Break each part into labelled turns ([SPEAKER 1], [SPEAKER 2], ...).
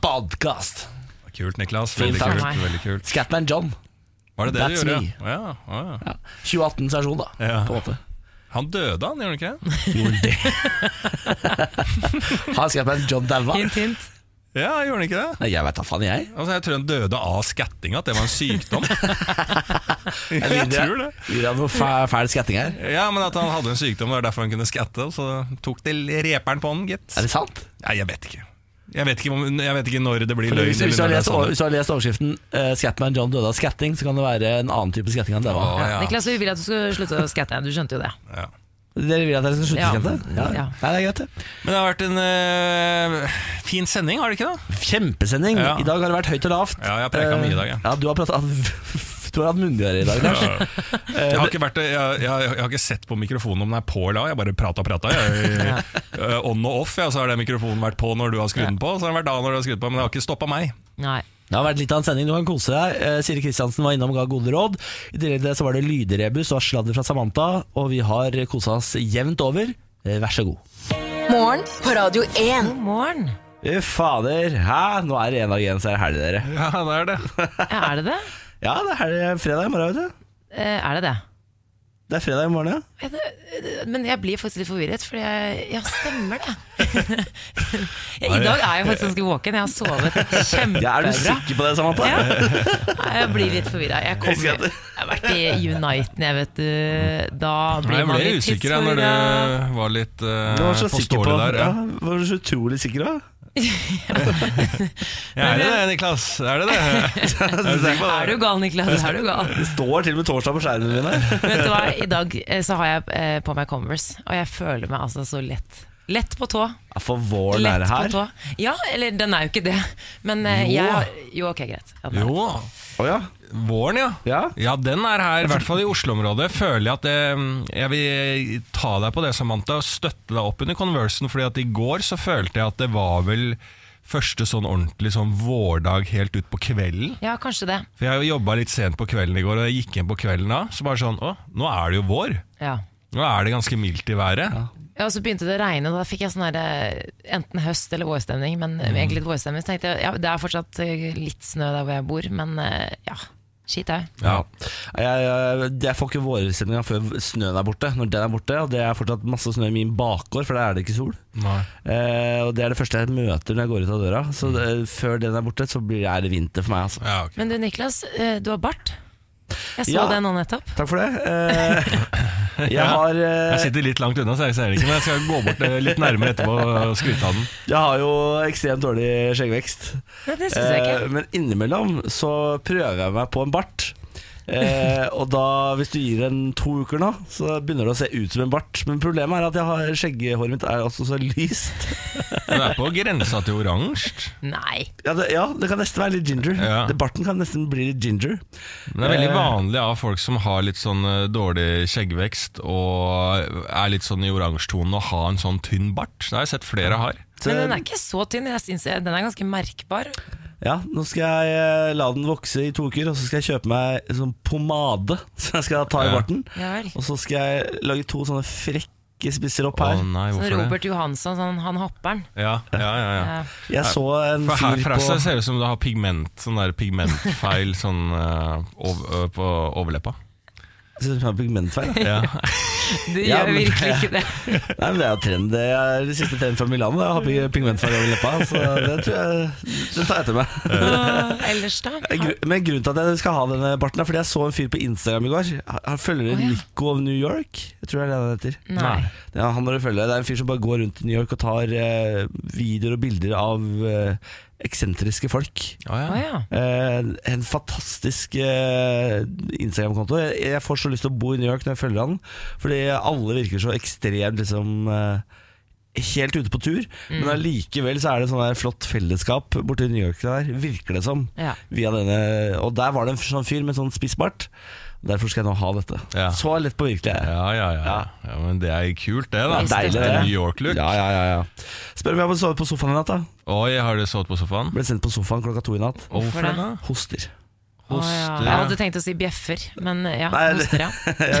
[SPEAKER 1] Podkast.
[SPEAKER 2] Kult, Niklas.
[SPEAKER 1] Fint,
[SPEAKER 2] Veldig
[SPEAKER 1] takk.
[SPEAKER 2] kult. veldig kult
[SPEAKER 1] Scatman John.
[SPEAKER 2] Var det det
[SPEAKER 1] That's
[SPEAKER 2] du gjorde?
[SPEAKER 1] me.
[SPEAKER 2] Ja, å ja.
[SPEAKER 1] Ja. 2018-sesjon, da.
[SPEAKER 2] Ja.
[SPEAKER 1] På en måte.
[SPEAKER 2] Han døde, han, gjorde han ikke det?
[SPEAKER 1] Gjorde det. Har Scatman John daua?
[SPEAKER 3] Hint, hint.
[SPEAKER 2] Ja, gjorde han ikke det?
[SPEAKER 1] Nei, Jeg veit da faen, jeg.
[SPEAKER 2] Altså, Jeg tror han døde av skatting, at det var en sykdom. jeg
[SPEAKER 1] lider-
[SPEAKER 2] tror det.
[SPEAKER 1] Gjorde jeg noe fæ- fæl skatting her?
[SPEAKER 2] Ja, men at han hadde en sykdom, det var derfor han kunne skatte, og så tok de reperen på han, gitt.
[SPEAKER 1] Er det sant?
[SPEAKER 2] Nei, jeg vet ikke. Jeg vet ikke, om, jeg vet ikke når det blir
[SPEAKER 1] Fordi
[SPEAKER 2] løgn.
[SPEAKER 1] Hvis, hvis, du har
[SPEAKER 2] eller når det er
[SPEAKER 1] lest,
[SPEAKER 2] sannhet.
[SPEAKER 1] hvis du har lest overskriften uh, 'Scatman John døde av skatting', så kan det være en annen type skatting han daua av.
[SPEAKER 2] Å, ja.
[SPEAKER 3] Niklas, vi vil at du skal slutte å skatte. Du skjønte jo det.
[SPEAKER 2] Ja.
[SPEAKER 1] Dere vil at dere skal slutte
[SPEAKER 3] Ja.
[SPEAKER 1] å skatte?
[SPEAKER 3] Ja.
[SPEAKER 1] Nei, det er greit, det.
[SPEAKER 2] Men det har vært en eh, fin sending, har det ikke det?
[SPEAKER 1] Kjempesending!
[SPEAKER 2] Ja.
[SPEAKER 1] I dag har det vært høyt og lavt.
[SPEAKER 2] Ja, jeg har preka
[SPEAKER 1] Eh,
[SPEAKER 2] mye i dag, jeg.
[SPEAKER 1] Ja, du har, pratet, du har hatt munndiaré i dag, Lars.
[SPEAKER 3] Eh,
[SPEAKER 2] Jeg har, ikke vært, jeg, jeg, jeg har ikke sett på mikrofonen om den er på eller av. Jeg bare prata og prata. On og off, ja, så har den mikrofonen vært på når du har skrudd den på. Så har den vært av når du har skrudd på, Men det har ikke stoppa meg.
[SPEAKER 3] Nei.
[SPEAKER 1] Det har vært litt av en sending, du kan kose deg. Eh, Siri Kristiansen var innom og ga gode råd. I tillegg til det så var det lydrebus og sladder fra Samantha, og vi har kosa oss jevnt over. Eh, Vær så god.
[SPEAKER 4] Morgen på Radio 1.
[SPEAKER 3] God morgen.
[SPEAKER 1] Eh, Fader, hæ? Nå er det én dag igjen, så er det helg, dere.
[SPEAKER 2] Ja, det er det.
[SPEAKER 3] Ja, er det det?
[SPEAKER 1] Ja, det er helg fredag i morgen, vet du.
[SPEAKER 3] Eh, Er det det?
[SPEAKER 1] Det er fredag i morgen, ja.
[SPEAKER 3] Ja, det- det- Men jeg blir faktisk litt forvirret, for jeg Ja, stemmer det. I dag er jeg faktisk ganske våken. Jeg har sovet
[SPEAKER 1] ja er du
[SPEAKER 3] kjempebra.
[SPEAKER 1] sikker på det, Samantha?
[SPEAKER 3] Ja. Nei, Jeg blir litt forvirra. Jeg, kommer-
[SPEAKER 1] Jeg skal-
[SPEAKER 3] jeg har vært i Uniten, jeg, vet du. Da
[SPEAKER 2] Nei,
[SPEAKER 3] blir
[SPEAKER 2] Jeg
[SPEAKER 3] man
[SPEAKER 2] ble
[SPEAKER 3] litt
[SPEAKER 2] usikker jeg, når
[SPEAKER 3] tidsforvirra.
[SPEAKER 2] du var litt eh,
[SPEAKER 1] Du var så sikker på
[SPEAKER 2] påståelig der. Ja.
[SPEAKER 1] ja, Var du så utrolig sikker, da?
[SPEAKER 2] Ja, er det det, Niklas? Er det det?
[SPEAKER 3] Er du gal, Niklas? Er du gal?
[SPEAKER 1] Det står til og med torsdag på skjermen din her.
[SPEAKER 3] Vet du hva, I dag eh, så har jeg eh, på meg Converse, og jeg føler meg altså så lett. Lett på tå.
[SPEAKER 1] Ja, for våren er
[SPEAKER 3] Lett
[SPEAKER 1] det
[SPEAKER 3] på
[SPEAKER 1] her.
[SPEAKER 3] tå. Ja, eller den er jo ikke det. Men eh,
[SPEAKER 1] Jo.
[SPEAKER 3] jeg har Jo, ok, greit. Ja, den er det.
[SPEAKER 2] Jo,
[SPEAKER 1] Å ja.
[SPEAKER 2] våren, ja.
[SPEAKER 1] Ja.
[SPEAKER 2] den er her. I hvert fall i Oslo-området. Føler jeg at eh, jeg vil ta deg på det, Samantha, og støtte deg opp under Conversen. Fordi at i går så følte jeg at det var vel første sånn ordentlig sånn vårdag helt ut på kvelden.
[SPEAKER 3] Ja, kanskje det.
[SPEAKER 2] For jeg jobba litt sent på kvelden i går, og jeg gikk hjem på kvelden da, så bare sånn Å, nå er det jo vår.
[SPEAKER 3] Ja.
[SPEAKER 2] Nå er det ganske mildt i været.
[SPEAKER 3] Ja, og Så begynte det å regne, og da fikk jeg sånn her, eh, enten høst- eller vårstemning. Men eh,
[SPEAKER 1] Mm.
[SPEAKER 3] egentlig litt vårstemning, så tenkte jeg ja, det er fortsatt eh, litt snø der hvor jeg bor, men eh, ja. Skit au.
[SPEAKER 2] Ja.
[SPEAKER 1] Jeg, jeg, jeg får ikke vårstemninga før snøen er borte. Når den er borte, og det er fortsatt masse snø i min bakgård, for der er det ikke sol.
[SPEAKER 2] Nei.
[SPEAKER 1] Eh, og Det er det første jeg møter når jeg går ut av døra. Så det, før den er borte, så blir er det vinter for meg. altså
[SPEAKER 2] Ja, ok.
[SPEAKER 3] Men du Niklas, eh, du har bart. Jeg så
[SPEAKER 1] Ja.
[SPEAKER 3] det nå nettopp.
[SPEAKER 1] Takk for det. Eh, jeg har eh,
[SPEAKER 2] Jeg sitter litt langt unna, så jeg ser det ikke, men jeg skal gå bort eh, litt nærmere etterpå og skryte av den.
[SPEAKER 1] Jeg har jo ekstremt dårlig skjeggvekst.
[SPEAKER 3] Nei, det syns jeg
[SPEAKER 1] Eh,
[SPEAKER 3] ikke.
[SPEAKER 1] Men innimellom så prøver jeg meg på en bart. Eh, og da, hvis du gir en to uker nå, så begynner det å se ut som en bart. Men problemet er at jeg har skjeggehåret mitt er altså så lyst.
[SPEAKER 2] Den er på grensa til oransje.
[SPEAKER 3] Nei.
[SPEAKER 1] Ja det, ja, det kan nesten være litt ginger.
[SPEAKER 2] Ja.
[SPEAKER 1] Det, barten kan nesten bli litt ginger.
[SPEAKER 2] Men det er
[SPEAKER 1] Eh.
[SPEAKER 2] veldig vanlig av folk som har litt sånn eh, dårlig skjeggvekst og er litt sånn i oransjetonen å ha en sånn tynn bart. Det har jeg sett flere har.
[SPEAKER 1] Så,
[SPEAKER 3] Men den er ikke så tynn. Jeg synes jeg, Den er ganske merkbar.
[SPEAKER 1] ja, nå skal jeg eh, la den vokse i to uker, og så skal jeg kjøpe meg en sånn pomade som jeg skal ta i
[SPEAKER 2] Ja.
[SPEAKER 1] barten.
[SPEAKER 3] Ja vel.
[SPEAKER 1] Og så skal jeg lage to sånne frekke spisser opp
[SPEAKER 2] Å
[SPEAKER 1] her.
[SPEAKER 2] nei,
[SPEAKER 3] Sånn
[SPEAKER 2] hvorfor det?
[SPEAKER 3] Robert Johansson, sånn, han hopperen.
[SPEAKER 2] Ja, ja, ja, ja.
[SPEAKER 3] Ja.
[SPEAKER 1] Jeg så en
[SPEAKER 2] For her
[SPEAKER 1] fyr
[SPEAKER 2] fra
[SPEAKER 1] på
[SPEAKER 2] seg ser det ut som du har pigment, sånn der pigmentfeil sånn, eh, ov ø, på overleppa.
[SPEAKER 1] Ser ut som en pigmentfeil.
[SPEAKER 2] Ja.
[SPEAKER 3] Du
[SPEAKER 1] Ja,
[SPEAKER 3] gjør
[SPEAKER 1] men-
[SPEAKER 3] virkelig ikke det.
[SPEAKER 1] Nei, men Det er jo trend Det er det siste trend fra Milano. det er å ha pig- pigmentfarge over leppa. Så det tror jeg Den tar jeg til meg.
[SPEAKER 3] Åh, Ellers, da?
[SPEAKER 1] Gru- Men grunnen til at jeg skal ha denne barten, er fordi jeg så en fyr på Instagram i går. Han følger
[SPEAKER 3] Å, ja.
[SPEAKER 1] Nico of New York. Jeg tror det er det han heter.
[SPEAKER 3] Nei.
[SPEAKER 1] Ja, han må du følge. Det er en fyr som bare går rundt i New York og tar eh, videoer og bilder av eh, eksentriske folk.
[SPEAKER 2] Å,
[SPEAKER 3] Å
[SPEAKER 2] ja.
[SPEAKER 3] ja.
[SPEAKER 1] Eh, en fantastisk eh, Instagram-konto. Jeg, jeg får så lyst til å bo i New York når jeg følger han, fordi alle virker så ekstremt liksom eh, Helt ute på tur,
[SPEAKER 3] Mm.
[SPEAKER 1] men allikevel så er det sånn der flott fellesskap borti New York der, virker det som.
[SPEAKER 3] Ja.
[SPEAKER 1] Via denne, og der var det en sånn fyr med sånn spissbart. Derfor skal jeg nå ha dette.
[SPEAKER 2] Ja.
[SPEAKER 1] Så lett på virkelig er jeg.
[SPEAKER 2] Ja, ja, ja.
[SPEAKER 1] Ja.
[SPEAKER 2] ja, men det er kult det, da.
[SPEAKER 1] Det er deilig,
[SPEAKER 2] Det er
[SPEAKER 1] det.
[SPEAKER 2] New York-look.
[SPEAKER 1] Ja, ja, ja, ja. Spør om jeg har sovet på sofaen i natt. da
[SPEAKER 2] Oi, har du sovet på sofaen?
[SPEAKER 1] Ble sendt på sofaen klokka to i natt.
[SPEAKER 3] Hvorfor det?
[SPEAKER 1] Hoster.
[SPEAKER 3] Å, ja.
[SPEAKER 2] Hoster.
[SPEAKER 3] Jeg hadde tenkt å si bjeffer, men ja,
[SPEAKER 1] Nei, det-
[SPEAKER 3] hoster, ja.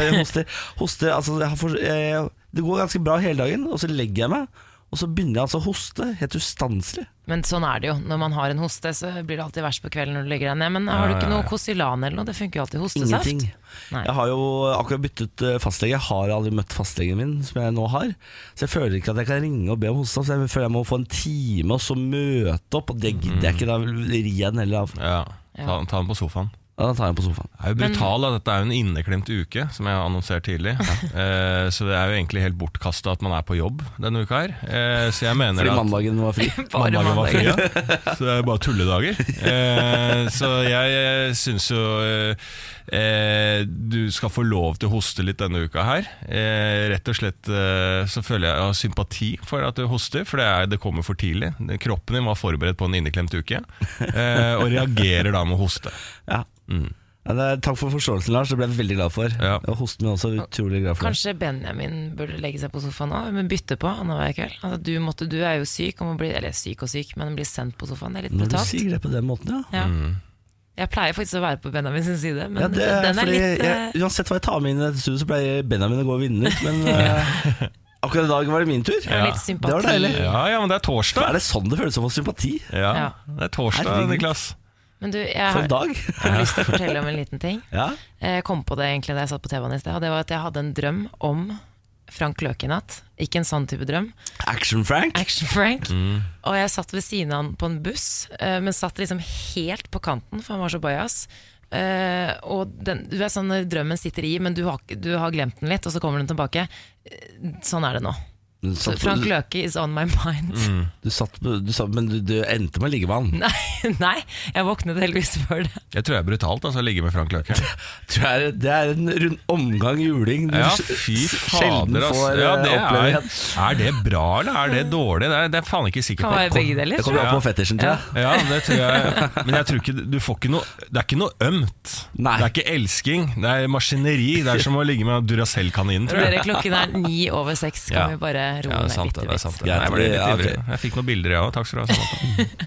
[SPEAKER 1] jeg hoster, hoster altså, jeg har for, eh, Det går ganske bra hele dagen, og så legger jeg meg. Og så begynner jeg altså å hoste, helt ustanselig.
[SPEAKER 3] Men sånn er det jo. Når man har en hoste, så blir det alltid verst på kvelden når du legger deg ned. Men har du ikke noe Kosilan eller noe? Det funker jo alltid. Hostesaft.
[SPEAKER 1] Ingenting.
[SPEAKER 3] Nei.
[SPEAKER 1] Jeg har jo akkurat byttet eh, fastlege. Jeg har aldri møtt fastlegen min, som jeg nå har. Så jeg føler ikke at jeg kan ringe og be om hostesaft. Så Jeg føler jeg må få en time og så møte opp, og det gidder jeg ikke. Da rir jeg den heller av.
[SPEAKER 2] Ja, ta, ta den på sofaen.
[SPEAKER 1] Ja, Da tar jeg den på sofaen.
[SPEAKER 2] Det er jo brutal, da. Dette er jo en inneklemt uke, som jeg har annonsert tidlig. Eh, så det er jo egentlig helt bortkasta at man er på jobb denne uka her. Eh, så jeg mener
[SPEAKER 1] Fordi
[SPEAKER 2] at
[SPEAKER 1] mandagen var fri.
[SPEAKER 3] Bare
[SPEAKER 2] mandagen var
[SPEAKER 3] mandag.
[SPEAKER 2] fri, ja. Så det er bare tulledager. Eh, så jeg eh, syns jo eh, eh, du skal få lov til å hoste litt denne uka her. Eh, rett og slett eh, så føler jeg jeg har sympati for at du hoster, for det, er, det kommer for tidlig. Kroppen din var forberedt på en inneklemt uke, eh, og reagerer da med å hoste.
[SPEAKER 1] Ja.
[SPEAKER 2] Mm.
[SPEAKER 1] Ja, det er, takk for forståelsen, Lars. Det ble jeg veldig glad for.
[SPEAKER 2] Ja.
[SPEAKER 1] Og hosten min også er utrolig glad for. det.
[SPEAKER 3] Kanskje Benjamin burde legge seg på sofaen nå, men bytte på annenhver kveld. Altså, du, måtte, du er jo syk, og må bli, eller syk og syk, men bli sendt på sofaen. Det er litt
[SPEAKER 1] Når du
[SPEAKER 3] brutalt.
[SPEAKER 1] sier det på den måten, ja.
[SPEAKER 3] Ja. Jeg pleier faktisk å være på Benjamin sin side, men
[SPEAKER 1] Ja, det, er
[SPEAKER 3] den er
[SPEAKER 1] fordi
[SPEAKER 3] litt eh,
[SPEAKER 1] jeg, Uansett hva jeg tar med inn i dette studioet, så pleier Benjamin å gå og vinne. Men eh, akkurat i dag var det min tur.
[SPEAKER 3] det er
[SPEAKER 1] Det
[SPEAKER 3] litt
[SPEAKER 1] var
[SPEAKER 3] sympati.
[SPEAKER 1] deilig.
[SPEAKER 2] Ja, ja, men det er
[SPEAKER 1] Er
[SPEAKER 2] torsdag.
[SPEAKER 1] det sånn det føles å få sympati?
[SPEAKER 2] Ja,
[SPEAKER 3] Ja.
[SPEAKER 2] det er torsdag,
[SPEAKER 1] Herregud.
[SPEAKER 2] Niklas.
[SPEAKER 3] Men du, jeg
[SPEAKER 1] For en
[SPEAKER 3] har,
[SPEAKER 1] dag!
[SPEAKER 3] jeg har lyst til å fortelle om en liten ting.
[SPEAKER 1] Ja.
[SPEAKER 3] Jeg Eh, kom på det egentlig da jeg satt på TV-en i sted, og det var at jeg hadde en drøm om Frank Løke i natt. Ikke en sånn type drøm.
[SPEAKER 1] Action-Frank.
[SPEAKER 3] Action Frank.
[SPEAKER 2] Mm.
[SPEAKER 3] Og jeg satt ved siden av han på en buss, eh, men satt liksom helt på kanten, for han var så bajas. Eh, og den, du vet sånn når drømmen sitter i, men du har, ikke- du har glemt den litt, og så kommer den tilbake. Eh, Sånn er det nå. Så Frank
[SPEAKER 1] du,
[SPEAKER 3] Løke is on my mind.
[SPEAKER 2] Mm.
[SPEAKER 1] du satt, du satt, men du, du endte med å ligge med han.
[SPEAKER 3] Nei, nei, jeg våknet heldigvis før det.
[SPEAKER 2] Jeg tror jeg er brutalt, altså, å ligge med Frank Løke.
[SPEAKER 1] Tror jeg, det er en rund omgang juling du
[SPEAKER 2] Ja,
[SPEAKER 1] s-
[SPEAKER 2] fy
[SPEAKER 1] s-
[SPEAKER 2] fader, ass.
[SPEAKER 1] får
[SPEAKER 2] Ja,
[SPEAKER 1] eh,
[SPEAKER 2] det
[SPEAKER 1] oppleve
[SPEAKER 2] er,
[SPEAKER 1] igjen.
[SPEAKER 2] er det bra, eller er det dårlig? Det er, det er faen ikke sikker
[SPEAKER 3] Kan være
[SPEAKER 2] på.
[SPEAKER 3] begge deler.
[SPEAKER 1] Det
[SPEAKER 3] tror
[SPEAKER 1] kommer
[SPEAKER 3] jeg.
[SPEAKER 1] an på fetisjen, tror jeg.
[SPEAKER 2] Ja, det tror jeg. Men jeg tror ikke du får ikke noe Det er ikke noe ømt.
[SPEAKER 1] Nei.
[SPEAKER 2] Det er ikke elsking, det er maskineri. Det er som å ligge med Duracell-kaninen, tror jeg.
[SPEAKER 3] Dere, klokken er ni over seks, kan
[SPEAKER 2] Ja.
[SPEAKER 3] vi bare roe
[SPEAKER 2] Ja, det
[SPEAKER 3] ned
[SPEAKER 2] er sant
[SPEAKER 3] bitte
[SPEAKER 2] det. det, er sant det.
[SPEAKER 3] litt.
[SPEAKER 2] Nei, Jeg ble litt
[SPEAKER 1] Ja, ok.
[SPEAKER 2] ivrig. Jeg fikk noen bilder, jeg òg. Takk skal du ha. Samantha.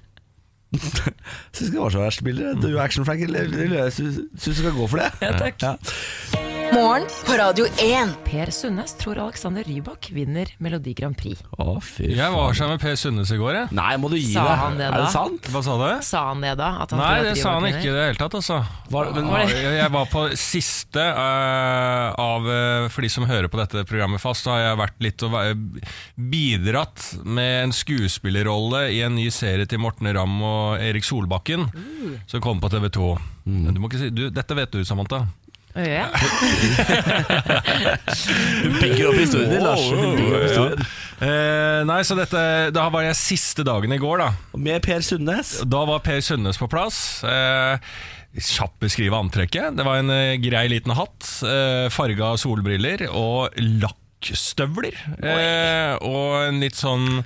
[SPEAKER 1] Syns ikke det var så verst, bilder.
[SPEAKER 2] Mm.
[SPEAKER 1] Du er Action-Frank. eller- eller Jeg syns syns du skal gå for det. Ja, takk.
[SPEAKER 4] Morgen på Radio 1.
[SPEAKER 3] Per Sundnes tror Alexander Rybak vinner Melodi Grand Prix.
[SPEAKER 1] Å, fy
[SPEAKER 2] Jeg var sammen med Per Sundnes i går, jeg.
[SPEAKER 1] Nei, må du gi
[SPEAKER 3] Sa
[SPEAKER 1] deg.
[SPEAKER 3] han det
[SPEAKER 1] Er
[SPEAKER 3] da?
[SPEAKER 1] det sant?
[SPEAKER 2] Hva sa du?
[SPEAKER 3] Sa han det da? At han
[SPEAKER 2] Nei,
[SPEAKER 3] tror at
[SPEAKER 2] det sa
[SPEAKER 3] Rybak
[SPEAKER 2] han
[SPEAKER 3] vinner?
[SPEAKER 2] ikke i det hele tatt, altså.
[SPEAKER 1] men-
[SPEAKER 2] Ja, jeg jeg var på siste eh, av eh, For de som hører på dette programmet fast, så har jeg vært litt og væ- bidratt med en skuespillerrolle i en ny serie til Morten Ramm og Erik Solbakken, som kom på TV 2.
[SPEAKER 1] Mm.
[SPEAKER 2] Du må ikke si, du, dette vet du, Samantha.
[SPEAKER 3] Å, gjør jeg?
[SPEAKER 1] Du bygger opp historien din, Lars. Du bygger opp
[SPEAKER 2] Ja.
[SPEAKER 1] historien.
[SPEAKER 2] Eh, nei, så dette Da var jeg siste dagen i går, da.
[SPEAKER 1] Med Per Sundnes.
[SPEAKER 2] Da var Per Sundnes på plass. Eh, Kjapt beskrive antrekket. Det var en eh, grei liten hatt, eh, farga solbriller og lakkstøvler. Eh, og en litt sånn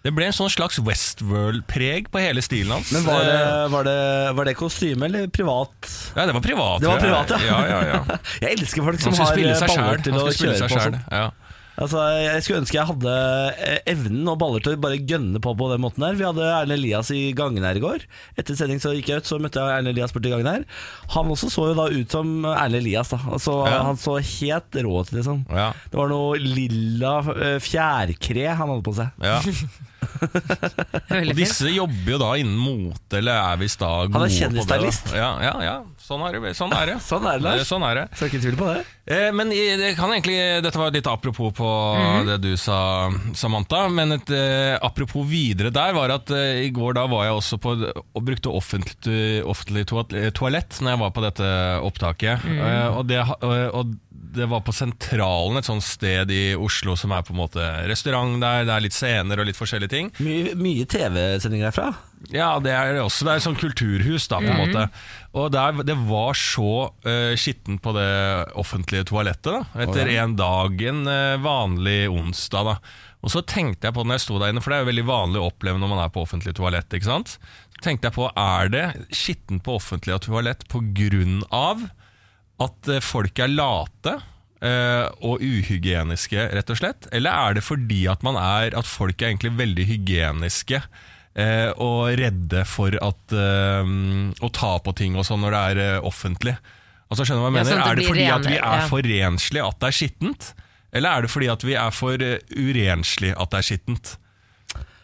[SPEAKER 2] Det ble en sånn slags Westworld-preg på hele stilen hans.
[SPEAKER 1] Men var
[SPEAKER 2] Eh,
[SPEAKER 1] det, var det, var det kostyme eller privat?
[SPEAKER 2] Nei, det var privat.
[SPEAKER 1] Det var
[SPEAKER 2] tror jeg.
[SPEAKER 1] privat, ja.
[SPEAKER 2] ja, ja, ja.
[SPEAKER 1] Jeg elsker folk som
[SPEAKER 2] Han skulle
[SPEAKER 1] har
[SPEAKER 2] spille
[SPEAKER 1] eh,
[SPEAKER 2] seg
[SPEAKER 1] baller
[SPEAKER 2] sjæl.
[SPEAKER 1] til å kjøre på. og sånn.
[SPEAKER 2] Ja.
[SPEAKER 1] Altså, jeg skulle ønske jeg hadde eh, evnen og baller til å bare gønne på på den måten der. Vi hadde Erlend Elias i gangen her i går. Etter sending så gikk jeg ut, så møtte jeg Erlend Elias borti gangen her. Han også så jo da ut som Erlend Elias, da. Altså,
[SPEAKER 2] Ja.
[SPEAKER 1] Han så helt rå ut, liksom.
[SPEAKER 2] Ja.
[SPEAKER 1] Det var noe lilla eh, fjærkre han hadde på seg.
[SPEAKER 2] Ja. Og
[SPEAKER 3] Veldig fint.
[SPEAKER 2] disse jobber jo da innen mote, eller er visst da
[SPEAKER 1] er
[SPEAKER 2] gode på det, da.
[SPEAKER 1] kjendisstylist.
[SPEAKER 2] Ja, ja, ja. Sånn er det. Sånn er det.
[SPEAKER 1] Sånn er det, Lars.
[SPEAKER 2] Sånn er det.
[SPEAKER 1] Så jeg er ikke i tvil på det.
[SPEAKER 2] Eh, Men i- det kan egentlig, Dette var litt apropos på det du sa, Samantha. Men et eh, apropos videre der var at eh, i går da var jeg også på og brukte offentlig, offentlig toal- eh, toalett når jeg var på dette opptaket. Eh, og, det, ha- og- og det var på Sentralen, et sånt sted i Oslo som er på en måte restaurant der, det er litt scener og litt forskjellige ting.
[SPEAKER 1] Mye, mye TV-sendinger herfra.
[SPEAKER 2] Ja, det er det også. Det er et sånt kulturhus, da, på en måte. Og der, det var så uh, skittent på det offentlige toalettet, da. Etter en dag, en eh, vanlig onsdag, da. Og så tenkte jeg på det når jeg sto der inne, for det er jo veldig vanlig å oppleve når man er på offentlig toalett, ikke sant. Så tenkte jeg på, er det skittent på offentlig toalett på grunn av at eh, folk er late eh, og uhygieniske, rett og slett? Eller er det fordi at, man er, at folk er egentlig veldig hygieniske eh, og redde for at, eh, å ta på ting og sånn når det er eh, offentlig? Altså skjønner du hva jeg
[SPEAKER 3] Ja,
[SPEAKER 2] mener?
[SPEAKER 3] sånn at det
[SPEAKER 2] er det
[SPEAKER 3] blir
[SPEAKER 2] fordi at vi
[SPEAKER 3] renere,
[SPEAKER 2] er
[SPEAKER 3] ja.
[SPEAKER 2] for renslige at det er skittent? Eller er det fordi at vi er for eh, urenslige at det er skittent?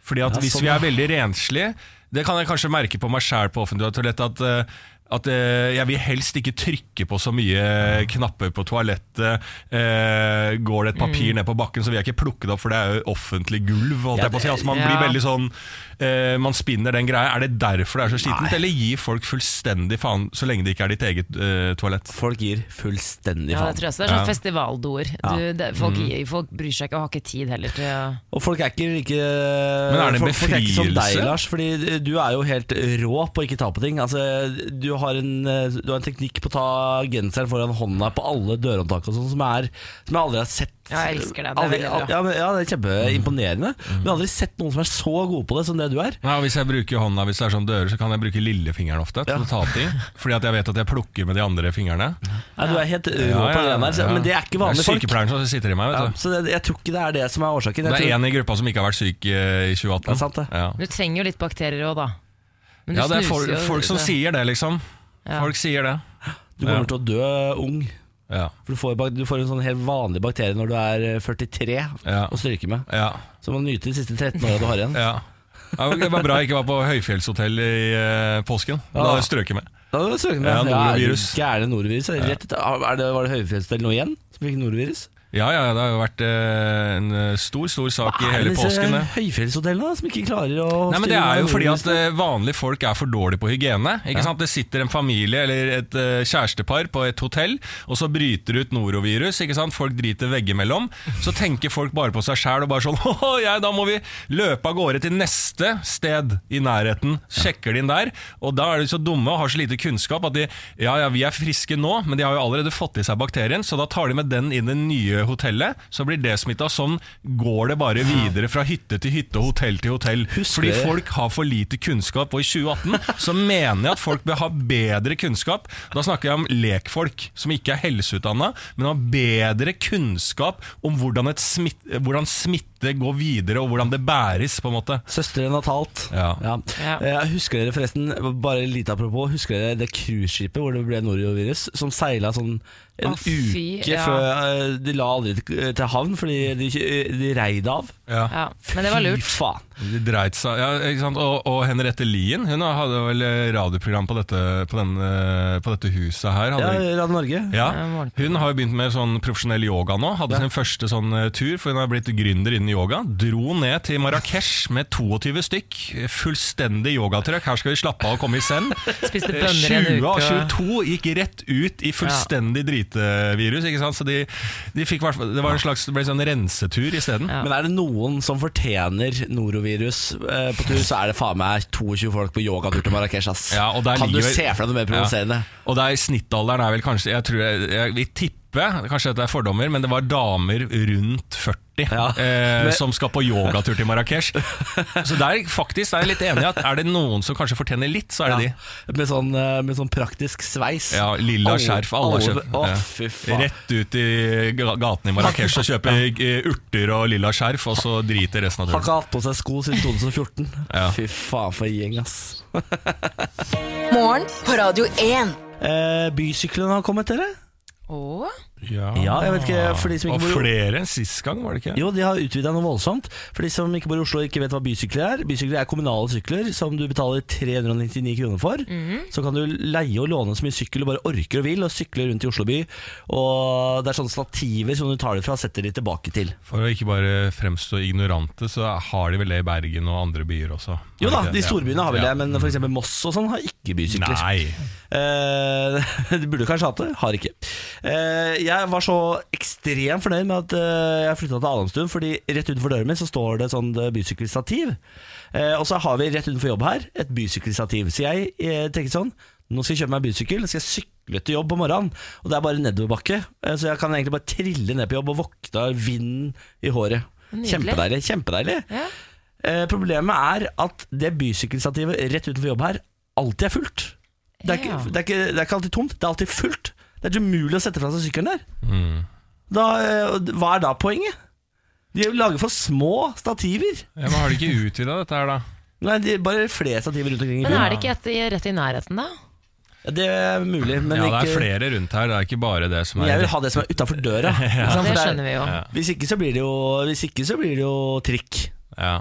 [SPEAKER 2] Fordi at
[SPEAKER 1] Ja,
[SPEAKER 2] hvis
[SPEAKER 1] sånn,
[SPEAKER 2] vi
[SPEAKER 1] ja.
[SPEAKER 2] er veldig renslige Det kan jeg kanskje merke på meg sjæl på offentlig toalett, at, eh, at eh, jeg vil helst ikke trykke på så mye knapper på toalettet. Eh, går det et papir ned på bakken, så vil jeg ikke plukke det opp, for det er jo offentlig gulv. Holdt
[SPEAKER 1] Ja,
[SPEAKER 2] jeg på å si. altså, man
[SPEAKER 3] ja.
[SPEAKER 2] blir veldig sånn eh, Man spinner den greia. Er det derfor det er så skittent, eller gir folk fullstendig faen så lenge det ikke er ditt eget eh, toalett?
[SPEAKER 1] Folk gir fullstendig
[SPEAKER 3] Ja, det
[SPEAKER 1] faen.
[SPEAKER 3] tror jeg også. Det er sånn
[SPEAKER 2] Ja. Mm.
[SPEAKER 3] festivaldoer. Du, det, folk, gir- folk bryr seg ikke og har ikke tid heller til å
[SPEAKER 1] Og folk er ikke like
[SPEAKER 2] Men er det en
[SPEAKER 1] folk, folk er ikke som deg,
[SPEAKER 2] befrielse?
[SPEAKER 1] Lars, fordi du er jo helt rå på å ikke ta på ting. Altså, du, har en, eh, du har en teknikk på å ta genseren foran hånda på alle dørhåndtak og sånn, som, er- som jeg aldri har sett.
[SPEAKER 3] Ja, jeg elsker det. Det er
[SPEAKER 1] Aldri,
[SPEAKER 3] veldig bra.
[SPEAKER 1] ja, men, ja, det er kjempeimponerende.
[SPEAKER 2] Mm.
[SPEAKER 1] Men jeg har aldri sett noen som er så gode på det som det du er.
[SPEAKER 2] Nei, og Hvis jeg bruker hånda hvis det er sånn dører, så kan jeg bruke lillefingeren ofte. til å ta ting, Fordi at jeg vet at jeg plukker med de andre fingrene.
[SPEAKER 1] Nei, du er helt rå på det der, så-
[SPEAKER 2] ja.
[SPEAKER 1] men det er ikke vanlige
[SPEAKER 2] Det er
[SPEAKER 1] folk.
[SPEAKER 2] sykepleieren som sitter i meg.
[SPEAKER 1] Ja,
[SPEAKER 2] vet du
[SPEAKER 1] så det, jeg tror ikke det er det som er årsaken. Jeg
[SPEAKER 2] Det er
[SPEAKER 1] tror,
[SPEAKER 2] én i gruppa som ikke har vært syk eh, i 2018.
[SPEAKER 1] Det er sant, det.
[SPEAKER 2] Ja.
[SPEAKER 3] Du trenger jo litt bakterier òg, da. Men du
[SPEAKER 2] Ja, det er
[SPEAKER 3] snuser
[SPEAKER 2] folk,
[SPEAKER 3] jo-
[SPEAKER 2] folk som
[SPEAKER 3] det-
[SPEAKER 2] sier det, liksom.
[SPEAKER 3] Ja.
[SPEAKER 2] Folk sier det.
[SPEAKER 1] du kommer til å dø ung.
[SPEAKER 2] Ja.
[SPEAKER 1] For du får, bak- du får en sånn helt vanlig bakterie når du er eh, 43
[SPEAKER 2] Ja.
[SPEAKER 1] å stryke med.
[SPEAKER 2] Ja.
[SPEAKER 1] Så må du nyte de siste 13 åra du har igjen.
[SPEAKER 2] ja. ja det var bra jeg ikke var på høyfjellshotell i eh, påsken.
[SPEAKER 1] Ah.
[SPEAKER 2] Da hadde jeg strøket med.
[SPEAKER 1] Da er det søkende.
[SPEAKER 2] Ja, norovirus.
[SPEAKER 1] Ja, gærne norovirus. Er det rett ut- er det, var det høyfjellsstell nå igjen som fikk norovirus?
[SPEAKER 2] Ja, ja, det har jo vært eh, en eh, stor, stor sak i
[SPEAKER 1] er
[SPEAKER 2] hele
[SPEAKER 1] det
[SPEAKER 2] påsken. det.
[SPEAKER 1] høyfjellshotellene da, som ikke klarer å
[SPEAKER 2] Nei, men Det er jo fordi at eh, vanlige folk er for dårlige på hygiene. Ikke sant? Det sitter en familie eller et eh, kjærestepar på et hotell, og så bryter det ut norovirus. Ikke sant? Folk driter veggimellom. Så tenker folk bare på seg sjæl og bare sånn «Åh, ja, Da må vi løpe av gårde til neste sted i nærheten. Sjekker de inn der. Og da er de så dumme og har så lite kunnskap at de Ja ja, vi er friske nå, men de har jo allerede fått i seg bakterien, så da tar de med den inn i det nye hotellet. Så blir det smitta. Sånn går det bare videre fra hytte til hytte og hotell til hotell.
[SPEAKER 1] Husker
[SPEAKER 2] Fordi
[SPEAKER 1] dere-
[SPEAKER 2] folk har for lite kunnskap, og i 2018 så mener jeg at folk bør ha bedre kunnskap. Da snakker jeg om lekfolk som ikke er helseutdanna, men har bedre kunnskap om hvordan, et smitt, hvordan smitte går videre, og hvordan det bæres, på en måte.
[SPEAKER 1] Søsteren har talt.
[SPEAKER 2] Ja.
[SPEAKER 3] Ja.
[SPEAKER 1] Eh, Husker dere forresten, bare litt apropos, husker dere det cruiseskipet hvor det ble norovirus, som seila sånn en
[SPEAKER 3] Å, fy,
[SPEAKER 1] uke
[SPEAKER 3] ja.
[SPEAKER 1] før eh, De la aldri til til havn fordi de, eh, de reide av.
[SPEAKER 3] Ja, men det var lurt.
[SPEAKER 1] Fy faen.
[SPEAKER 2] De dreit seg ja, ikke sant? Og, og Henriette Lien hun hadde vel radioprogram på dette, på den, eh, på dette huset her.
[SPEAKER 1] Ja,
[SPEAKER 2] Hadde,
[SPEAKER 1] Radio Norge.
[SPEAKER 2] ja.
[SPEAKER 3] Ja, morgen.
[SPEAKER 2] Hun har jo begynt med sånn profesjonell yoga nå. Hadde sin første sånn eh, tur, for hun har blitt gründer innen yoga. Dro ned til Marrakech med 22 stykk. Fullstendig yogatrøkk. Her skal vi slappe av og komme i send.
[SPEAKER 3] Spiste
[SPEAKER 2] Eh,
[SPEAKER 3] bønner i en
[SPEAKER 2] 20
[SPEAKER 3] uke.
[SPEAKER 2] av
[SPEAKER 3] og-
[SPEAKER 2] 22 gikk rett ut i fullstendig dritevirus. Ikke sant? Så de, de fikk, hvertfall- det var en slags, det ble en sånn rensetur isteden.
[SPEAKER 3] Ja.
[SPEAKER 1] Men er det noen som fortjener norovirus eh, på tur, så er det faen meg 22 folk på yogatur til Marrakech. ass.
[SPEAKER 2] Ja, og der
[SPEAKER 1] kan du
[SPEAKER 2] ligger-
[SPEAKER 1] se for deg noe mer provoserende?
[SPEAKER 2] Ja. Og der snittalderen er vel kanskje Jeg tror jeg, jeg vil tippe, kanskje dette er fordommer, men det var damer rundt 40
[SPEAKER 1] Ja.
[SPEAKER 2] eh,
[SPEAKER 1] Men-
[SPEAKER 2] som skal på yogatur til Marrakech. Så der faktisk er jeg litt enig i at er det noen som kanskje fortjener litt, så er det de.
[SPEAKER 1] Med, sånn, eh, med sånn praktisk sveis.
[SPEAKER 2] Ja, Lilla
[SPEAKER 1] Alle-
[SPEAKER 2] skjerf, alle
[SPEAKER 1] alle-
[SPEAKER 2] skjerf.
[SPEAKER 1] Å,
[SPEAKER 2] Ja.
[SPEAKER 1] fy faen.
[SPEAKER 2] Rett ut i ga- gatene i Marrakech og kjøpe eh, urter og lilla skjerf, og så drite i resten av
[SPEAKER 1] Har
[SPEAKER 2] turen.
[SPEAKER 1] ikke hatt på seg sko siden 2014.
[SPEAKER 2] Ja.
[SPEAKER 1] Fy faen for en gjeng, ass.
[SPEAKER 4] Morgen på Radio 1.
[SPEAKER 1] Eh, bysyklene har kommet, dere?
[SPEAKER 3] Å?
[SPEAKER 1] Ja, jeg vet ikke, for de som ikke
[SPEAKER 2] Og
[SPEAKER 1] bor-
[SPEAKER 2] flere enn sist gang, var det ikke?
[SPEAKER 1] Jo, de har utvida noe voldsomt. For de som ikke bor i Oslo og ikke vet hva bysykler er. Bysykler er kommunale sykler som du betaler 399 kroner for. Så kan du leie og låne så mye sykkel du bare orker og vil, og sykle rundt i Oslo by. Og det er sånne stativer som du tar det fra og setter de tilbake til.
[SPEAKER 2] For å ikke bare fremstå ignorante, så har de vel det i Bergen og andre byer også.
[SPEAKER 1] Jo da,
[SPEAKER 2] Har
[SPEAKER 1] de
[SPEAKER 2] ikke
[SPEAKER 1] storbyene har vel
[SPEAKER 2] Ja.
[SPEAKER 1] det, men f.eks. Moss og sånn har ikke bysykler.
[SPEAKER 2] Nei.
[SPEAKER 1] Eh, de burde kanskje hatt det, har ikke. Eh, jeg var så ekstremt fornøyd med at eh, jeg flytta til Adamstuen, fordi rett utenfor døren min så står det et sånt eh, bysykkelstativ. Eh, og så har vi rett utenfor jobb her et bysykkelstativ. Så jeg eh, tenker sånn Nå skal jeg kjøpe meg bysykkel, nå skal jeg sykle til jobb på morgenen. Og det er bare nedoverbakke, eh, så jeg kan egentlig bare trille ned på jobb og våkne av vinden i håret.
[SPEAKER 3] Nydelig.
[SPEAKER 1] Kjempedeilig. Kjempedeilig.
[SPEAKER 3] Ja.
[SPEAKER 1] Eh, problemet er at det bysykkelstativet rett utenfor jobb her alltid er fullt. Det er, ikke,
[SPEAKER 3] Ja.
[SPEAKER 1] det, er ikke, det er ikke alltid tomt, det er alltid fullt. Det er ikke umulig å sette fra seg sykkelen der.
[SPEAKER 2] Mm.
[SPEAKER 1] Da, eh, hva er da poenget? De lager for små stativer.
[SPEAKER 2] Ja, men Har de ikke utvida dette her, da?
[SPEAKER 1] Nei, de, bare flere stativer rundt omkring i
[SPEAKER 3] Men
[SPEAKER 1] byen.
[SPEAKER 3] er det ikke et i- rett i nærheten, da?
[SPEAKER 1] Ja, Det er mulig, men
[SPEAKER 2] ja, det er
[SPEAKER 1] ikke
[SPEAKER 2] flere rundt her, det er ikke bare det som
[SPEAKER 1] Men
[SPEAKER 2] er
[SPEAKER 1] jeg vil ha det som er utafor døra. ikke sant? For
[SPEAKER 3] Det
[SPEAKER 1] det er-
[SPEAKER 3] skjønner vi jo.
[SPEAKER 2] Ja.
[SPEAKER 1] Hvis ikke så blir det jo Hvis ikke så blir det jo trikk.
[SPEAKER 2] ja.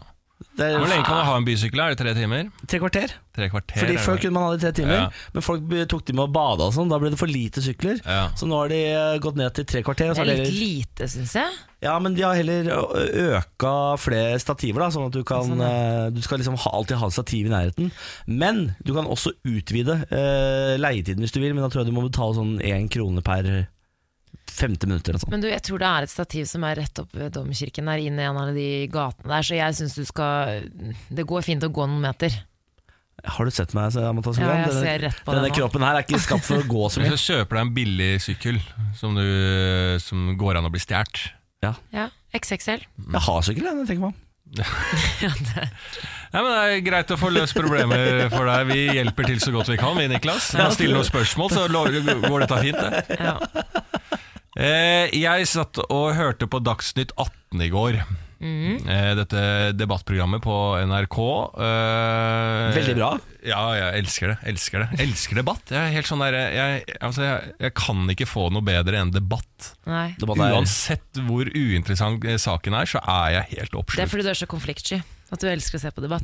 [SPEAKER 1] Det
[SPEAKER 2] Hvor
[SPEAKER 1] er
[SPEAKER 2] lenge kan man ha en bysykkel? Er det tre timer?
[SPEAKER 1] tre kvarter.
[SPEAKER 2] Tre kvarter?
[SPEAKER 1] Fordi
[SPEAKER 2] er det
[SPEAKER 1] Før
[SPEAKER 2] vel?
[SPEAKER 1] kunne man ha det i tre timer,
[SPEAKER 2] Ja.
[SPEAKER 1] men folk be- tok de med å bade. og sånn Da ble det for lite sykler.
[SPEAKER 2] Ja.
[SPEAKER 1] Så nå har de eh, gått ned til tre kvarter. Og
[SPEAKER 3] Det
[SPEAKER 1] så
[SPEAKER 3] er
[SPEAKER 1] har de
[SPEAKER 3] litt
[SPEAKER 1] heller-
[SPEAKER 3] lite, syns jeg.
[SPEAKER 1] ja, men de har heller ø- øka flere stativer, da sånn at du kan
[SPEAKER 3] Sånn,
[SPEAKER 1] eh, Du skal liksom ha, alltid ha et stativ i nærheten. Men du kan også utvide eh, leietiden hvis du vil, men da tror jeg du må betale sånn én krone per femte minutt eller sånn. noe sånt.
[SPEAKER 3] Men du, jeg tror det er et stativ som er rett opp ved domkirken der, inn i en av de gatene der, så jeg syns du skal Det går fint å gå noen meter.
[SPEAKER 1] Har du sett meg, Amata
[SPEAKER 3] Ja,
[SPEAKER 1] Skogran?
[SPEAKER 3] jeg
[SPEAKER 1] Denne-
[SPEAKER 3] ser rett på
[SPEAKER 1] Denne
[SPEAKER 3] det nå.
[SPEAKER 1] kroppen her er ikke skapt for å gå så mye.
[SPEAKER 2] Hvis du kjøper deg en billig sykkel som, du, som går an å bli stjålet
[SPEAKER 3] Ja, XXL.
[SPEAKER 1] Jeg har sykkel, jeg, når jeg tenker meg om.
[SPEAKER 2] Nei, men Det er greit å få løst problemer for deg. Vi hjelper til så godt vi kan, vi, Niklas. Bare Still noen spørsmål, så lo- går dette fint. Det.
[SPEAKER 3] Ja.
[SPEAKER 2] Eh, jeg satt og hørte på Dagsnytt 18 i går.
[SPEAKER 3] Mm.
[SPEAKER 2] Eh, dette debattprogrammet på NRK. Eh,
[SPEAKER 1] Veldig bra.
[SPEAKER 2] Ja, jeg elsker det. Elsker det Elsker debatt. Jeg, er helt sånn der, jeg, altså, jeg, jeg kan ikke få noe bedre enn debatt.
[SPEAKER 3] Nei.
[SPEAKER 1] Det var der-
[SPEAKER 2] Uansett hvor uinteressant eh, saken er, så er jeg helt
[SPEAKER 3] Det er
[SPEAKER 2] oppslukt.
[SPEAKER 3] fordi du er så konfliktsky at du elsker å se på debatt.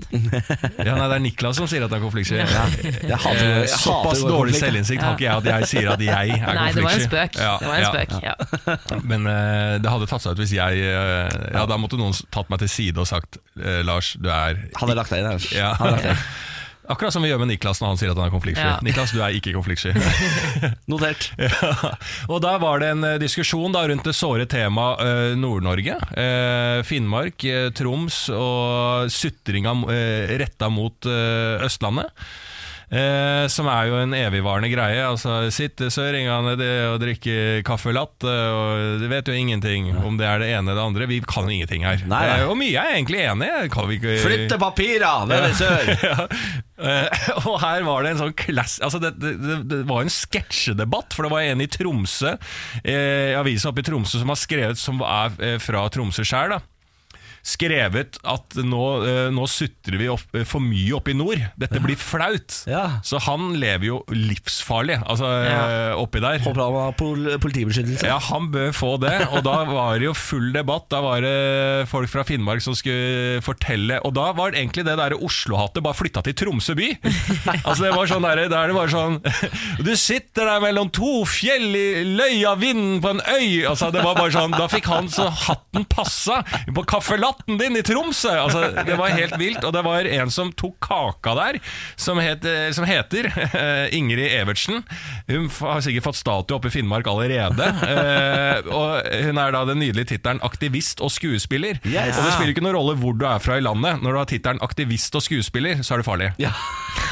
[SPEAKER 2] Ja, nei, det er Niklas som sier at han er konfliktsky.
[SPEAKER 1] Jeg hater,
[SPEAKER 2] Eh,
[SPEAKER 1] jeg hater
[SPEAKER 2] Såpass
[SPEAKER 1] å gå i
[SPEAKER 2] dårlig
[SPEAKER 1] konflikt.
[SPEAKER 2] selvinnsikt har ikke jeg at jeg sier at jeg er
[SPEAKER 3] Nei, det var en
[SPEAKER 2] konfliktsky.
[SPEAKER 3] spøk.
[SPEAKER 2] Ja,
[SPEAKER 3] Det var en
[SPEAKER 2] ja.
[SPEAKER 3] spøk, ja.
[SPEAKER 2] Men eh, det hadde tatt seg ut hvis jeg eh, Ja, da måtte noen tatt meg til side og sagt eh, Lars, du er
[SPEAKER 1] Hadde jeg lagt deg inn her.
[SPEAKER 2] ja. Akkurat som vi gjør med Niklas når han sier at han er konfliktsky.
[SPEAKER 3] Ja.
[SPEAKER 2] Niklas, du er ikke konfliktsky.
[SPEAKER 1] Notert.
[SPEAKER 2] Eh, Ja. Og der var det en eh, diskusjon da, rundt det såre temaet eh, Nord-Norge. Eh, Finnmark, eh, Troms og sutringa eh, retta mot eh, Østlandet. Eh, som er jo en evigvarende greie. Altså, Sitte søringene det og drikke kaffe latte og De vet jo ingenting om det er det ene eller det andre. Vi kan ingenting her.
[SPEAKER 1] Nei, nei.
[SPEAKER 2] Eh, Og mye er jeg egentlig enig i. Kan vi ikke-
[SPEAKER 1] Flytte papira, nede i sør!
[SPEAKER 2] ja. Eh, Og her var det en sånn klass... Altså det, det, det, det var en sketsjedebatt, for det var en i Tromsø, eh, avisen oppe i Tromsø, som har skrevet, som er eh, fra Tromsø sjøl, da. Skrevet at nå, eh, nå sutrer vi opp, eh, for mye oppe i nord. Dette blir flaut.
[SPEAKER 1] Ja.
[SPEAKER 2] Så han lever jo livsfarlig altså, eh, oppi der.
[SPEAKER 1] Håper han har pol politibeskyttelse.
[SPEAKER 2] Ja, han bør få det. Og da var det jo full debatt. Da var det folk fra Finnmark som skulle fortelle. Og da var det egentlig det der Oslo-hatet bare flytta til Tromsø by. Altså det var sånn der, der det var sånn Du sitter der mellom to fjell i løya vinden på en øy. Altså det var bare sånn Da fikk han så hatten passa på kaffelatten din i Tromsø! Altså Det var helt vilt. Og det var en som tok kaka der, som, het, som heter eh, Ingrid Evertsen. Hun f- har sikkert fått statue oppe i Finnmark allerede. Eh, og hun er da den nydelige tittelen aktivist og skuespiller.
[SPEAKER 1] Yes.
[SPEAKER 2] Og det spiller ikke noen rolle hvor du er fra i landet. Når du har tittelen aktivist og skuespiller, så er det farlig.
[SPEAKER 1] Ja.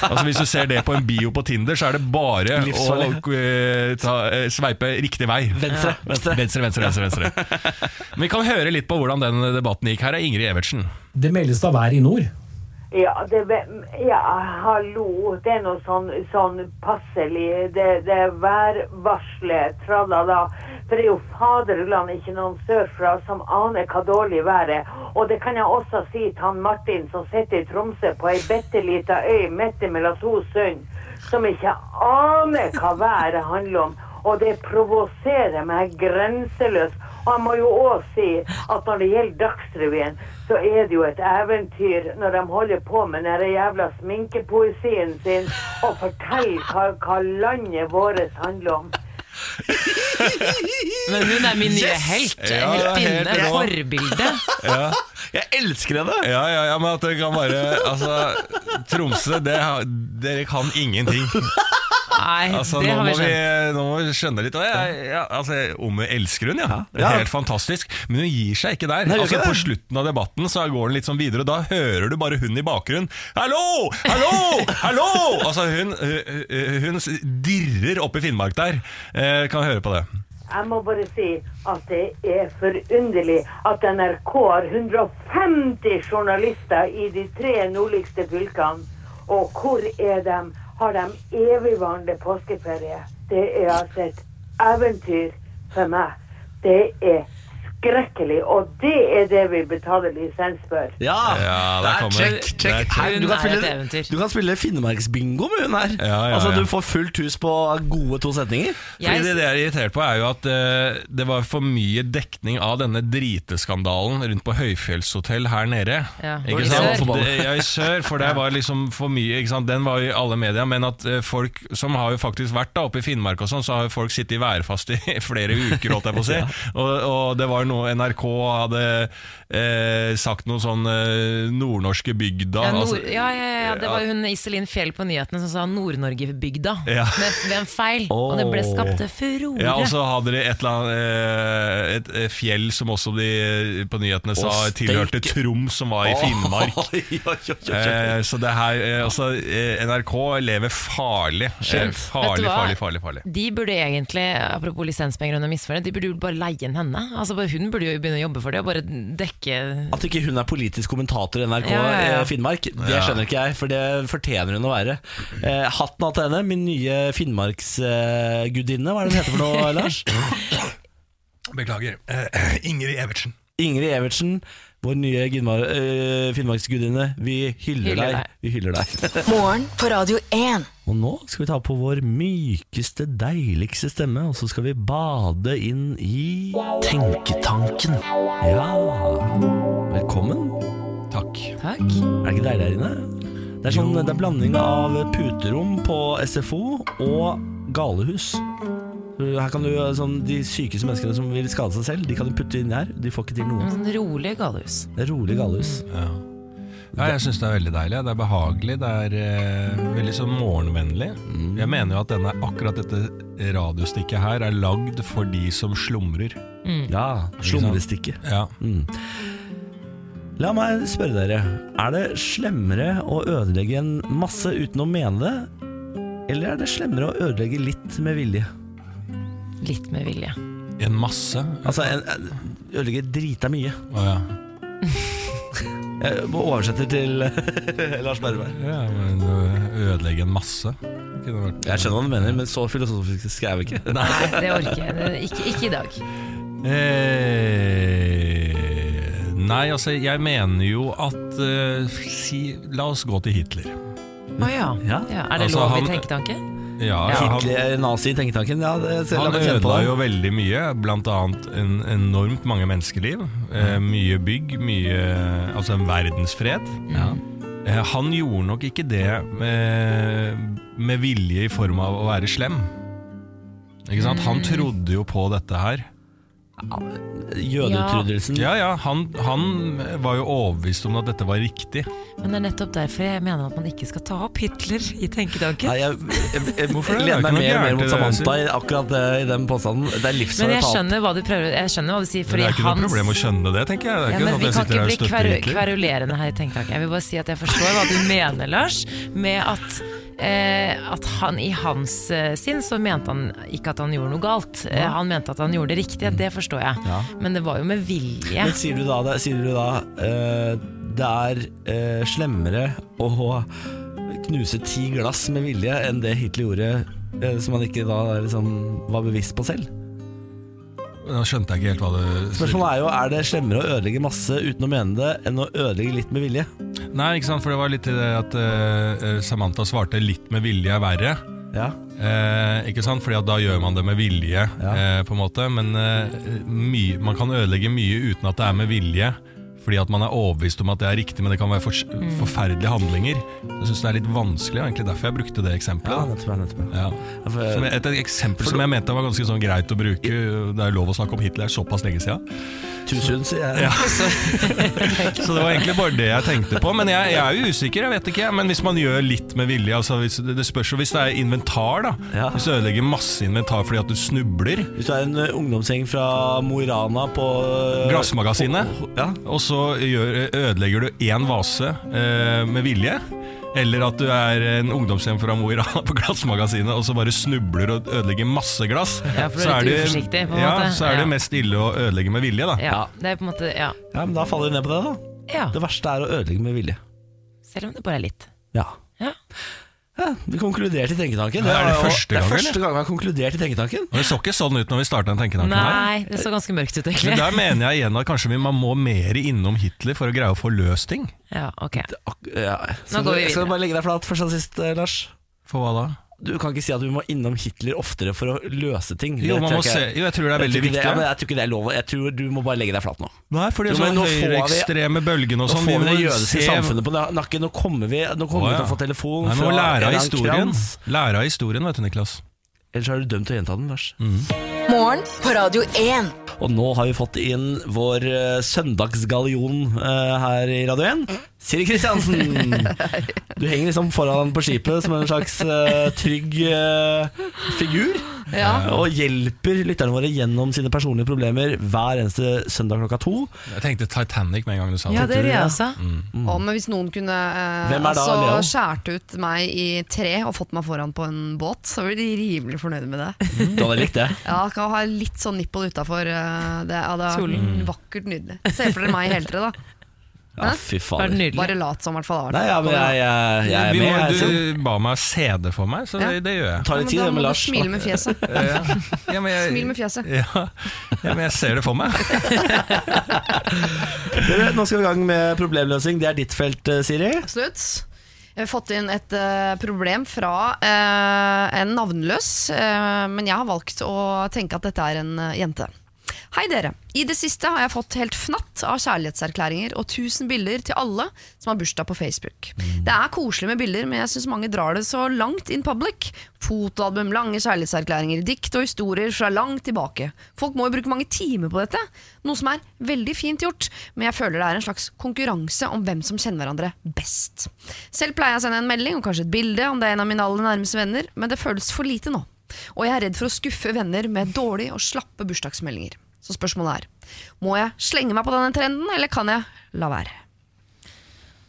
[SPEAKER 2] Altså Hvis du ser det på en bio på Tinder, så er det bare å
[SPEAKER 1] Livsfarlig.
[SPEAKER 2] eh, ta, eh, sveipe riktig vei.
[SPEAKER 1] Venstre. venstre.
[SPEAKER 2] Venstre, venstre, venstre. venstre. Men vi kan høre litt på hvordan den debatten gikk. Her er Ingrid Evertsen.
[SPEAKER 5] Det meldes da vær i nord.
[SPEAKER 6] Ja, det, ja, hallo. Det er noe sånn, sånn passelig. Det, det er værvarselet, tralala. For det er jo faderland ikke noen sørfra som aner hva dårlig vær er. Og det kan jeg også si til han Martin som sitter i Tromsø på ei bitte lita øy midt mellom to sund, som ikke aner hva været handler om. Og det provoserer meg grenseløst. Og jeg må jo òg si at når det gjelder Dagsrevyen, så er det jo et eventyr når de holder på med den der jævla sminkepoesien sin og forteller hva, hva landet vårt handler om.
[SPEAKER 3] Men hun er min nye helt.
[SPEAKER 2] Ja, det er helt
[SPEAKER 3] Heltinne.
[SPEAKER 2] rå.
[SPEAKER 3] Forbilde.
[SPEAKER 1] Jeg elsker henne!
[SPEAKER 2] Ja, ja, ja, men at det kan bare Altså, Tromsø, det, har- dere kan ingenting.
[SPEAKER 3] Nei,
[SPEAKER 2] Altså,
[SPEAKER 3] det
[SPEAKER 2] nå,
[SPEAKER 3] har
[SPEAKER 2] må
[SPEAKER 3] vi
[SPEAKER 2] vi,
[SPEAKER 3] skjønt.
[SPEAKER 2] nå må vi skjønne litt. Og jeg, ja, altså, om jeg elsker hun, ja. Det
[SPEAKER 1] Ja.
[SPEAKER 2] er Helt fantastisk. Men hun gir seg ikke der.
[SPEAKER 1] Nei, hun gjør
[SPEAKER 2] altså,
[SPEAKER 1] ikke
[SPEAKER 2] på
[SPEAKER 1] det.
[SPEAKER 2] slutten av debatten så går hun litt sånn videre, og da hører du bare hun i bakgrunnen. 'Hallo! Hallo! Hallo!' Altså, hun, hun, hun dirrer opp i Finnmark der. Eh, kan høre på det.
[SPEAKER 6] Jeg må bare si at det er forunderlig at NRK har 150 journalister i de tre nordligste fylkene. Og hvor er de? Har de evigvarende påskeferie? Det er altså et eventyr for meg. Det er Skrekkelig. Og det er det vi betaler lisens for.
[SPEAKER 1] Ja!
[SPEAKER 2] Ja, der kommer den.
[SPEAKER 1] check,
[SPEAKER 2] Der
[SPEAKER 1] check.
[SPEAKER 2] kom
[SPEAKER 1] Her,
[SPEAKER 3] den.
[SPEAKER 1] du, kan
[SPEAKER 3] Hun er et
[SPEAKER 1] spille,
[SPEAKER 3] eventyr.
[SPEAKER 1] du kan spille Finnemarksbingo med hun her.
[SPEAKER 2] Ja, ja,
[SPEAKER 1] altså,
[SPEAKER 2] ja.
[SPEAKER 1] Du får fullt hus på gode to setninger.
[SPEAKER 2] Fordi
[SPEAKER 3] Jeg-
[SPEAKER 2] det, det jeg er irritert på, er jo at eh, det var for mye dekning av denne driteskandalen rundt på høyfjellshotell her nede.
[SPEAKER 3] Ja.
[SPEAKER 1] I
[SPEAKER 2] Ikke
[SPEAKER 1] sør.
[SPEAKER 2] sant? Det, ja, I sør, for det var liksom for mye. Ikke sant? Den var jo i alle media, men at eh, folk som har jo faktisk vært da, oppe i Finnmark og sånn, så har jo folk sittet i værfast i flere uker, holdt jeg på å si. og, og det var jo noe NRK hadde eh, sagt noe sånn eh, nordnorske bygda.
[SPEAKER 3] Ja, nord,
[SPEAKER 2] altså-
[SPEAKER 3] ja, ja, ja, det var jo hun Iselin Fjell på nyhetene som sa Nord-Norge-bygda.
[SPEAKER 2] Ja.
[SPEAKER 3] Men ved en feil. Og det ble skapt furore.
[SPEAKER 2] Ja, og så hadde de et, eller annet, eh, et eh, fjell som også de eh, på nyhetene sa
[SPEAKER 1] Å, steike.
[SPEAKER 2] tilhørte Troms, som var i Finnmark.
[SPEAKER 1] Oi, oi, oi, oi, oi.
[SPEAKER 2] Eh, så det her, eh, altså, eh, NRK lever farlig. Eh,
[SPEAKER 3] Skjønt. Vet
[SPEAKER 2] farlig,
[SPEAKER 3] du hva?
[SPEAKER 2] farlig, farlig, farlig.
[SPEAKER 3] De burde egentlig, apropos lisenspenger og misfornøyd, de burde jo bare leie inn henne. Altså, bare hun burde jo begynne å jobbe for det, og bare dekke
[SPEAKER 1] At ikke hun er politisk kommentator i NRK
[SPEAKER 3] Ja, ja, ja.
[SPEAKER 1] eh, Finnmark, det
[SPEAKER 2] Ja.
[SPEAKER 1] skjønner ikke jeg, for det fortjener hun å være. Eh, hatten av til henne, min nye Finnmarksgudinne, hva er det hun heter for noe, Lars?
[SPEAKER 2] Beklager. Eh, Ingrid Evertsen.
[SPEAKER 1] Ingrid Evertsen, vår nye Gunmar- eh, Finnmarksgudinne. Vi hyller,
[SPEAKER 3] Hyller
[SPEAKER 1] deg.
[SPEAKER 3] deg.
[SPEAKER 1] Vi hyller deg.
[SPEAKER 4] Morgen på Radio 1.
[SPEAKER 1] og nå skal vi ta på vår mykeste, deiligste stemme, og så skal vi bade inn i Tenketanken. Ja. Velkommen.
[SPEAKER 2] Takk.
[SPEAKER 3] Takk.
[SPEAKER 1] Er det ikke deilig her inne? Det er, sånn, det er blanding av puterom på SFO og galehus. Her kan du, sånn, De sykeste menneskene som vil skade seg selv, de kan du putte inn her. De får ikke til
[SPEAKER 3] En
[SPEAKER 1] noe.
[SPEAKER 3] sånn rolig galehus.
[SPEAKER 1] Det er rolig galehus.
[SPEAKER 2] Ja. Ja, jeg syns det er veldig deilig. Det er behagelig. Det er eh, veldig sånn morgenvennlig.
[SPEAKER 3] Mm.
[SPEAKER 2] Jeg mener jo at denne, akkurat dette radiostikket her er lagd for de som slumrer.
[SPEAKER 1] Ja, Slumrestikke.
[SPEAKER 2] Ja.
[SPEAKER 1] La meg spørre dere. Er det slemmere å ødelegge en masse uten å mene det? Eller er det slemmere å ødelegge litt med vilje?
[SPEAKER 3] Litt med vilje.
[SPEAKER 2] En masse.
[SPEAKER 1] Altså, en, en, ødelegge drita mye.
[SPEAKER 2] Å, ja.
[SPEAKER 1] Jeg oversetter til Lars Berberg.
[SPEAKER 2] Ja, men ø- ødelegge en masse. Kunne vært-
[SPEAKER 1] Jeg skjønner hva du mener, men så filosofisk skal jeg jo ikke.
[SPEAKER 3] Nei, det orker jeg. Det- Ikke, ikke i dag.
[SPEAKER 2] Eh, nei, altså, jeg mener jo at eh, si, La oss gå til Hitler.
[SPEAKER 3] Å ja.
[SPEAKER 1] Ja.
[SPEAKER 3] ja. Er det
[SPEAKER 2] Altså,
[SPEAKER 3] lov
[SPEAKER 2] han-
[SPEAKER 3] i tenketanken?
[SPEAKER 2] Ja,
[SPEAKER 3] Ja.
[SPEAKER 2] han,
[SPEAKER 1] Hitler, nazi i tenketanken, ja, det ser
[SPEAKER 2] han
[SPEAKER 1] jeg kjenne på.
[SPEAKER 2] ødela jo veldig mye, blant annet en, enormt mange menneskeliv. Eh, mye bygg, mye Altså en verdensfred.
[SPEAKER 1] Ja.
[SPEAKER 2] Eh, han gjorde nok ikke det eh, med vilje i form av å være slem. Ikke sant?
[SPEAKER 1] Mm.
[SPEAKER 2] Han trodde jo på dette her.
[SPEAKER 1] Jødeutryddelsen.
[SPEAKER 2] Ja, ja, han, han var jo overbevist om at dette var riktig.
[SPEAKER 3] Men det er nettopp derfor jeg mener at man ikke skal ta opp Hitler i tenketanken.
[SPEAKER 1] Nei, jeg, jeg, jeg,
[SPEAKER 2] Hvorfor det?
[SPEAKER 1] jeg
[SPEAKER 2] Det er
[SPEAKER 1] lener
[SPEAKER 2] ikke
[SPEAKER 1] meg mer og
[SPEAKER 2] noe
[SPEAKER 1] mer
[SPEAKER 2] gærent i
[SPEAKER 1] mot
[SPEAKER 2] det,
[SPEAKER 1] Samantha i akkurat det, i den påstanden. Det er
[SPEAKER 3] Men
[SPEAKER 1] livsfarlig
[SPEAKER 3] jeg
[SPEAKER 1] å ta opp.
[SPEAKER 3] skjønner hva du prøver Jeg skjønner hva du sier, fordi
[SPEAKER 2] det er ikke noe
[SPEAKER 3] hans
[SPEAKER 2] problem å skjønne det, tenker jeg. Det er
[SPEAKER 3] Ja,
[SPEAKER 2] ikke
[SPEAKER 3] men
[SPEAKER 2] sånn at jeg
[SPEAKER 3] Vi kan
[SPEAKER 2] sitter
[SPEAKER 3] ikke
[SPEAKER 2] her og
[SPEAKER 3] bli
[SPEAKER 2] støtter
[SPEAKER 3] kveru,
[SPEAKER 2] Hitler.
[SPEAKER 3] kverulerende her i tenketanken. Jeg vil bare si at jeg forstår hva du mener, Lars, med at Eh, at han i hans eh, sinn så mente han ikke at han gjorde noe galt. Eh, han mente at han gjorde det riktige,
[SPEAKER 2] Mm.
[SPEAKER 3] det forstår jeg.
[SPEAKER 1] Ja.
[SPEAKER 3] Men det var jo med vilje.
[SPEAKER 1] Men sier du da, det, sier du da eh, det er eh, slemmere å knuse ti glass med vilje enn det Hitler gjorde, eh, som han ikke da liksom, var bevisst på selv?
[SPEAKER 2] Nå skjønte jeg ikke helt hva du
[SPEAKER 1] Spørsmålet er jo er det slemmere å ødelegge masse uten å mene det, enn å ødelegge litt med vilje?
[SPEAKER 2] Nei, ikke sant, for det var litt i det at eh, Samantha svarte 'litt med vilje er verre'.
[SPEAKER 1] Ja.
[SPEAKER 2] Eh, ikke sant? Fordi at da gjør man det med vilje,
[SPEAKER 1] Ja.
[SPEAKER 2] eh, på en måte. Men eh, mye, man kan ødelegge mye uten at det er med vilje. Fordi at man er overbevist om at det er riktig, men det kan være fors-
[SPEAKER 3] Mm.
[SPEAKER 2] forferdelige handlinger. Jeg syns det er litt vanskelig, og egentlig derfor jeg brukte det
[SPEAKER 1] ja,
[SPEAKER 2] eksempelet.
[SPEAKER 1] nettopp. ja, nettopp.
[SPEAKER 2] Ja.
[SPEAKER 1] Ja,
[SPEAKER 3] Eh,
[SPEAKER 1] for- eh,
[SPEAKER 2] Som et eksempel som jeg mente var ganske sånn greit å bruke. Det er jo lov å snakke om Hitler såpass lenge siden.
[SPEAKER 1] Tusen, sier jeg.
[SPEAKER 2] Så det var egentlig bare det jeg tenkte på. Men jeg, jeg er jo usikker, jeg vet ikke. jeg. Men hvis man gjør litt med vilje altså hvis, Det spørs jo hvis det er inventar, da.
[SPEAKER 1] Ja.
[SPEAKER 2] Hvis du ødelegger masse inventar fordi at du snubler.
[SPEAKER 1] Hvis du er en eh, ungdomsgjeng fra Mo i Rana på eh,
[SPEAKER 2] Glassmagasinet.
[SPEAKER 1] Ja.
[SPEAKER 2] Og så gjør, ødelegger du én vase eh, med vilje. Eller at du er en ungdomshjem fra Mo i Rana på Glassmagasinet og så bare snubler og ødelegger masse glass.
[SPEAKER 3] Ja, for du er
[SPEAKER 2] Så
[SPEAKER 3] litt
[SPEAKER 2] det-
[SPEAKER 3] uforsiktig, på en
[SPEAKER 2] ja,
[SPEAKER 3] måte.
[SPEAKER 2] Så er
[SPEAKER 3] Ja.
[SPEAKER 2] det mest ille å ødelegge med vilje, da.
[SPEAKER 3] Ja, det er på en måte Ja.
[SPEAKER 1] ja, men da faller vi ned på det, da.
[SPEAKER 3] ja.
[SPEAKER 1] Det verste er å ødelegge med vilje.
[SPEAKER 3] Selv om det bare er litt.
[SPEAKER 1] Ja.
[SPEAKER 3] Ja.
[SPEAKER 1] Ja, vi konkluderte i Tenketanken.
[SPEAKER 2] Er det
[SPEAKER 1] var jo-
[SPEAKER 2] første
[SPEAKER 1] det
[SPEAKER 2] gang,
[SPEAKER 1] er første gang vi har konkludert i Tenketanken.
[SPEAKER 2] Og Det så ikke sånn ut når vi starta en tenketanke. her.
[SPEAKER 3] Nei, det så ganske mørkt ut,
[SPEAKER 2] Men
[SPEAKER 3] egentlig.
[SPEAKER 2] der mener jeg igjen at kanskje vi, man må mer innom Hitler for å greie å få løst ting.
[SPEAKER 3] Ja, ok.
[SPEAKER 1] Ak ja. Skal
[SPEAKER 3] går
[SPEAKER 1] du- Skal
[SPEAKER 3] vi videre.
[SPEAKER 1] du bare legge deg flat først og sist, eh, Lars?
[SPEAKER 2] For hva da?
[SPEAKER 1] Du kan ikke si at vi må innom Hitler oftere for å løse ting.
[SPEAKER 2] Jo,
[SPEAKER 1] Det
[SPEAKER 2] man
[SPEAKER 1] tror
[SPEAKER 2] må
[SPEAKER 1] jeg
[SPEAKER 2] se,
[SPEAKER 1] ikke er-
[SPEAKER 2] jo jeg tror
[SPEAKER 1] Jeg
[SPEAKER 2] det er
[SPEAKER 1] tror
[SPEAKER 2] veldig
[SPEAKER 1] ikke det-
[SPEAKER 2] viktig.
[SPEAKER 1] ja, men jeg tror ikke det er lov. Jeg tror du må bare legge deg flat nå.
[SPEAKER 2] Nei, for det er
[SPEAKER 1] Jo, men
[SPEAKER 2] sånn
[SPEAKER 1] nå får vi-
[SPEAKER 2] høyreekstreme bølgen og
[SPEAKER 1] Nå
[SPEAKER 2] sånn.
[SPEAKER 1] får vi det
[SPEAKER 2] må
[SPEAKER 1] jødiske
[SPEAKER 2] se-
[SPEAKER 1] samfunnet på na- nakken. Nå kommer vi, nå kommer vi
[SPEAKER 2] Å, ja.
[SPEAKER 1] til å få telefon
[SPEAKER 2] Nei, man må
[SPEAKER 1] fra en
[SPEAKER 2] lære av
[SPEAKER 1] eller annen
[SPEAKER 2] historien.
[SPEAKER 1] krans.
[SPEAKER 2] Lære av historien, vet du, Niklas.
[SPEAKER 1] Ellers er du dømt til å gjenta den, Lars.
[SPEAKER 4] Morgen på Radio 1.
[SPEAKER 1] Og nå har vi fått inn vår eh, søndagsgallion eh, her i Radio 1. Siri Kristiansen! Du henger liksom foran på skipet som en slags eh, trygg eh, figur. Eh, Og hjelper lytterne våre gjennom sine personlige problemer hver eneste søndag klokka to.
[SPEAKER 2] Jeg tenkte Titanic med en gang du Mm. sa
[SPEAKER 5] Ja,
[SPEAKER 2] det.
[SPEAKER 5] det gjør jeg
[SPEAKER 1] ja.
[SPEAKER 5] også.
[SPEAKER 7] Å, men hvis noen kunne eh,
[SPEAKER 1] Mm. Hvem er da
[SPEAKER 7] altså,
[SPEAKER 1] Leo?
[SPEAKER 7] skjært ut meg i tre og fått meg foran på en båt, så blir de rimelig fornøyde med det.
[SPEAKER 1] Du hadde likt det.
[SPEAKER 7] Ja, kan ha litt sånn nipple utafor. eh, Det hadde vært
[SPEAKER 1] Mm.
[SPEAKER 7] vakkert nydelig. Se for dere meg i heltre, da.
[SPEAKER 1] Ja, fy
[SPEAKER 3] Det var
[SPEAKER 1] fader.
[SPEAKER 3] nydelig.
[SPEAKER 7] Bare lat som, i hvert fall. da.
[SPEAKER 1] Nei, ja, men jeg, jeg, jeg er
[SPEAKER 2] Vi
[SPEAKER 1] med.
[SPEAKER 2] må,
[SPEAKER 1] Jeg, altså.
[SPEAKER 2] du ba meg CD for meg, så det, det gjør jeg.
[SPEAKER 1] tar
[SPEAKER 7] Ja,
[SPEAKER 1] litt
[SPEAKER 7] men
[SPEAKER 1] tid,
[SPEAKER 7] da
[SPEAKER 1] det med
[SPEAKER 7] må du
[SPEAKER 1] Lars.
[SPEAKER 7] smile med fjeset.
[SPEAKER 2] Ja. Ja, men jeg-
[SPEAKER 7] Smil med fjeset.
[SPEAKER 2] Ja, ja, men jeg ser det for meg.
[SPEAKER 1] Dere, Nå skal vi i gang med problemløsing. Det er ditt felt, eh, Siri.
[SPEAKER 7] Absolutt. Jeg har fått inn et eh, problem fra eh, en navnløs, eh, men jeg har valgt å tenke at dette er en eh, jente. Hei dere. I det siste har jeg fått helt fnatt av kjærlighetserklæringer og 1000 bilder til alle som har bursdag på Facebook. Det er koselig med bilder, men jeg syns mange drar det så langt in public. Fotoalbum, lange kjærlighetserklæringer, dikt og historier fra langt tilbake. Folk må jo bruke mange timer på dette, noe som er veldig fint gjort, men jeg føler det er en slags konkurranse om hvem som kjenner hverandre best. Selv pleier jeg å sende en melding og kanskje et bilde om det er en av mine aller nærmeste venner, men det føles for lite nå. Og jeg er redd for å skuffe venner med dårlige og slappe bursdagsmeldinger. Så spørsmålet er, må jeg slenge meg på denne trenden, eller kan jeg la være?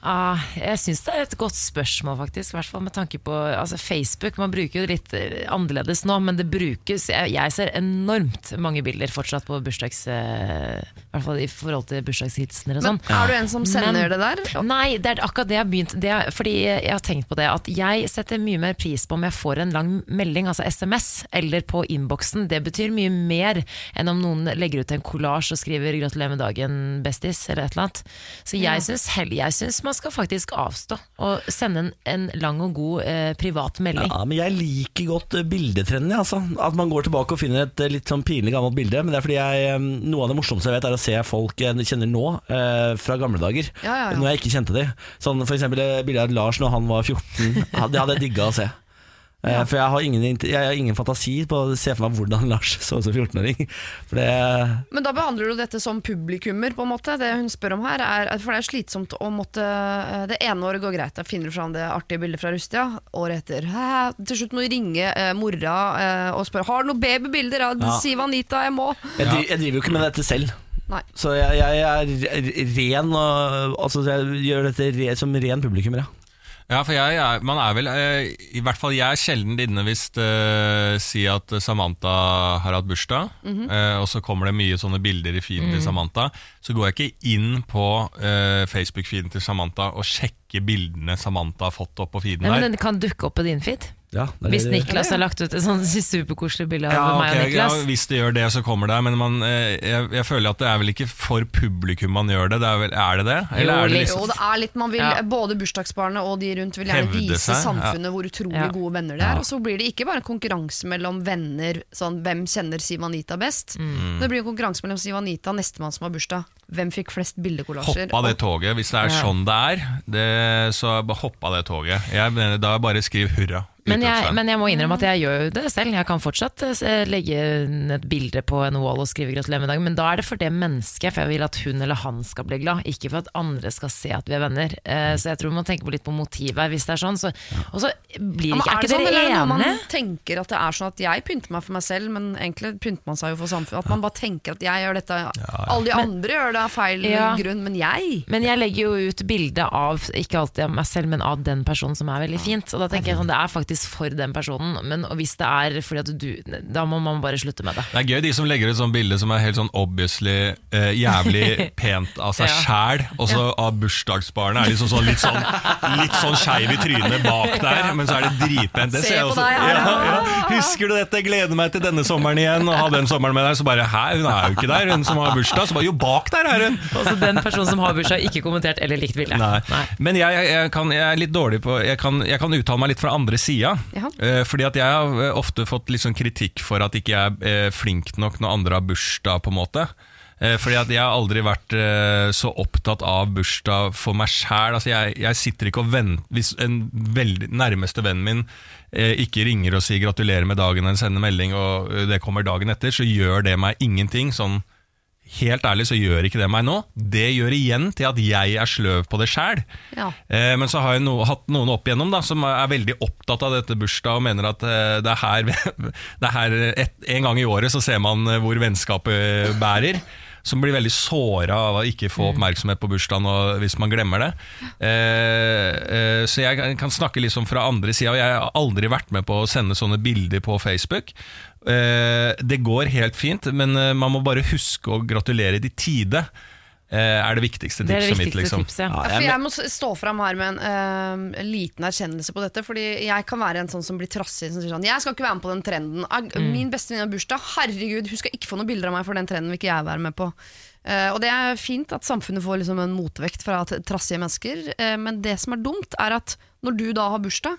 [SPEAKER 3] Ah, jeg syns det er et godt spørsmål, faktisk. I hvert fall med tanke på altså Facebook. Man bruker jo det litt eh, annerledes nå, men det brukes Jeg, jeg ser enormt mange bilder fortsatt på bursdags... eh, I hvert fall i forhold til bursdagshilsener og sånn.
[SPEAKER 7] Er du en som sender
[SPEAKER 3] Men-
[SPEAKER 7] det der?
[SPEAKER 3] Nei, det er akkurat det jeg har begynt det er, Fordi jeg har tenkt på det At jeg setter mye mer pris på om jeg får en lang melding Altså sms eller på inboxen Det betyr mye mer enn om noen legger ut en collage Og skriver gratulerer med dagen bestis Eller et eller annet Så jeg, synes, hell- jeg synes man skal faktisk avstå Og sende en, en lang og god eh, privat melding
[SPEAKER 1] Ja, men Jeg liker godt eh, bildetrenden. ja, Altså. At man går tilbake og finner et eh, litt sånn pinlig gammelt bilde. Men det er fordi jeg, eh, Noe av det morsomste jeg vet, er å se folk jeg kjenner nå, eh, fra gamle dager.
[SPEAKER 7] Ja, ja, ja.
[SPEAKER 1] Når jeg ikke kjente de. Sånn for eksempel eh, bildet av Lars når han var 14. Ha- Det hadde jeg digga å se. Eh, For jeg har, ingen, int- jeg har ingen fantasi på å se for meg hvordan Lars så ut som 14-åring. For det
[SPEAKER 7] Men da behandler du dette som publikummer, på en måte. Det hun spør om her, er For det er slitsomt å måtte eh, Det ene året går greit, da finner du fram det artige bildet fra Rustia. Året etter hæ, Til slutt må du ringe eh, mora eh, og spørre Har du noen babybilder. Ja,
[SPEAKER 1] Ja.
[SPEAKER 7] Siv Anita, jeg må.
[SPEAKER 1] jeg, dri- jeg driver jo ikke med dette selv.
[SPEAKER 7] Nei.
[SPEAKER 1] Så jeg, jeg er r- ren og Altså jeg gjør dette re, som ren publikummer, ja.
[SPEAKER 2] Ja, for jeg er, man er vel, eh, i hvert fall jeg er sjelden inne hvis eh, si at Samantha har hatt bursdag,
[SPEAKER 3] Mhm.
[SPEAKER 2] eh, og så kommer det mye sånne bilder i feeden
[SPEAKER 3] Mm.
[SPEAKER 2] til Samantha, så går jeg ikke inn på eh, Facebook-feeden til Samantha og sjekker bildene Samantha har fått opp på feeden
[SPEAKER 3] Nei, men
[SPEAKER 2] der.
[SPEAKER 3] den kan dukke opp på din feed
[SPEAKER 1] ja det er
[SPEAKER 3] Hvis
[SPEAKER 1] det-
[SPEAKER 3] Niklas har lagt ut et sånt superkoselig bilde av
[SPEAKER 2] Ja,
[SPEAKER 3] meg og
[SPEAKER 2] ok, ja,
[SPEAKER 3] Niklas
[SPEAKER 2] hvis det gjør det, så kommer det, men man, eh, jeg, jeg føler at det er vel ikke for publikum man gjør det, det er, vel, er det det? Eller
[SPEAKER 3] Jo,
[SPEAKER 2] er det
[SPEAKER 3] litt.
[SPEAKER 7] Jo,
[SPEAKER 2] liksom...
[SPEAKER 7] det er litt man vil
[SPEAKER 3] Ja.
[SPEAKER 7] Både bursdagsbarnet og de rundt vil gjerne
[SPEAKER 2] Hevde
[SPEAKER 7] vise
[SPEAKER 2] seg, ja.
[SPEAKER 7] samfunnet hvor utrolig
[SPEAKER 3] Ja.
[SPEAKER 7] gode venner de er. Og så blir det ikke bare en konkurranse mellom venner, sånn hvem kjenner Siv Anita best.
[SPEAKER 2] Mm.
[SPEAKER 7] Det blir en konkurranse mellom Siv Anita og nestemann som har bursdag. Hvem fikk flest bildekollasjer?
[SPEAKER 2] Hopp av det toget, hvis det er sånn det er. Det, så bare hopp av det toget. Jeg mener, da bare skriv hurra.
[SPEAKER 3] Men jeg,
[SPEAKER 2] utropstegn.
[SPEAKER 3] men jeg må innrømme at
[SPEAKER 7] Mm.
[SPEAKER 3] jeg gjør jo det selv. Jeg kan fortsatt eh, legge inn et bilde på en wall og skrive 'gratulerer med dagen', men da er det for det mennesket. For jeg vil at hun eller han skal bli glad, ikke for at andre skal se at vi er venner. Eh, Så jeg tror vi må tenke på litt på motivet her, hvis det er sånn. Så, og så blir det ikke Er
[SPEAKER 7] Ja, men er det
[SPEAKER 3] ikke
[SPEAKER 7] sånn, eller er det
[SPEAKER 3] dere
[SPEAKER 7] noe man
[SPEAKER 3] enige?
[SPEAKER 7] tenker at det er sånn at jeg pynter meg for meg selv, men egentlig pynter man seg jo for samfunnet? At man bare tenker at jeg gjør dette, alle de andre gjør det av feil
[SPEAKER 3] Ja.
[SPEAKER 7] grunn, men jeg
[SPEAKER 3] Men jeg legger jo ut bilde av ikke alltid av meg selv, men av den personen som er veldig fint. Og da tenker jeg sånn, det er faktisk nødvendigvis for den personen, men hvis det er fordi at du Da må man bare slutte med det.
[SPEAKER 2] Det er gøy de som legger ut sånn bilde som er helt sånn obviously eh, jævlig pent av seg
[SPEAKER 3] Ja.
[SPEAKER 2] sjæl, og så av bursdagsbarnet er liksom sånn litt sånn, litt sånn skeiv i trynet bak der, men så er det dritpent. Det
[SPEAKER 7] Se
[SPEAKER 2] ser jeg
[SPEAKER 7] på
[SPEAKER 2] også.
[SPEAKER 7] deg her,
[SPEAKER 2] ja,
[SPEAKER 7] ja.
[SPEAKER 2] ja. Husker du dette? Gleder meg til denne sommeren igjen, og ha den sommeren med deg. Så bare hæ, hun er jo ikke der, hun som har bursdag. Så bare jo, bak der er hun!
[SPEAKER 3] Altså Den personen som har bursdag, ikke kommentert eller likt bildet.
[SPEAKER 2] Nei. Men jeg, jeg, jeg, kan, jeg er litt dårlig på Jeg kan, jeg kan uttale meg litt fra andre sida.
[SPEAKER 7] Ja.
[SPEAKER 2] Eh, fordi at jeg har eh, ofte fått litt sånn kritikk for at ikke jeg er eh, flink nok når andre har bursdag, på en måte. Eh, fordi at jeg har aldri vært eh, så opptatt av bursdag for meg sjæl. Altså jeg, jeg sitter ikke og venter Hvis en veldig, nærmeste vennen min eh, ikke ringer og sier gratulerer med dagen eller sender melding, og eh, det kommer dagen etter, så gjør det meg ingenting. sånn Helt ærlig så gjør ikke det meg nå. Det gjør igjen til at jeg er sløv på det sjæl.
[SPEAKER 7] Ja.
[SPEAKER 2] Eh, men så har jeg no, hatt noen opp igjennom da, som er veldig opptatt av dette bursdag og mener at eh, det er her, det er her et, en gang i året så ser man eh, hvor vennskapet bærer. Som blir veldig såra av å ikke
[SPEAKER 3] Mm.
[SPEAKER 2] få oppmerksomhet på bursdagen og hvis man glemmer det. Eh, eh, så jeg kan snakke liksom fra andre sida, og jeg har aldri vært med på å sende sånne bilder på Facebook. Eh, det går helt fint, men eh, man må bare huske å gratulere i tide. eh, er det viktigste tipset
[SPEAKER 3] Det er det
[SPEAKER 2] mitt,
[SPEAKER 3] viktigste
[SPEAKER 2] liksom.
[SPEAKER 3] tipset. Ja.
[SPEAKER 1] Ja,
[SPEAKER 7] Ja,
[SPEAKER 1] jeg
[SPEAKER 7] for jeg må s- stå fram her med en eh, liten erkjennelse på dette. Fordi jeg kan være en sånn som blir trassig. Som sier sånn, jeg skal ikke være med på den trenden. Ag-
[SPEAKER 3] Mm.
[SPEAKER 7] Min beste venninne har bursdag. Herregud, hun skal ikke få noen bilder av meg for den trenden vil ikke jeg være med på. Eh, og det er fint at samfunnet får liksom en motvekt fra t- trassige mennesker. eh, men det som er dumt, er at når du da har bursdag,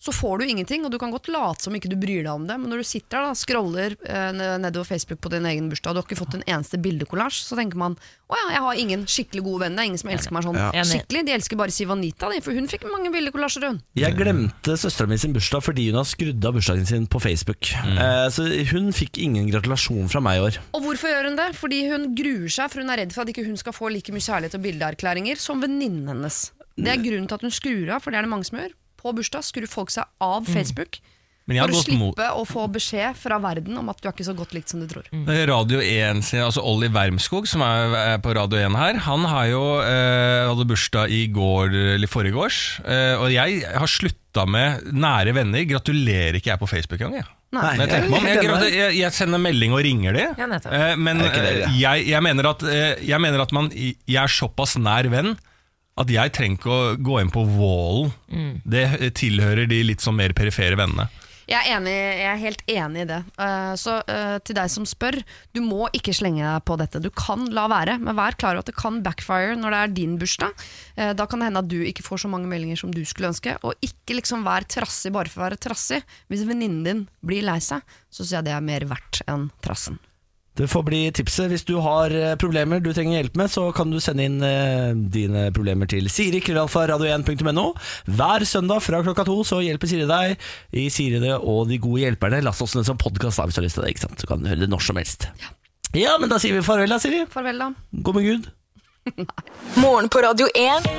[SPEAKER 7] så får du ingenting. Og du kan godt late som ikke du bryr deg om det, men når du sitter der da, scroller eh, ne- nedover Facebook på din egen bursdag, og du har ikke fått en eneste bildekollasj, så tenker man å ja, jeg har ingen skikkelig gode venner. Det er ingen som elsker meg sånn
[SPEAKER 3] Enig.
[SPEAKER 7] skikkelig. De elsker bare Siv Anita, de, for hun fikk mange bildekollasjer, hun.
[SPEAKER 1] Jeg glemte søstera mi sin bursdag fordi hun har skrudd av bursdagen sin på Facebook. Eh, så hun fikk ingen gratulasjon fra meg i år.
[SPEAKER 7] Og hvorfor gjør hun det? Fordi hun gruer seg, for hun er redd for at ikke hun skal få like mye kjærlighet og bildeerklæringer som venninnen hennes. Det er grunnen til at hun skrur av, for det er det mange som gjør. På bursdag skrur folk seg av Facebook.
[SPEAKER 2] Men jeg har
[SPEAKER 7] For å
[SPEAKER 2] gått mot,
[SPEAKER 7] slippe å få beskjed fra verden om at du er ikke så godt likt som du tror.
[SPEAKER 2] Radio 1 sin, altså Olli Wermskog, som er er på Radio 1 her, han har jo, eh, hadde bursdag i går, eller forrige års, eh, og jeg har slutta med nære venner, gratulerer ikke jeg på Facebook engang. jeg.
[SPEAKER 7] Nei.
[SPEAKER 2] Når jeg, tenker meg om, jeg, gratu- jeg, jeg sender melding og ringer de,
[SPEAKER 3] Ja, nettopp.
[SPEAKER 2] eh, men
[SPEAKER 1] Er det ikke det,
[SPEAKER 2] eh, jeg, jeg mener at, eh, jeg, mener at man, jeg er såpass nær venn at jeg trenger ikke å gå inn på wallen.
[SPEAKER 3] Mm.
[SPEAKER 2] Det eh, tilhører de litt sånn mer perifere vennene.
[SPEAKER 7] Jeg er, enig, jeg er helt enig i det. Eh, så eh, til deg som spør, du må ikke slenge deg på dette. Du kan la være, men vær klar over at det kan backfire når det er din bursdag. Eh, da kan det hende at du ikke får så mange meldinger som du skulle ønske. Og ikke liksom vær trassig bare for å være trassig. Hvis venninnen din blir lei seg, så syns jeg det er mer verdt enn trassen.
[SPEAKER 1] Det får bli tipset. Hvis du har eh, problemer du trenger hjelp med, så kan du sende inn eh, dine problemer til Siri, krøllalfa, radio1.no. Hver søndag fra klokka to så hjelper Siri deg i Siri det og De gode hjelperne. Last oss ned som podkast hvis du har lyst til det. ikke sant? Du kan høre det når som helst. Ja. men da sier vi farvel da, Siri.
[SPEAKER 7] Farvel, da.
[SPEAKER 1] Gå med Gud.
[SPEAKER 4] Morgen på Radio 1.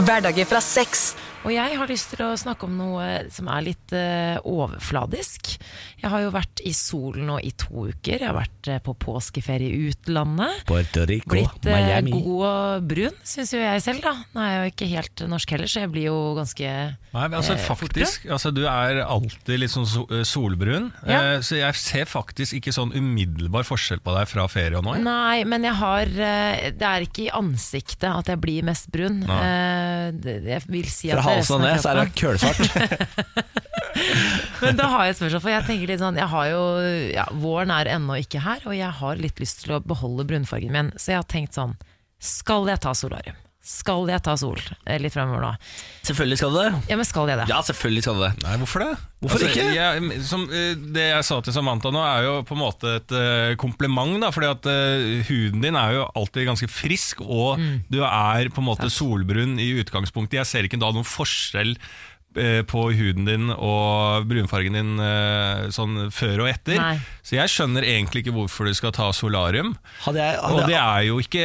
[SPEAKER 4] Hverdager fra seks.
[SPEAKER 3] Og jeg har lyst til å snakke om noe som er litt eh, overfladisk. Jeg har jo vært i solen nå i to uker. Jeg har vært eh, på påskeferie i utlandet.
[SPEAKER 1] Puerto Rico,
[SPEAKER 3] Blitt eh,
[SPEAKER 1] Miami.
[SPEAKER 3] god og brun, syns jo jeg selv, da. Nå er jeg jo ikke helt norsk heller, så jeg blir jo ganske
[SPEAKER 2] Nei, men altså
[SPEAKER 3] eh,
[SPEAKER 2] faktisk, altså, Du er alltid litt sånn so- eh, solbrun,
[SPEAKER 3] Ja.
[SPEAKER 2] eh, så jeg ser faktisk ikke sånn umiddelbar forskjell på deg fra ferie og nå. jeg.
[SPEAKER 3] Nei, men jeg har eh, Det er ikke i ansiktet at jeg blir mest brun. Eh, det- Jeg vil si at
[SPEAKER 1] Fra
[SPEAKER 3] det er
[SPEAKER 1] halsen og
[SPEAKER 3] resten
[SPEAKER 1] ned
[SPEAKER 3] av
[SPEAKER 1] så er det
[SPEAKER 3] kroppen.
[SPEAKER 1] kølsvart.
[SPEAKER 3] Men da har jeg et spørsmål, for jeg tenker litt sånn jeg har jo, ja, Våren er ennå ikke her, og jeg har litt lyst til å beholde brunfargen min. Så jeg har tenkt sånn Skal jeg ta solarium? Skal jeg ta sol eh, litt fremover nå?
[SPEAKER 1] selvfølgelig skal du det.
[SPEAKER 3] Ja, men skal jeg det?
[SPEAKER 1] Ja, selvfølgelig skal du det.
[SPEAKER 2] Nei, hvorfor det? Altså,
[SPEAKER 1] Hvorfor ikke?
[SPEAKER 2] Jeg, som, eh, det jeg sa til Samantha nå, er jo på en måte et eh, kompliment. Da, fordi at eh, huden din er jo alltid ganske frisk, og
[SPEAKER 3] Mm.
[SPEAKER 2] du er på en måte solbrun i utgangspunktet. Jeg ser ikke da noen forskjell eh, på huden din og brunfargen din eh, sånn før og etter.
[SPEAKER 3] Nei.
[SPEAKER 2] Så jeg skjønner egentlig ikke hvorfor du skal ta solarium.
[SPEAKER 1] Hadde jeg,
[SPEAKER 3] Ah,
[SPEAKER 1] hadde
[SPEAKER 2] Og det
[SPEAKER 1] jeg,
[SPEAKER 2] er jo ikke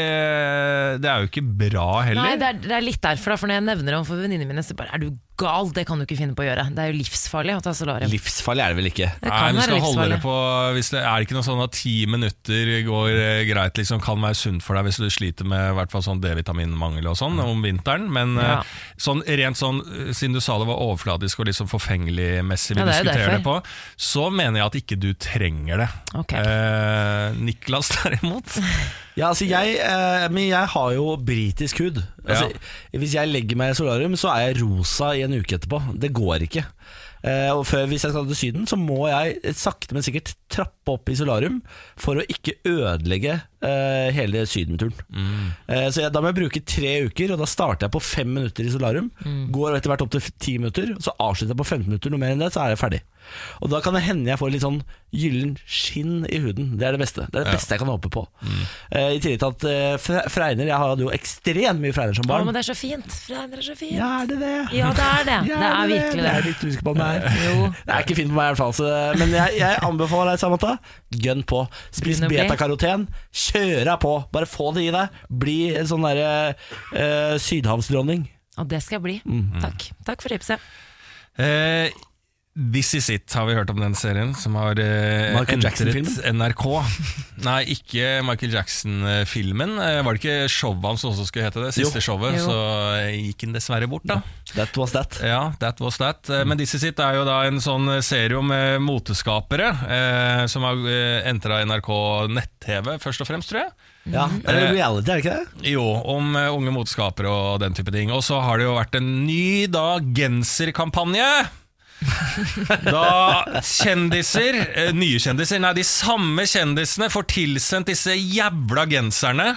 [SPEAKER 2] Det er jo ikke bra heller.
[SPEAKER 3] Nei, det er, det er litt derfor, da, for når jeg nevner det overfor venninnene mine, så bare Er du gal, det kan du ikke finne på å gjøre. Det er jo livsfarlig å ta solarium.
[SPEAKER 1] Livsfarlig er det vel ikke?
[SPEAKER 3] det
[SPEAKER 2] Nei,
[SPEAKER 3] kan
[SPEAKER 2] du
[SPEAKER 3] være
[SPEAKER 2] skal holde
[SPEAKER 3] livsfarlig.
[SPEAKER 2] det på hvis det, Er det ikke noe sånn at ti minutter går eh, greit? liksom Kan være sunt for deg hvis du sliter med i hvert fall sånn D-vitaminmangel og sånn om vinteren. Men eh,
[SPEAKER 3] Ja.
[SPEAKER 2] sånn, rent sånn, eh, siden du sa det var overfladisk og liksom forfengeligmessig vi
[SPEAKER 3] Ja, det er jo
[SPEAKER 2] diskuterer det på,
[SPEAKER 3] derfor.
[SPEAKER 2] så mener jeg at ikke du trenger det.
[SPEAKER 3] Ok.
[SPEAKER 2] Eh, Niklas derimot
[SPEAKER 1] Ja, altså jeg, eh, men jeg har jo britisk hud. Altså, Hvis jeg legger meg i solarium, så er jeg rosa i en uke etterpå. Det går ikke. Eh, og før, hvis jeg skal til Syden, så må jeg eh, sakte, men sikkert trappe opp i solarium for å ikke ødelegge eh, hele Sydenturen. Eh, så jeg, da må jeg bruke tre uker, og da starter jeg på fem minutter i solarium. Går etter hvert opp til f- ti minutter, så avslutter jeg på 15 minutter. Noe mer enn det, så er jeg ferdig. Og da kan det hende jeg får litt sånn gyllen skinn i huden. Det er det beste. Det er det beste jeg kan håpe på. Eh, I tillegg til at eh, fre- fregner Jeg hadde jo ekstremt mye fregner som
[SPEAKER 3] Å,
[SPEAKER 1] barn.
[SPEAKER 3] men det er så fint. Fregner er så fint.
[SPEAKER 1] ja, er det det?
[SPEAKER 3] Ja, det er det.
[SPEAKER 1] Ja,
[SPEAKER 3] Det er virkelig
[SPEAKER 1] Jeg er
[SPEAKER 3] det.
[SPEAKER 1] litt usikker på om det er.
[SPEAKER 3] Jo.
[SPEAKER 1] Det er ikke fint på meg i hvert fall, så, men jeg, jeg anbefaler deg, Samantha. Gønn på. Spis
[SPEAKER 3] Begynn å bli.
[SPEAKER 1] betakaroten. Kjør deg på. Bare få det i deg. Bli en sånn derre eh, sydhavsdronning.
[SPEAKER 3] Og det skal jeg bli. Takk. Takk for tipset.
[SPEAKER 2] Eh, This Is It har vi hørt om den serien som har eh,
[SPEAKER 1] Michael
[SPEAKER 2] entret
[SPEAKER 1] Jackson-filmen?
[SPEAKER 2] NRK. Nei, ikke Michael Jackson-filmen. Eh, var det ikke showet hans også skulle hete det? Siste showet,
[SPEAKER 3] Jo.
[SPEAKER 2] så eh, gikk den dessverre bort, da.
[SPEAKER 1] That was that.
[SPEAKER 2] Ja, that was that. Eh, Men This Is It er jo da en sånn serie om eh, moteskapere eh, som har eh, entra NRK nett-TV, først og fremst, tror jeg.
[SPEAKER 1] Ja,
[SPEAKER 3] Mm.
[SPEAKER 1] det er reality, er det ikke det?
[SPEAKER 2] Jo, om eh, unge moteskapere og den type ting. Og så har det jo vært en ny da genserkampanje. Da kjendiser, eh, nye kjendiser, nei de samme kjendisene får tilsendt disse jævla genserne.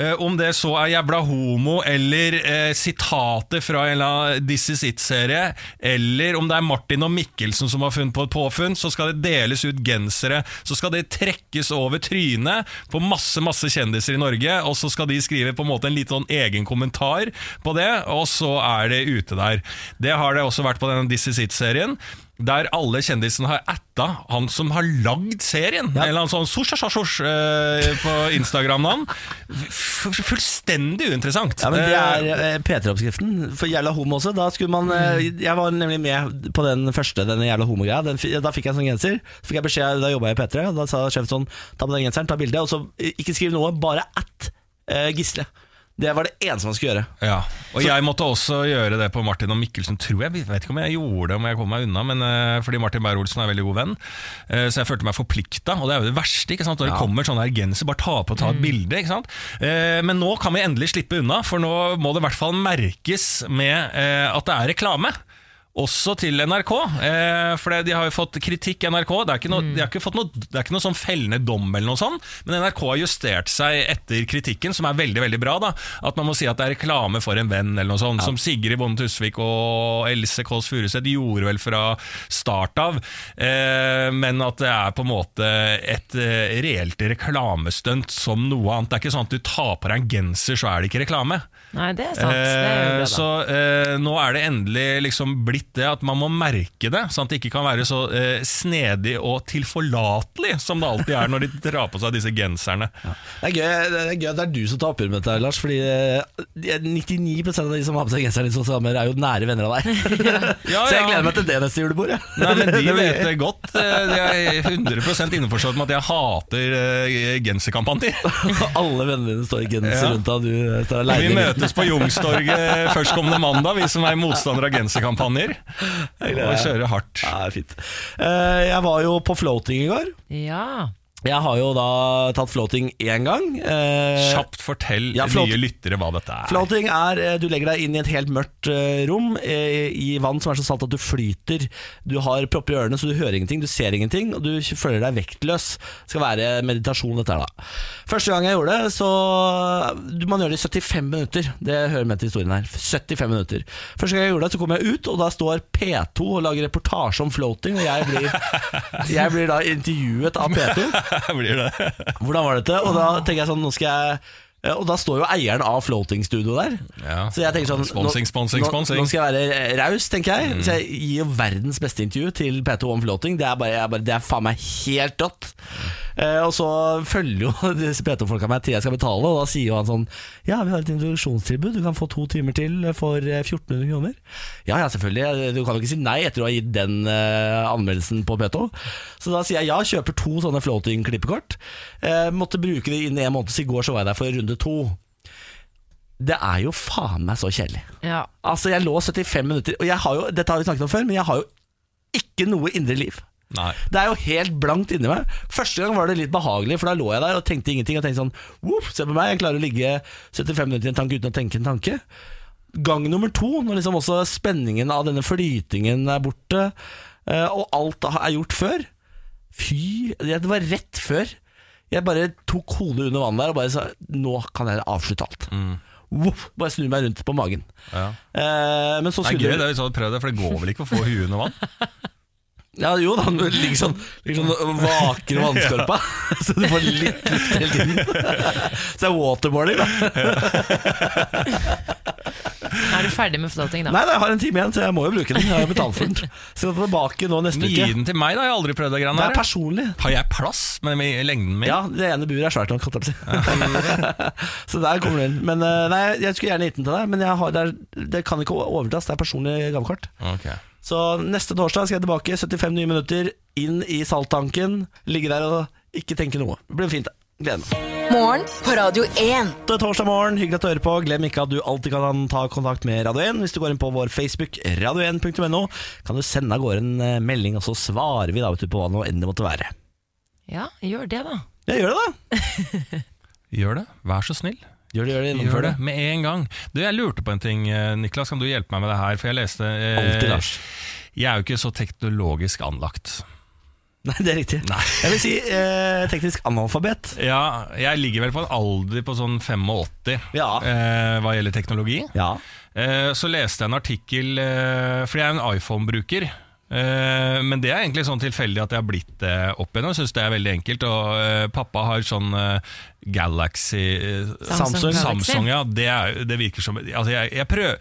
[SPEAKER 2] Eh, om det så er jævla homo eller eh, sitater fra en eller annen This Is It-serie, eller om det er Martin og Mikkelsen som har funnet på et påfunn, så skal det deles ut gensere. Så skal det trekkes over trynet på masse masse kjendiser i Norge, og så skal de skrive på en måte en litt sånn egen kommentar på det, og så er det ute der. Det har det også vært på denne This Is It-serien. Der alle kjendisene har atta han som har lagd serien. En Eller han sånn sosj, sosj, sosj eh, på Instagram-navn. F- f- Fullstendig uinteressant.
[SPEAKER 1] Ja, men Det
[SPEAKER 2] Eh,
[SPEAKER 1] er eh, P3-oppskriften. For jævla homo også. Da skulle man eh, Jeg var nemlig med på den første, denne jævla homogreia. Den fi- Da fikk jeg en sånn genser. Så fikk jeg beskjed, Da jobba jeg i P3, og da sa sjefen sånn Ta med den genseren, ta bilde, og så eh, ikke skriv noe, bare at eh, Gisle. Det var det eneste man skulle gjøre.
[SPEAKER 2] Ja, og jeg måtte også gjøre det på Martin og Mikkelsen, tror jeg. Jeg vet ikke om jeg gjorde det, om jeg kom meg unna, men eh, fordi Martin Beyer-Olsen er en veldig god venn. eh, Så jeg følte meg forplikta, og det er jo det verste. ikke sant? Når det kommer sånn her genser, bare ta på og
[SPEAKER 1] Mm.
[SPEAKER 2] ta et bilde. ikke sant? Eh, Men nå kan vi endelig slippe unna, for nå må det i hvert fall merkes med eh, at det er reklame. Også til NRK, eh, for det- de har jo fått kritikk, NRK. Det er, ikke noe, de har ikke fått noe, det er ikke noe sånn fellende dom, eller noe sånt, men NRK har justert seg etter kritikken, som er veldig veldig bra. da, At man må si at det er reklame for en venn, eller noe sånt. Som Sigrid Bonde Tusvik og Else Kåss Furuseth gjorde vel fra start av. Eh, men at det er på en måte et eh, reelt reklamestunt som noe annet. Det er ikke sånn at du tar på deg en genser, så er det ikke reklame.
[SPEAKER 3] Nei, det er sant. Det er jo
[SPEAKER 2] Eh,
[SPEAKER 3] bra, da.
[SPEAKER 2] Så eh, nå er det endelig liksom blitt det at man må merke det, sånn at det ikke kan være så eh, snedig og tilforlatelig som det alltid er når de drar på seg disse genserne.
[SPEAKER 1] Det er gøy det er, gøy at det er du som tar oppgjør med dette, Lars. Fordi eh, de- 99 av de som har på seg genseren din som samer, er jo nære venner av deg.
[SPEAKER 2] Ja,
[SPEAKER 1] Så jeg
[SPEAKER 2] ja.
[SPEAKER 1] gleder meg til det neste julebord. jeg.
[SPEAKER 2] Nei, men
[SPEAKER 1] Det
[SPEAKER 2] De
[SPEAKER 1] blir-
[SPEAKER 2] vet det godt. Eh, De er 100 innforstått med at jeg hater eh, genserkampanjer.
[SPEAKER 1] Alle vennene dine står i genser
[SPEAKER 2] Ja.
[SPEAKER 1] rundt deg, og du eh, står
[SPEAKER 2] Vi
[SPEAKER 1] aleine.
[SPEAKER 2] møtes på Youngstorget førstkommende mandag, vi som er motstandere av genserkampanjer. Og kjører hardt.
[SPEAKER 1] Ja, det er fint. Eh, jeg var jo på floating i går.
[SPEAKER 3] Ja.
[SPEAKER 1] Jeg har jo da tatt floating én gang. Eh,
[SPEAKER 2] Kjapt fortell
[SPEAKER 1] Ja, flott.
[SPEAKER 2] nye lyttere hva dette er.
[SPEAKER 1] Floating er eh, du legger deg inn i et helt mørkt eh, rom eh, i vann som er så salt at du flyter. Du har propper i ørene, så du hører ingenting, du ser ingenting, og du føler deg vektløs. Det skal være meditasjon, dette her, da. Første gang jeg gjorde det, så du- Man gjør det i 75 minutter. Det hører med til historien her. 75 minutter. Første gang jeg gjorde det, så kom jeg ut, og da står P2 og lager reportasje om floating, og jeg blir, jeg blir da intervjuet av P2.
[SPEAKER 2] Blir det?
[SPEAKER 1] Hvordan var dette? Og da tenker jeg sånn, nå skal jeg eh, og da står jo eieren av floating studio der.
[SPEAKER 2] Ja.
[SPEAKER 1] Så jeg tenker sånn
[SPEAKER 2] Sponsing, sponsing,
[SPEAKER 1] nå,
[SPEAKER 2] sponsing.
[SPEAKER 1] Nå, nå skal jeg være eh, raus, tenker jeg. Så jeg gir jo verdens beste intervju til P2 om floating. Det er, bare, jeg er bare, det er faen meg helt rått. Eh, og så følger jo disse PT-folka meg til jeg skal betale, og da sier jo han sånn Ja, vi har et introduksjonstilbud, du kan få to timer til for eh, 1400 kroner. Ja ja, selvfølgelig, Eh, du kan jo ikke si nei etter å ha gitt den eh, anmeldelsen på P2. Så da sier jeg ja, kjøper to sånne floating-klippekort. Eh, måtte bruke det innen en måned, så i går så var jeg der for runde to. Det er jo faen meg så kjedelig.
[SPEAKER 3] Ja.
[SPEAKER 1] Altså, jeg lå 75 minutter, og jeg har jo, dette har vi snakket om før, men jeg har jo ikke noe indre liv.
[SPEAKER 2] Nei.
[SPEAKER 1] Det er jo helt blankt inni meg. Første gang var det litt behagelig, for da lå jeg der og tenkte ingenting. Og tenkte sånn Woof, Se på meg, jeg klarer å ligge 75 minutter i en tanke uten å tenke en tanke. Gang nummer to, når liksom også spenningen av denne flytingen er borte, eh, og alt er gjort før. Fy Det var rett før. Jeg bare tok hodet under vannet der og bare sa Nå kan jeg avslutte alt. Woof, bare snu meg rundt på magen.
[SPEAKER 2] Ja.
[SPEAKER 1] Eh, men så
[SPEAKER 2] Det er
[SPEAKER 1] skulle
[SPEAKER 2] gøy det hvis du hadde prøvd det, for det går vel ikke å få huet under vann?
[SPEAKER 1] Ja, jo da, du ligger sånn, ligger sånn og vaker om vannskorpa, så du får litt luft hele tiden. Så det er waterboarding, da.
[SPEAKER 3] Er du ferdig med floating, da?
[SPEAKER 1] Nei, nei, jeg har en time igjen, så jeg må jo bruke den. Jeg har jo betalt for den. Så jeg er tilbake nå neste
[SPEAKER 2] Gi
[SPEAKER 1] uke.
[SPEAKER 2] den til meg, da. Jeg har aldri prøvd det greiene
[SPEAKER 1] Det er
[SPEAKER 2] her.
[SPEAKER 1] personlig.
[SPEAKER 2] Har jeg plass med med lengden min?
[SPEAKER 1] Ja, det ene buret er svært nok, holdt jeg på å si. Så der kommer den. Men eh, nei, jeg skulle gjerne gitt den til deg, men jeg har, det, er, det kan ikke overdras. Det er personlig gavekort.
[SPEAKER 2] Ok.
[SPEAKER 1] Så neste torsdag skal jeg tilbake, 75 nye minutter, inn i salttanken, ligge der og ikke tenke noe. Det blir fint. det. Gleder meg.
[SPEAKER 4] Morgen på Radio 1.
[SPEAKER 1] Det er torsdag morgen, hyggelig at du hører på. Glem ikke at du alltid kan ta kontakt med Radio 1. Hvis du går inn på vår Facebook, radio1.no, kan du sende av gårde en eh, melding, og så svarer vi da vet du, på hva nå enn det måtte være.
[SPEAKER 3] Ja, gjør det, da.
[SPEAKER 1] Ja, gjør det, da!
[SPEAKER 2] Gjør det, vær så snill.
[SPEAKER 1] Gjør det, gjør det.
[SPEAKER 2] Gjør det med en gang. Du, jeg lurte på en ting, eh, Niklas. Kan du hjelpe meg med det her? For jeg leste eh,
[SPEAKER 1] Alltid, Lars.
[SPEAKER 2] Jeg er jo ikke så teknologisk anlagt.
[SPEAKER 1] Nei, det er riktig. Jeg vil si eh, teknisk analfabet.
[SPEAKER 2] Ja, jeg ligger vel på en alder på sånn 85
[SPEAKER 1] Ja.
[SPEAKER 2] eh, hva gjelder teknologi.
[SPEAKER 1] Ja.
[SPEAKER 2] Eh, så leste jeg en artikkel, eh, fordi jeg er en iPhone-bruker. Eh, men det er egentlig sånn tilfeldig at jeg har blitt det opp igjennom. Syns det er veldig enkelt. Og eh, pappa har sånn eh, Galaxy eh,
[SPEAKER 1] Samsung.
[SPEAKER 3] Galaxy.
[SPEAKER 2] Samsung, ja. Det, er, det virker som altså jeg, jeg prøver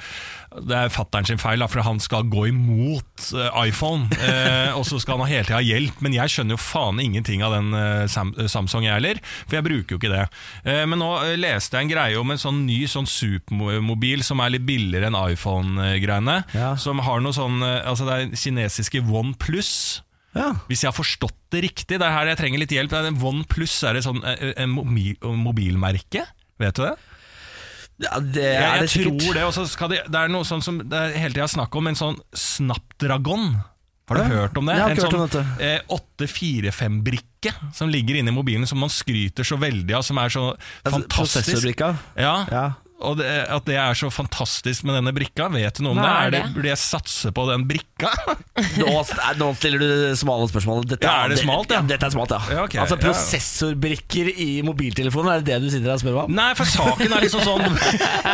[SPEAKER 2] Det er fatteren sin feil, da, for han skal gå imot eh, iPhone. eh, og så skal han ha hele tida hjelp, men jeg skjønner jo faen ingenting av den eh, Sam Samsung, jeg heller. For jeg bruker jo ikke det. Eh, men nå eh, leste jeg en greie om en sånn ny sånn supermobil som er litt billigere enn iPhone-greiene.
[SPEAKER 1] Ja.
[SPEAKER 2] Som har noe sånn eh, Altså det er kinesiske OnePlus.
[SPEAKER 1] ja.
[SPEAKER 2] Hvis jeg har forstått det riktig, det er her jeg trenger litt hjelp. Det er en OnePlus er et sånn eh, eh, mobil, mobilmerke. Vet du det?
[SPEAKER 1] ja det
[SPEAKER 2] Jeg,
[SPEAKER 1] er
[SPEAKER 2] jeg
[SPEAKER 1] det sikkert.
[SPEAKER 2] tror det. Og så skal de, det er noe sånn som det er hele tida snakk om, en sånn Snapdragon. Har du hørt om det?
[SPEAKER 1] Jeg har ikke hørt
[SPEAKER 2] en
[SPEAKER 1] om
[SPEAKER 2] sånn eh, 845-brikke som ligger inni mobilen, som man skryter så veldig av, som er så
[SPEAKER 1] Altså,
[SPEAKER 2] fantastisk.
[SPEAKER 1] Prosessorbrikka.
[SPEAKER 2] Ja,
[SPEAKER 1] Ja.
[SPEAKER 2] og det, At det er så fantastisk med denne brikka, vet du noe om det?
[SPEAKER 3] Hva er
[SPEAKER 2] Er det?
[SPEAKER 3] det?
[SPEAKER 2] Burde jeg satse på den brikka?
[SPEAKER 1] Nå, nei, nå stiller du smale spørsmål. Dette,
[SPEAKER 2] Ja, er det smalt, ja?
[SPEAKER 1] Dette er smalt, ja.
[SPEAKER 2] Ja, ok,
[SPEAKER 1] altså,
[SPEAKER 2] ja.
[SPEAKER 1] prosessorbrikker i mobiltelefonen, er det det du sitter og spør meg om?
[SPEAKER 2] Nei, for saken er liksom sånn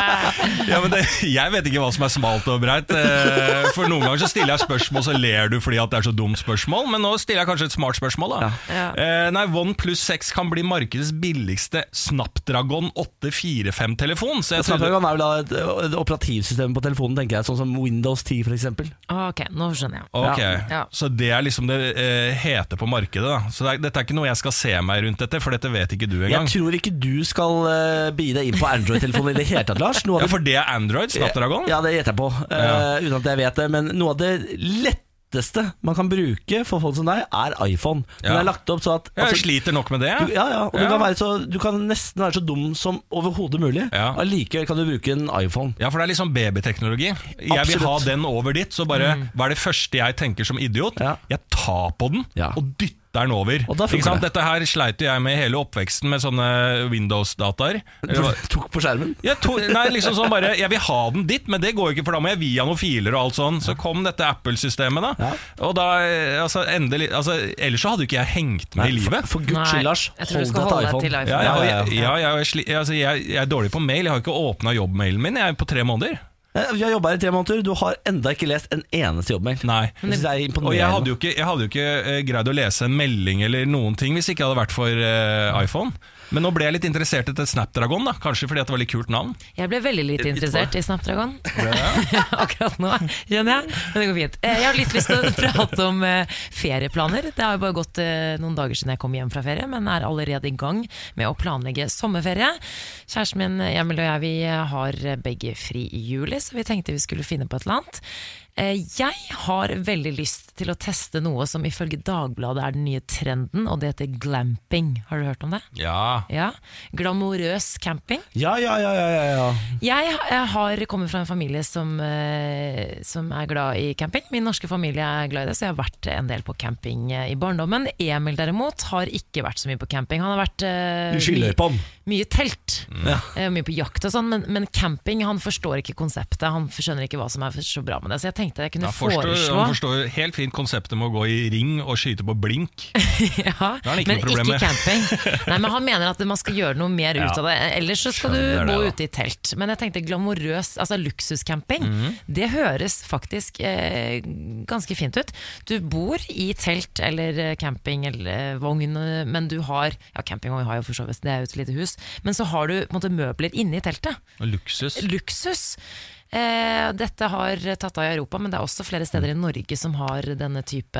[SPEAKER 2] ja, men det, Jeg vet ikke hva som er smalt og breit. eh, For noen ganger så stiller jeg spørsmål, så ler du fordi at det er så dumt spørsmål. Men nå stiller jeg kanskje et smart spørsmål, da.
[SPEAKER 3] Ja.
[SPEAKER 2] Eh, Nei, OnePlus 6 kan bli markedets billigste Snapdragon 845-telefon. Så jeg trodde
[SPEAKER 1] Snapdragon er vel da et, et operativsystem på telefonen, tenker jeg, sånn som Windows 10 for eksempel.
[SPEAKER 3] Ah, Ok, nå skjønner jeg.
[SPEAKER 2] Ok,
[SPEAKER 3] Ja.
[SPEAKER 2] Så det er liksom det eh, heter på markedet. da Så det er, Dette er ikke noe jeg skal se meg rundt etter, for dette vet ikke du engang.
[SPEAKER 1] Jeg tror ikke du skal uh, begi deg inn på Android-telefonen i det hele tatt, Lars. Noe
[SPEAKER 2] Ja,
[SPEAKER 1] av det,
[SPEAKER 2] For det er Android? Snapdragon?
[SPEAKER 1] ja, det gjetter jeg på, eh, uten at jeg vet det. Men noe av det letteste man kan bruke for folk som deg, er iPhone. Den
[SPEAKER 2] Ja.
[SPEAKER 1] er lagt opp så at
[SPEAKER 2] Jeg
[SPEAKER 1] altså,
[SPEAKER 2] sliter nok med det.
[SPEAKER 1] du, ja, ja, og Du,
[SPEAKER 2] Ja.
[SPEAKER 1] kan være så, du kan nesten være så dum som overhodet mulig.
[SPEAKER 2] Ja.
[SPEAKER 1] Allikevel kan du bruke en iPhone.
[SPEAKER 2] Ja, for det er liksom babyteknologi. Jeg vil
[SPEAKER 1] Absolutt. Mm.
[SPEAKER 2] ha den over dit, så bare Hva er det første jeg tenker som idiot?
[SPEAKER 1] Ja.
[SPEAKER 2] Jeg tar på den
[SPEAKER 1] Ja.
[SPEAKER 2] og dytter den over.
[SPEAKER 1] Og da funker
[SPEAKER 2] Ikke sant?
[SPEAKER 1] det.
[SPEAKER 2] Dette her sleit jo jeg med hele oppveksten med sånne Windows-dataer.
[SPEAKER 1] Tok på skjermen.
[SPEAKER 2] Jeg, to, nei, liksom sånn bare, jeg vil ha den dit, men det går ikke, for da må jeg via noen filer og alt sånn. Så kom dette Apple-systemet, da. Og da eh, altså, endelig altså, Ellers så hadde jo ikke jeg hengt med i
[SPEAKER 1] for,
[SPEAKER 2] livet.
[SPEAKER 1] for guds
[SPEAKER 3] Nei,
[SPEAKER 1] skyld, Lars.
[SPEAKER 3] jeg tror du skal holde deg til iPhone.
[SPEAKER 2] Ja, ja,
[SPEAKER 1] Ja,
[SPEAKER 2] ja,
[SPEAKER 1] ja,
[SPEAKER 2] ja, ja, jeg, sli- altså, jeg, jeg er dårlig på mail. Jeg har ikke åpna jobbmailen min jeg, på tre måneder.
[SPEAKER 1] Eh, Vi har jobba her i tre måneder, du har enda ikke lest en eneste jobbmail.
[SPEAKER 2] Nei.
[SPEAKER 1] Jeg synes det er imponerende.
[SPEAKER 2] Og jeg hadde jo ikke, jeg hadde jo ikke eh, greid å lese en melding eller noen ting hvis ikke jeg hadde vært for eh, iPhone. Men nå ble jeg litt interessert etter Snapdragon, da. kanskje fordi at det var litt kult navn.
[SPEAKER 3] Jeg ble veldig lite interessert i Snapdragon akkurat nå, kjenner jeg. Men det går fint. Eh, Jeg har litt lyst til å prate om eh, ferieplaner. Det har jo bare gått eh, noen dager siden jeg kom hjem fra ferie, men er allerede i gang med å planlegge sommerferie. Kjæresten min Emil og jeg vi eh, har begge fri i juli, så vi tenkte vi skulle finne på et eller annet. Eh, Jeg har veldig lyst til å teste noe som ifølge Dagbladet er den nye trenden, og det heter glamping. Har du hørt om det?
[SPEAKER 2] Ja.
[SPEAKER 3] Ja. Glamorøs camping.
[SPEAKER 1] Ja, ja, ja, ja, ja, ja.
[SPEAKER 3] Jeg, jeg har kommet fra en familie som, eh, som er glad i camping. Min norske familie er glad i det, så jeg har vært en del på camping eh, i barndommen. Emil derimot har ikke vært så mye på camping. Han har vært eh,
[SPEAKER 1] Du skylder
[SPEAKER 3] mye-
[SPEAKER 1] på han.
[SPEAKER 3] mye telt.
[SPEAKER 1] Ja.
[SPEAKER 3] Eh, Mye på jakt og sånn, men, men camping, han forstår ikke konseptet. Han skjønner ikke hva som er så bra med det. Så jeg tenkte jeg kunne
[SPEAKER 2] Han forstår,
[SPEAKER 3] foreslå
[SPEAKER 2] han forstår helt fint konseptet med å gå i ring og skyte på blink.
[SPEAKER 3] ja,
[SPEAKER 2] Da er det ikke
[SPEAKER 3] men
[SPEAKER 2] noe problem
[SPEAKER 3] ikke
[SPEAKER 2] med.
[SPEAKER 3] camping. Nei, men Han mener at man skal gjøre noe mer ut av det. Ellers så skal
[SPEAKER 2] Skjønner
[SPEAKER 3] du bo
[SPEAKER 2] det, da.
[SPEAKER 3] ute i telt. Men jeg tenkte glamorøs, altså luksuscamping,
[SPEAKER 2] Mhm.
[SPEAKER 3] det høres faktisk eh, ganske fint ut. Du bor i telt eller eh, camping eller eh, vogn, eh, men du har Ja, campingvogn har jeg jo for så vidt, det er jo et lite hus. Men så har du på en måte, møbler inne i teltet
[SPEAKER 2] Og luksus.
[SPEAKER 3] luksus. Eh, dette har tatt av i Europa, men det er også flere steder i Norge som har denne type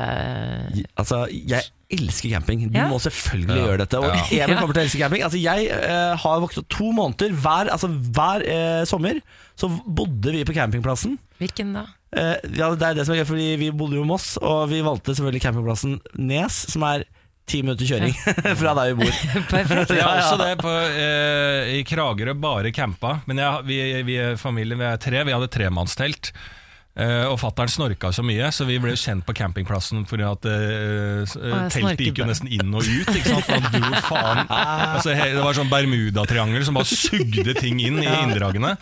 [SPEAKER 1] Altså, jeg elsker camping. Du
[SPEAKER 3] Ja.
[SPEAKER 1] må selvfølgelig
[SPEAKER 2] Ja.
[SPEAKER 1] gjøre dette. Og
[SPEAKER 2] Ja.
[SPEAKER 1] Even kommer til å elske camping. Altså, jeg eh, har vokst opp to måneder hver, altså, hver eh, sommer. Så bodde vi på campingplassen.
[SPEAKER 3] Hvilken da?
[SPEAKER 1] Eh, ja, det er det som er gøy, fordi vi bodde jo i Moss, og vi valgte selvfølgelig campingplassen Nes, som er ti minutter kjøring fra der vi bor.
[SPEAKER 3] Perfekt.
[SPEAKER 2] Jeg
[SPEAKER 1] Ja,
[SPEAKER 2] har
[SPEAKER 1] ja.
[SPEAKER 2] også det på, eh, i Kragerø, bare campa. Men jeg, vi, vi er familien, vi er tre, vi hadde tremannstelt. Eh, og fattern snorka så mye, så vi ble jo kjent på campingplassen fordi at eh, s-
[SPEAKER 3] Å, jeg
[SPEAKER 2] teltet gikk jo
[SPEAKER 3] snorket. Ah.
[SPEAKER 2] nesten inn og ut. Ikke sant? For han dro faen. Altså, he, det var sånn Bermudatriangel som bare sugde ting inn i inndragene.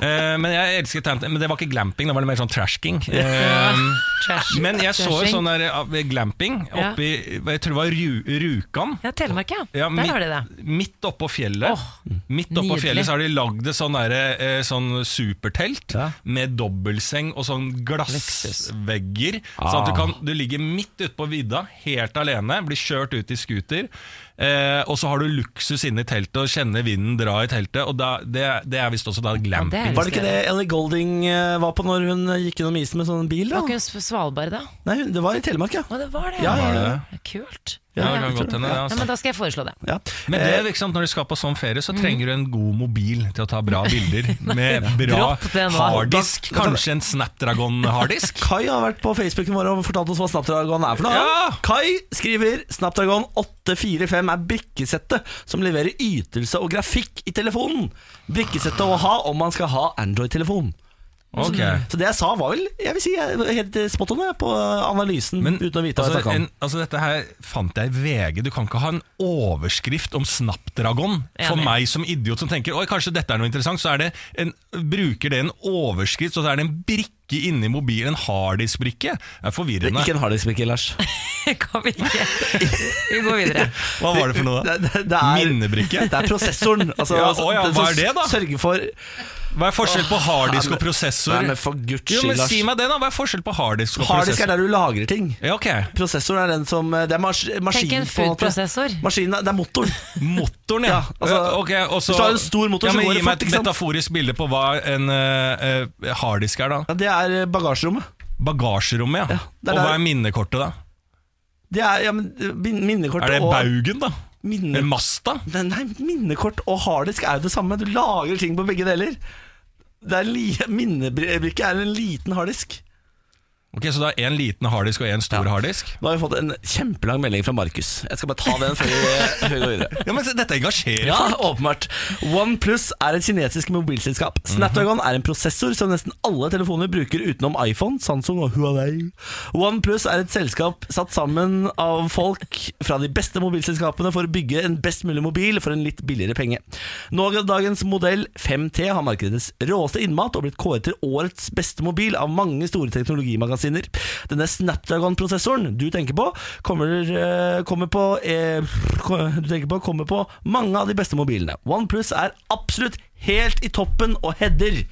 [SPEAKER 2] Eh, men jeg elsker tent, men det var ikke glamping, det var mer sånn trashking. Eh,
[SPEAKER 3] Trash.
[SPEAKER 2] men jeg så jo
[SPEAKER 3] Trashing.
[SPEAKER 2] sånn der, eh, glamping
[SPEAKER 3] Ja.
[SPEAKER 2] oppi jeg tror det var Ru, Rjukan.
[SPEAKER 3] Ja, Telemark, ja.
[SPEAKER 2] Ja,
[SPEAKER 3] Der har de det.
[SPEAKER 2] Midt oppå fjellet
[SPEAKER 3] Åh,
[SPEAKER 2] Midt oppå
[SPEAKER 3] nydelig.
[SPEAKER 2] fjellet så har de lagd et sånn, derre, eh, sånn supertelt
[SPEAKER 1] Ja.
[SPEAKER 2] med dobbeltseng og sånn glassvegger. Sånn at du, kan, du ligger midt ute på vidda, helt alene, blir kjørt ut i scooter. Eh, og så har du luksus inne i teltet og kjenner vinden dra i teltet. Og da, det, det er visst også da
[SPEAKER 3] det
[SPEAKER 2] glamping.
[SPEAKER 3] er
[SPEAKER 1] Var det ikke det Ellie Golding eh, var på når hun gikk gjennom isen med sånn bil?
[SPEAKER 3] Var
[SPEAKER 1] da?
[SPEAKER 3] ikke hun på Svalbard da?
[SPEAKER 1] Nei, hun- det var i Telemark, ja.
[SPEAKER 3] Å, det var det.
[SPEAKER 1] Ja, ja,
[SPEAKER 2] ja.
[SPEAKER 3] Kult.
[SPEAKER 2] Ja, det
[SPEAKER 3] Ja.
[SPEAKER 2] kan godt hende, det,
[SPEAKER 3] Ja,
[SPEAKER 2] altså.
[SPEAKER 3] men Da skal jeg foreslå det.
[SPEAKER 1] ja. Eh,
[SPEAKER 2] Men det er ikke sant, når du skal på sånn ferie, så trenger du en god mobil til å ta bra bilder. Med bra
[SPEAKER 3] Dropp det nå.
[SPEAKER 2] harddisk. Kanskje en Snapdragon-harddisk.
[SPEAKER 1] Kai har vært på Facebooken vår og fortalt oss hva Snapdragon er for noe.
[SPEAKER 2] Ja!
[SPEAKER 1] Kai skriver Snapdragon 845 er brikkesettet som leverer ytelse og grafikk i telefonen. Brikkesettet å ha om man skal ha Android-telefon.
[SPEAKER 2] Ok.
[SPEAKER 1] Så det jeg sa var vel jeg vil si, jeg er helt spot on jeg, på analysen,
[SPEAKER 2] Men
[SPEAKER 1] uten å vite hva jeg
[SPEAKER 2] altså,
[SPEAKER 1] snakka om.
[SPEAKER 2] en, altså dette her fant jeg i VG. Du kan ikke ha en overskrift om Snapdragon. For
[SPEAKER 3] Enig.
[SPEAKER 2] meg som idiot som tenker Oi, kanskje dette er noe interessant, så er det en, bruker det en overskrift, så er det en brikke inni mobilen. En harddisk-brikke. Det er
[SPEAKER 1] Det er
[SPEAKER 2] forvirrende.
[SPEAKER 1] Ikke en harddisk-brikke, Lars.
[SPEAKER 3] kan vi ikke Vi går videre.
[SPEAKER 2] Hva var det for noe, da?
[SPEAKER 1] Det, det, det er,
[SPEAKER 2] Minnebrikke?
[SPEAKER 1] Det er prosessoren. Altså,
[SPEAKER 2] Ja, å ja,
[SPEAKER 1] den
[SPEAKER 2] hva
[SPEAKER 1] som
[SPEAKER 2] er det da?
[SPEAKER 1] Sørger for
[SPEAKER 2] Hva er forskjell på harddisk
[SPEAKER 1] Nei,
[SPEAKER 2] og prosessor?
[SPEAKER 1] Nei, men for guds
[SPEAKER 2] jo,
[SPEAKER 1] skyld,
[SPEAKER 2] men
[SPEAKER 1] Lars.
[SPEAKER 2] Si meg det, da. Hva er forskjell på harddisk og
[SPEAKER 1] Harddisk er
[SPEAKER 2] prosessor?
[SPEAKER 1] der du lagrer ting.
[SPEAKER 2] Ja, ok
[SPEAKER 1] Prosessoren er den som eh, Det er mas maskinen.
[SPEAKER 3] en
[SPEAKER 1] på en måte.
[SPEAKER 3] food-prosessor.
[SPEAKER 1] Maskinen, er- det er motoren.
[SPEAKER 2] Motoren, ja.
[SPEAKER 1] Ja, altså,
[SPEAKER 2] Ja, ok, og så-
[SPEAKER 1] hvis du har en stor motor,
[SPEAKER 2] ja,
[SPEAKER 1] så
[SPEAKER 2] men
[SPEAKER 1] går det
[SPEAKER 2] Gi meg
[SPEAKER 1] fort,
[SPEAKER 2] et
[SPEAKER 1] ikke sant?
[SPEAKER 2] metaforisk bilde på hva en eh, eh, harddisk er, da.
[SPEAKER 1] Ja, det er eh, bagasjerommet.
[SPEAKER 2] Bagasjerommet, ja.
[SPEAKER 1] det er
[SPEAKER 2] og hva
[SPEAKER 1] der-
[SPEAKER 2] er minnekortet, da?
[SPEAKER 1] Det er ja, men, min- minnekort
[SPEAKER 2] Er det
[SPEAKER 1] og
[SPEAKER 2] Baugen, da?
[SPEAKER 1] minne,
[SPEAKER 2] Eller Masta?
[SPEAKER 1] Nei, Nei, minnekort og harddisk er jo det samme. Du lagrer ting på begge deler. Det er li Minnebrikke er en liten harddisk.
[SPEAKER 2] Ok, Så det er én liten harddisk og én stor harddisk?
[SPEAKER 1] Nå har vi fått en kjempelang melding fra Markus. Jeg skal bare ta den før vi- før vi går videre.
[SPEAKER 2] Ja, men se, Dette engasjerer
[SPEAKER 1] Ja,
[SPEAKER 2] folk!
[SPEAKER 1] åpenbart. OnePlus er et kinesisk mobilselskap. Snapdragon er en prosessor som nesten alle telefoner bruker utenom iPhone, Samsung og Huawei. OnePlus er et selskap satt sammen av folk fra de beste mobilselskapene for å bygge en best mulig mobil for en litt billigere penge. Nå av dagens modell 5T har markedets råeste innmat og blitt kåret til årets beste mobil av mange store teknologimagasiner. Denne Snapdragon-prosessoren du tenker på, kommer, eh, kommer på eh, Du tenker på kommer på mange av de beste mobilene. OnePlus er absolutt helt i toppen og header,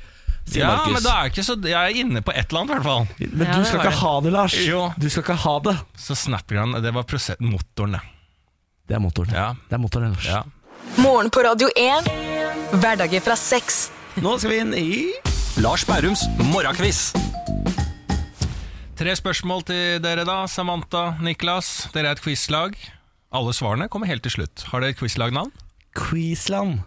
[SPEAKER 1] sier
[SPEAKER 2] Ja,
[SPEAKER 1] Markus.
[SPEAKER 2] men da er ikke så, Jeg er inne på et eller annet, i hvert fall.
[SPEAKER 1] Men
[SPEAKER 3] Ja,
[SPEAKER 1] du
[SPEAKER 3] det
[SPEAKER 1] skal
[SPEAKER 3] var
[SPEAKER 1] ikke
[SPEAKER 3] det.
[SPEAKER 1] ha det, Lars.
[SPEAKER 2] Jo.
[SPEAKER 1] Du skal ikke ha det.
[SPEAKER 2] Så Snapgram, det var prosess motoren, det.
[SPEAKER 1] Det er motoren.
[SPEAKER 2] Ja.
[SPEAKER 1] Det er motoren, Lars.
[SPEAKER 2] Ja.
[SPEAKER 4] Morgen på Radio 1. Hverdager fra seks.
[SPEAKER 1] Nå skal vi inn i
[SPEAKER 5] Lars Bærums morgenkviss.
[SPEAKER 2] Tre spørsmål til dere, da. Samantha, Niklas. Dere er et quizlag. Alle svarene kommer helt til slutt. Har dere et quizlagnavn?
[SPEAKER 1] Queensland.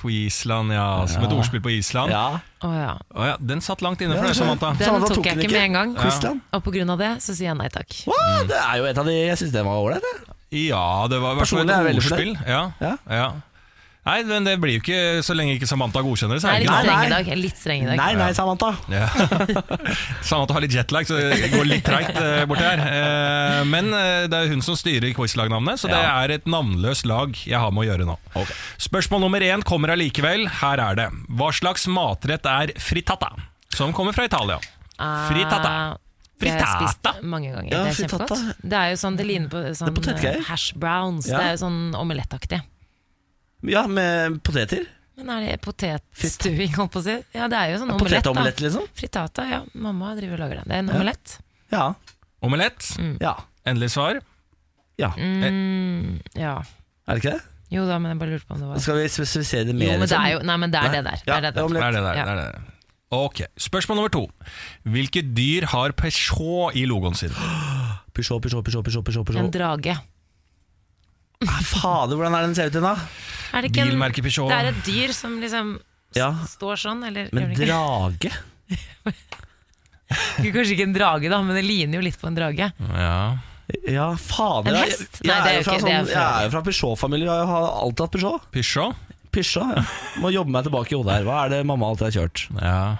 [SPEAKER 2] Quizland, ja. Som et ordspill på Island.
[SPEAKER 1] Ja.
[SPEAKER 3] Å ja.
[SPEAKER 2] Å ja, den satt langt inne for
[SPEAKER 1] Ja,
[SPEAKER 2] deg, Samantha.
[SPEAKER 1] skjønner.
[SPEAKER 3] Den
[SPEAKER 1] Samantha
[SPEAKER 3] tok jeg
[SPEAKER 1] den
[SPEAKER 3] ikke med en gang.
[SPEAKER 1] Quizland?
[SPEAKER 3] Og på grunn av det så sier jeg nei takk.
[SPEAKER 1] Wow, det er jo et av de Jeg syns den var ålreit, jeg.
[SPEAKER 2] Ja, det var i hvert fall
[SPEAKER 1] Personlig er jeg
[SPEAKER 2] et
[SPEAKER 1] veldig
[SPEAKER 2] ordspill. Ja, ja.
[SPEAKER 1] Ja.
[SPEAKER 2] Nei, men det blir jo ikke så lenge ikke Samantha godkjenner det. Så
[SPEAKER 3] Jeg
[SPEAKER 2] er
[SPEAKER 3] er
[SPEAKER 2] det
[SPEAKER 1] nei.
[SPEAKER 2] ikke
[SPEAKER 3] litt streng i dag. Jeg er litt streng i dag.
[SPEAKER 1] Nei, nei, Samantha.
[SPEAKER 2] Ja. Samantha har litt jetlag, så det går litt treigt eh, borti her. Eh, Men eh, det er hun som styrer quizlagnavnet, så det
[SPEAKER 1] Ja.
[SPEAKER 2] er et navnløst lag jeg har med å gjøre nå. Spørsmål nummer én kommer allikevel. Her er det. Hva slags matrett er frittata? Som kommer fra Italia.
[SPEAKER 3] Ah,
[SPEAKER 2] Frittata.
[SPEAKER 3] Det har jeg
[SPEAKER 2] Frittata.
[SPEAKER 3] spist mange ganger.
[SPEAKER 1] Ja,
[SPEAKER 3] det er
[SPEAKER 1] frittata.
[SPEAKER 3] kjempegodt. Det er jo sånn, det ligner på sånn
[SPEAKER 1] potetgreier.
[SPEAKER 3] eh, hash browns.
[SPEAKER 1] Ja.
[SPEAKER 3] Det er jo sånn omelettaktig.
[SPEAKER 1] Ja, med poteter.
[SPEAKER 3] Men er det potetstuing, holdt på å si? Ja, det er jo sånn omelett. da.
[SPEAKER 1] Potetomelett, liksom.
[SPEAKER 3] Frittata, ja. Mamma driver og lager det. Det er en omelett.
[SPEAKER 1] Ja.
[SPEAKER 2] Omelett.
[SPEAKER 1] ja.
[SPEAKER 2] Endelig svar.
[SPEAKER 1] Ja.
[SPEAKER 3] Mm. Ja.
[SPEAKER 1] Er det ikke det?
[SPEAKER 3] Jo da, men jeg bare lurte på om det var
[SPEAKER 1] Skal vi spesifisere det
[SPEAKER 3] Jo,
[SPEAKER 1] mer?
[SPEAKER 3] men det
[SPEAKER 1] liksom?
[SPEAKER 3] er jo Nei, men det er det der. Det
[SPEAKER 1] Ja,
[SPEAKER 3] er det
[SPEAKER 1] det er
[SPEAKER 3] der.
[SPEAKER 1] omelett.
[SPEAKER 2] Det er det der.
[SPEAKER 3] Ja.
[SPEAKER 2] Det er det der. Ok, Spørsmål nummer to. Hvilke dyr har Peugeot i logoen sin?
[SPEAKER 1] Peugeot, Peugeot, Peugeot, Peugeot, Peugeot, Peugeot.
[SPEAKER 3] En drage.
[SPEAKER 1] Ah, Fader, hvordan er den ser ut igjen, da?
[SPEAKER 3] Er det ikke en
[SPEAKER 2] Bilmerket Peugeot.
[SPEAKER 3] Det er et dyr som liksom
[SPEAKER 1] Ja,
[SPEAKER 3] står sånn, eller
[SPEAKER 1] men
[SPEAKER 3] gjør det ikke?
[SPEAKER 1] drage?
[SPEAKER 3] Kanskje ikke en drage, da, men det ligner jo litt på en drage.
[SPEAKER 2] Ja.
[SPEAKER 1] Ja, fader.
[SPEAKER 3] En
[SPEAKER 1] jeg-
[SPEAKER 3] hest?
[SPEAKER 1] Jeg,
[SPEAKER 3] Nei, det er
[SPEAKER 1] er jo
[SPEAKER 3] jo
[SPEAKER 1] fra
[SPEAKER 3] ikke-
[SPEAKER 1] sånn,
[SPEAKER 3] det er fra-
[SPEAKER 1] jeg er jo fra Peugeot-familie, og jeg har alltid hatt Peugeot.
[SPEAKER 2] Peugeot?
[SPEAKER 1] Peugeot, ja. Må jobbe meg tilbake i hodet her. Hva er det mamma alltid har kjørt?
[SPEAKER 2] Ja.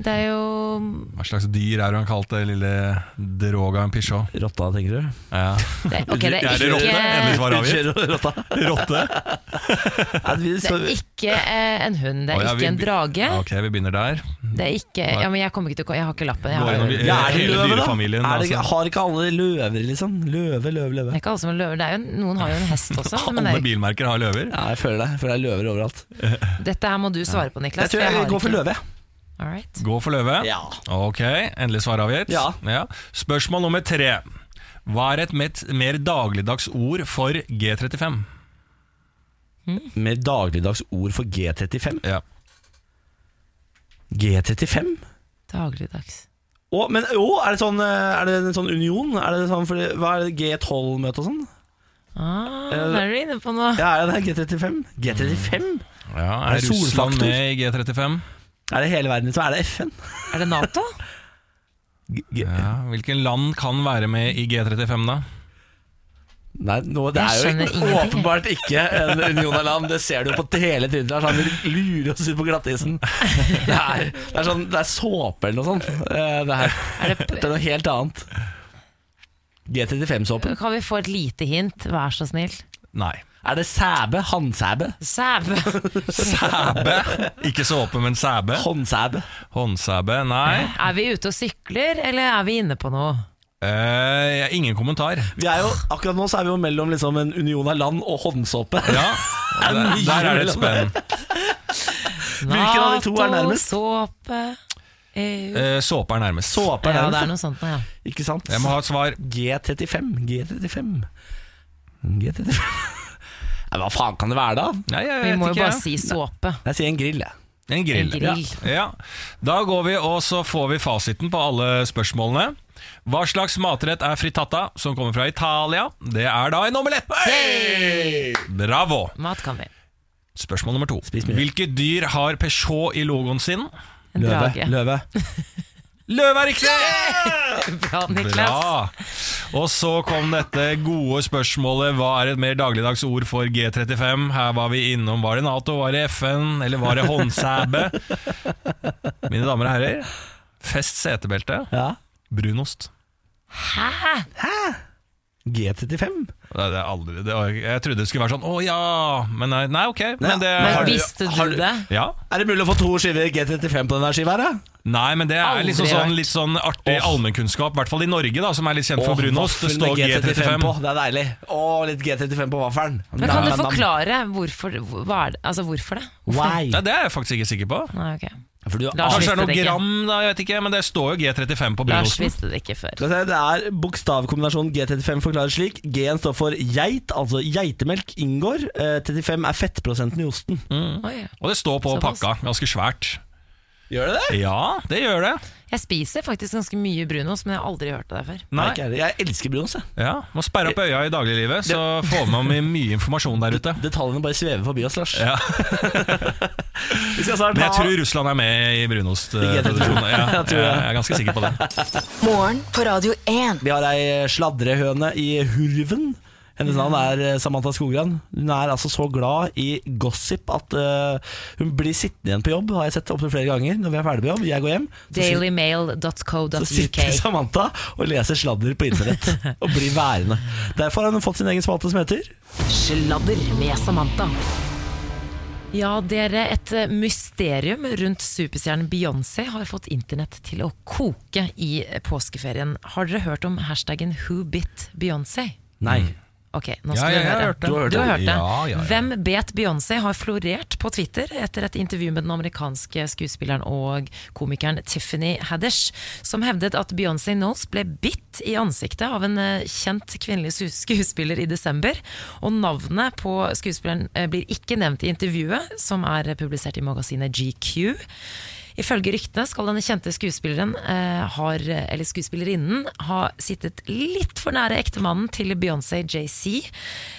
[SPEAKER 3] Det er jo
[SPEAKER 2] Hva slags dyr er hun kalt det lille drogaen Peugeot?
[SPEAKER 1] Rotta, tenker du?
[SPEAKER 2] Ja.
[SPEAKER 3] det, ok, det
[SPEAKER 2] Er
[SPEAKER 3] er
[SPEAKER 2] det rotte? Endelig
[SPEAKER 3] ikke
[SPEAKER 2] svar avgitt.
[SPEAKER 1] Kjører rotta.
[SPEAKER 2] Rotte?
[SPEAKER 1] Nei, vi-
[SPEAKER 3] det er
[SPEAKER 1] så-
[SPEAKER 3] ikke eh, en hund, det
[SPEAKER 2] Å,
[SPEAKER 3] er
[SPEAKER 2] ja, vi-
[SPEAKER 3] ikke en drage.
[SPEAKER 2] Ok, vi begynner der.
[SPEAKER 3] Det er ikke Ja, men jeg kommer ikke til å Jeg har ikke lappen. Jeg
[SPEAKER 2] Går
[SPEAKER 3] har,
[SPEAKER 2] gjennom
[SPEAKER 3] det
[SPEAKER 2] vi-
[SPEAKER 1] Ja, er det
[SPEAKER 2] Eh, hele
[SPEAKER 1] løve, da?
[SPEAKER 2] dyrefamilien,
[SPEAKER 1] Er det, ikke-
[SPEAKER 2] altså.
[SPEAKER 1] har ikke alle løver, liksom? Løve, løve, løve.
[SPEAKER 3] er ikke alle som har løver. Det er jo, noen har jo en hest også. Men det
[SPEAKER 2] Alle
[SPEAKER 3] er,
[SPEAKER 2] bilmerker har løver.
[SPEAKER 1] Ja, jeg føler det. Jeg føler det er løver overalt.
[SPEAKER 3] dette her må du svare på,
[SPEAKER 1] Jeg
[SPEAKER 3] Niklas.
[SPEAKER 1] tror
[SPEAKER 3] for
[SPEAKER 1] jeg
[SPEAKER 3] har
[SPEAKER 1] går for
[SPEAKER 3] ikke-
[SPEAKER 1] løve.
[SPEAKER 3] All right.
[SPEAKER 2] Gå for løve.
[SPEAKER 1] Ja.
[SPEAKER 2] Ok, endelig svar avgitt.
[SPEAKER 1] Ja.
[SPEAKER 2] Spørsmål nummer tre. Hva er et met- mer dagligdags ord for G35?
[SPEAKER 1] Med dagligdags ord for G35.
[SPEAKER 2] Ja.
[SPEAKER 1] G35?
[SPEAKER 3] Dagligdags.
[SPEAKER 1] Å, men å, er det sånn eh, Er det en sånn union? Er det sånn, fordi, hva er det G12-møte og sånn?
[SPEAKER 3] Ah,
[SPEAKER 1] Eh,
[SPEAKER 3] da er du inne på noe.
[SPEAKER 1] Ja, er det det? G35? G35?
[SPEAKER 2] ja
[SPEAKER 1] Er
[SPEAKER 2] er
[SPEAKER 1] det
[SPEAKER 2] Russland
[SPEAKER 1] solfaktor?
[SPEAKER 2] med i G35?
[SPEAKER 1] Er det hele verden, så er det FN?
[SPEAKER 3] Er det Nato?
[SPEAKER 1] G G
[SPEAKER 2] Ja. Hvilken land kan være med i G35, da?
[SPEAKER 1] Nei, nå, det
[SPEAKER 3] Jeg
[SPEAKER 1] er jo
[SPEAKER 3] skjønner
[SPEAKER 1] ikke-
[SPEAKER 3] ingenting.
[SPEAKER 1] åpenbart ikke en union av land. Det ser du jo på hele tiden. Lars. Han vil lure oss ut på glattisen. Det er, det er, sånn, det er såpe eller noe sånt. eh, Det her.
[SPEAKER 3] Er det,
[SPEAKER 1] Det er noe helt annet. G35-såpen.
[SPEAKER 3] kan vi få et lite hint, vær så snill?
[SPEAKER 2] Nei.
[SPEAKER 1] Er det sæbe? Handsæbe?
[SPEAKER 3] Sæve.
[SPEAKER 2] Sæbe. Ikke såpe, men sæbe.
[SPEAKER 1] Håndsæbe?
[SPEAKER 2] Håndsæbe. Nei.
[SPEAKER 3] Er vi ute og sykler, eller er vi inne på noe?
[SPEAKER 2] Eh, ingen kommentar.
[SPEAKER 1] Vi er jo, akkurat nå så er vi jo mellom liksom en union av land og håndsåpe.
[SPEAKER 2] Ja, der, der er det et spenn.
[SPEAKER 1] Hvilken av de to er nærmest?
[SPEAKER 3] såpe, EU
[SPEAKER 2] Eh, såpe er nærmest.
[SPEAKER 1] Såpe
[SPEAKER 3] Ja,
[SPEAKER 1] er
[SPEAKER 3] det er
[SPEAKER 1] det,
[SPEAKER 3] noe sånt nå, ja.
[SPEAKER 1] ikke sant?
[SPEAKER 2] Jeg må ha et svar.
[SPEAKER 1] G35. G35. G35. Nei, hva faen kan det være, da?
[SPEAKER 2] Nei, jeg
[SPEAKER 3] Vi
[SPEAKER 2] vet
[SPEAKER 3] må jo
[SPEAKER 2] ikke,
[SPEAKER 3] bare
[SPEAKER 2] jeg.
[SPEAKER 3] si såpe.
[SPEAKER 1] Jeg sier en grill, jeg.
[SPEAKER 2] En grill.
[SPEAKER 3] En grill.
[SPEAKER 2] Ja. ja. Da går vi, og så får vi fasiten på alle spørsmålene. Hva slags matrett er frittata, som kommer fra Italia? Det er da en omelett! Bravo!
[SPEAKER 3] Mat kan vi.
[SPEAKER 2] Spørsmål nummer to.
[SPEAKER 1] Spis mye.
[SPEAKER 2] Hvilke dyr har Peugeot i logoen sin?
[SPEAKER 3] En drage.
[SPEAKER 1] Løve.
[SPEAKER 2] Løve er riktig!
[SPEAKER 3] Bra, Niklas.
[SPEAKER 2] Bra! Og så kom dette gode spørsmålet Hva er et mer dagligdags ord for G35? Her var vi innom, var det NATO, var det FN, eller var det håndsæbe? Mine damer og herrer, fest setebelte,
[SPEAKER 1] Ja.
[SPEAKER 2] brunost.
[SPEAKER 3] Hæ?
[SPEAKER 1] Eh, G35?
[SPEAKER 2] Det er aldri, det, jeg trodde det skulle være sånn, å ja, men nei, nei ok. Men det,
[SPEAKER 3] Men
[SPEAKER 1] Har du-
[SPEAKER 3] visste du
[SPEAKER 1] har du-
[SPEAKER 3] det?
[SPEAKER 2] ja.
[SPEAKER 1] Er det mulig å få to skiver G35 på denne skiva her, da?
[SPEAKER 2] Nei, men det er
[SPEAKER 3] Aldri
[SPEAKER 2] liksom sånn,
[SPEAKER 3] vært.
[SPEAKER 2] litt sånn artig allmennkunnskap, i hvert fall i Norge, da, som er litt kjent for
[SPEAKER 1] Åh,
[SPEAKER 2] brunost. Det
[SPEAKER 1] vaffel
[SPEAKER 2] står
[SPEAKER 1] med
[SPEAKER 2] G35.
[SPEAKER 1] på. Det er deilig. Å, litt G35 på vaffelen.
[SPEAKER 3] Men kan
[SPEAKER 1] Nam,
[SPEAKER 3] du
[SPEAKER 1] nam, nam.
[SPEAKER 3] forklare hvorfor, hva er det? Altså, hvorfor det? Hvorfor?
[SPEAKER 1] Why?
[SPEAKER 2] Nei, det er jeg faktisk ikke sikker på.
[SPEAKER 3] Nei, ok.
[SPEAKER 1] For du har
[SPEAKER 3] Lars
[SPEAKER 2] Kanskje det er
[SPEAKER 3] visste
[SPEAKER 2] noe
[SPEAKER 3] det ikke.
[SPEAKER 2] gram, da, jeg vet ikke, men det står jo G35 på
[SPEAKER 3] Lars
[SPEAKER 2] brunosten.
[SPEAKER 3] visste det ikke før.
[SPEAKER 1] Skal vi se, Det er bokstavkombinasjonen G35 forklarer slik. G-en står for geit, altså geitemelk inngår. Eh, 35 er fettprosenten i osten.
[SPEAKER 2] Mm.
[SPEAKER 3] Oi, ja.
[SPEAKER 2] Og det står på
[SPEAKER 3] Såpass.
[SPEAKER 2] pakka, ganske svært.
[SPEAKER 1] Gjør det det?
[SPEAKER 2] Ja, det gjør det.
[SPEAKER 3] Jeg spiser faktisk ganske mye brunost, men jeg har aldri hørt det der før.
[SPEAKER 1] Nei,
[SPEAKER 2] Nei.
[SPEAKER 1] ikke er det. Jeg elsker brunost. jeg.
[SPEAKER 2] Ja, Må sperre opp øya i dagliglivet, så får man med mye informasjon der ute.
[SPEAKER 1] Detaljene bare svever forbi oss, Lars.
[SPEAKER 2] Ja.
[SPEAKER 1] Vi skal snart
[SPEAKER 2] Men jeg
[SPEAKER 1] ha-
[SPEAKER 2] tror Russland er med
[SPEAKER 1] Ikke
[SPEAKER 2] i
[SPEAKER 1] jeg tror det.
[SPEAKER 2] brunostproduksjonen. Ja,
[SPEAKER 1] Jeg tror det.
[SPEAKER 2] jeg er ganske sikker på det.
[SPEAKER 4] Morgen på Radio 1.
[SPEAKER 1] Vi har ei sladrehøne i Hurven. Hennes navn er eh, Samantha Skogran. Hun er altså så glad i gossip at eh, hun blir sittende igjen på jobb, har jeg sett opptil flere ganger når vi er ferdig på jobb. Jeg går hjem. så sit- Så sitter
[SPEAKER 3] Dailymail.co.uk.
[SPEAKER 1] Samantha og leser sladder på internett og blir værende. Derfor har hun fått sin egen spalte som heter
[SPEAKER 4] Sladder med Samantha.
[SPEAKER 3] Ja, dere, et eh, mysterium rundt superstjernen Beyoncé har fått internett til å koke i eh, påskeferien. Har dere hørt om hashtaggen 'Who bit Beyoncé'?
[SPEAKER 1] Nei.
[SPEAKER 3] Ok, nå
[SPEAKER 2] Ja, ja,
[SPEAKER 3] skal du
[SPEAKER 2] jeg har
[SPEAKER 3] høre.
[SPEAKER 2] hørt det.
[SPEAKER 3] Du har hørt det.
[SPEAKER 2] Ja, ja, ja.
[SPEAKER 3] Hvem bet Beyoncé har florert på Twitter etter et intervju med den amerikanske skuespilleren og komikeren Tiffany Haddish, som hevdet at Beyoncé Knowles ble bitt i ansiktet av en eh, kjent kvinnelig su- skuespiller i desember. Og navnet på skuespilleren eh, blir ikke nevnt i intervjuet, som er eh, publisert i magasinet GQ. Ifølge ryktene skal denne kjente skuespilleren, eh, har, eller skuespillerinnen ha sittet litt for nære ektemannen til Beyoncé JC.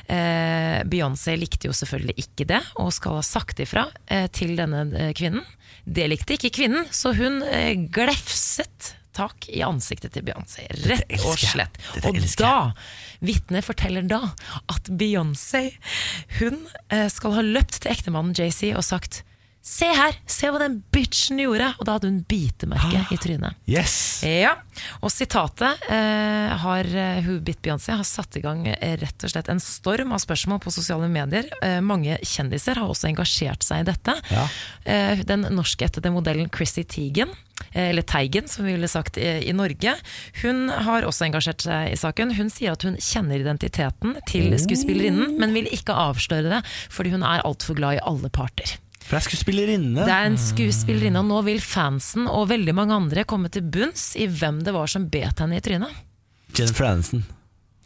[SPEAKER 3] Eh, Beyoncé likte jo selvfølgelig ikke det, og skal ha sagt ifra eh, til denne eh, kvinnen. Det likte ikke kvinnen, så hun eh, glefset tak i ansiktet til Beyoncé, rett og
[SPEAKER 1] elsker jeg.
[SPEAKER 3] slett.
[SPEAKER 1] Dette
[SPEAKER 3] Og
[SPEAKER 1] elsker jeg.
[SPEAKER 3] da, vitnet forteller da at Beyoncé, hun eh, skal ha løpt til ektemannen JC og sagt Se her, se hva den bitchen gjorde! Og da hadde hun bitemerke i trynet.
[SPEAKER 1] Yes!
[SPEAKER 3] Ja, og sitatet eh, har eh, Who Bit Beyoncé har satt i gang eh, rett og slett en storm av spørsmål på sosiale medier. Eh, mange kjendiser har også engasjert seg i dette.
[SPEAKER 1] Ja.
[SPEAKER 3] Eh, den norskættede modellen Chrissy Teigen, eh, eller Teigen som vi ville sagt eh, i Norge, hun har også engasjert seg i saken. Hun sier at hun kjenner identiteten til skuespillerinnen, men vil ikke avsløre det, fordi hun er altfor glad i alle parter.
[SPEAKER 1] For jeg skulle spille inne.
[SPEAKER 3] Det er en skuespillerinne, og nå vil fansen og veldig mange andre komme til bunns i hvem det var som bet henne i trynet.
[SPEAKER 1] Jennifer Aniston.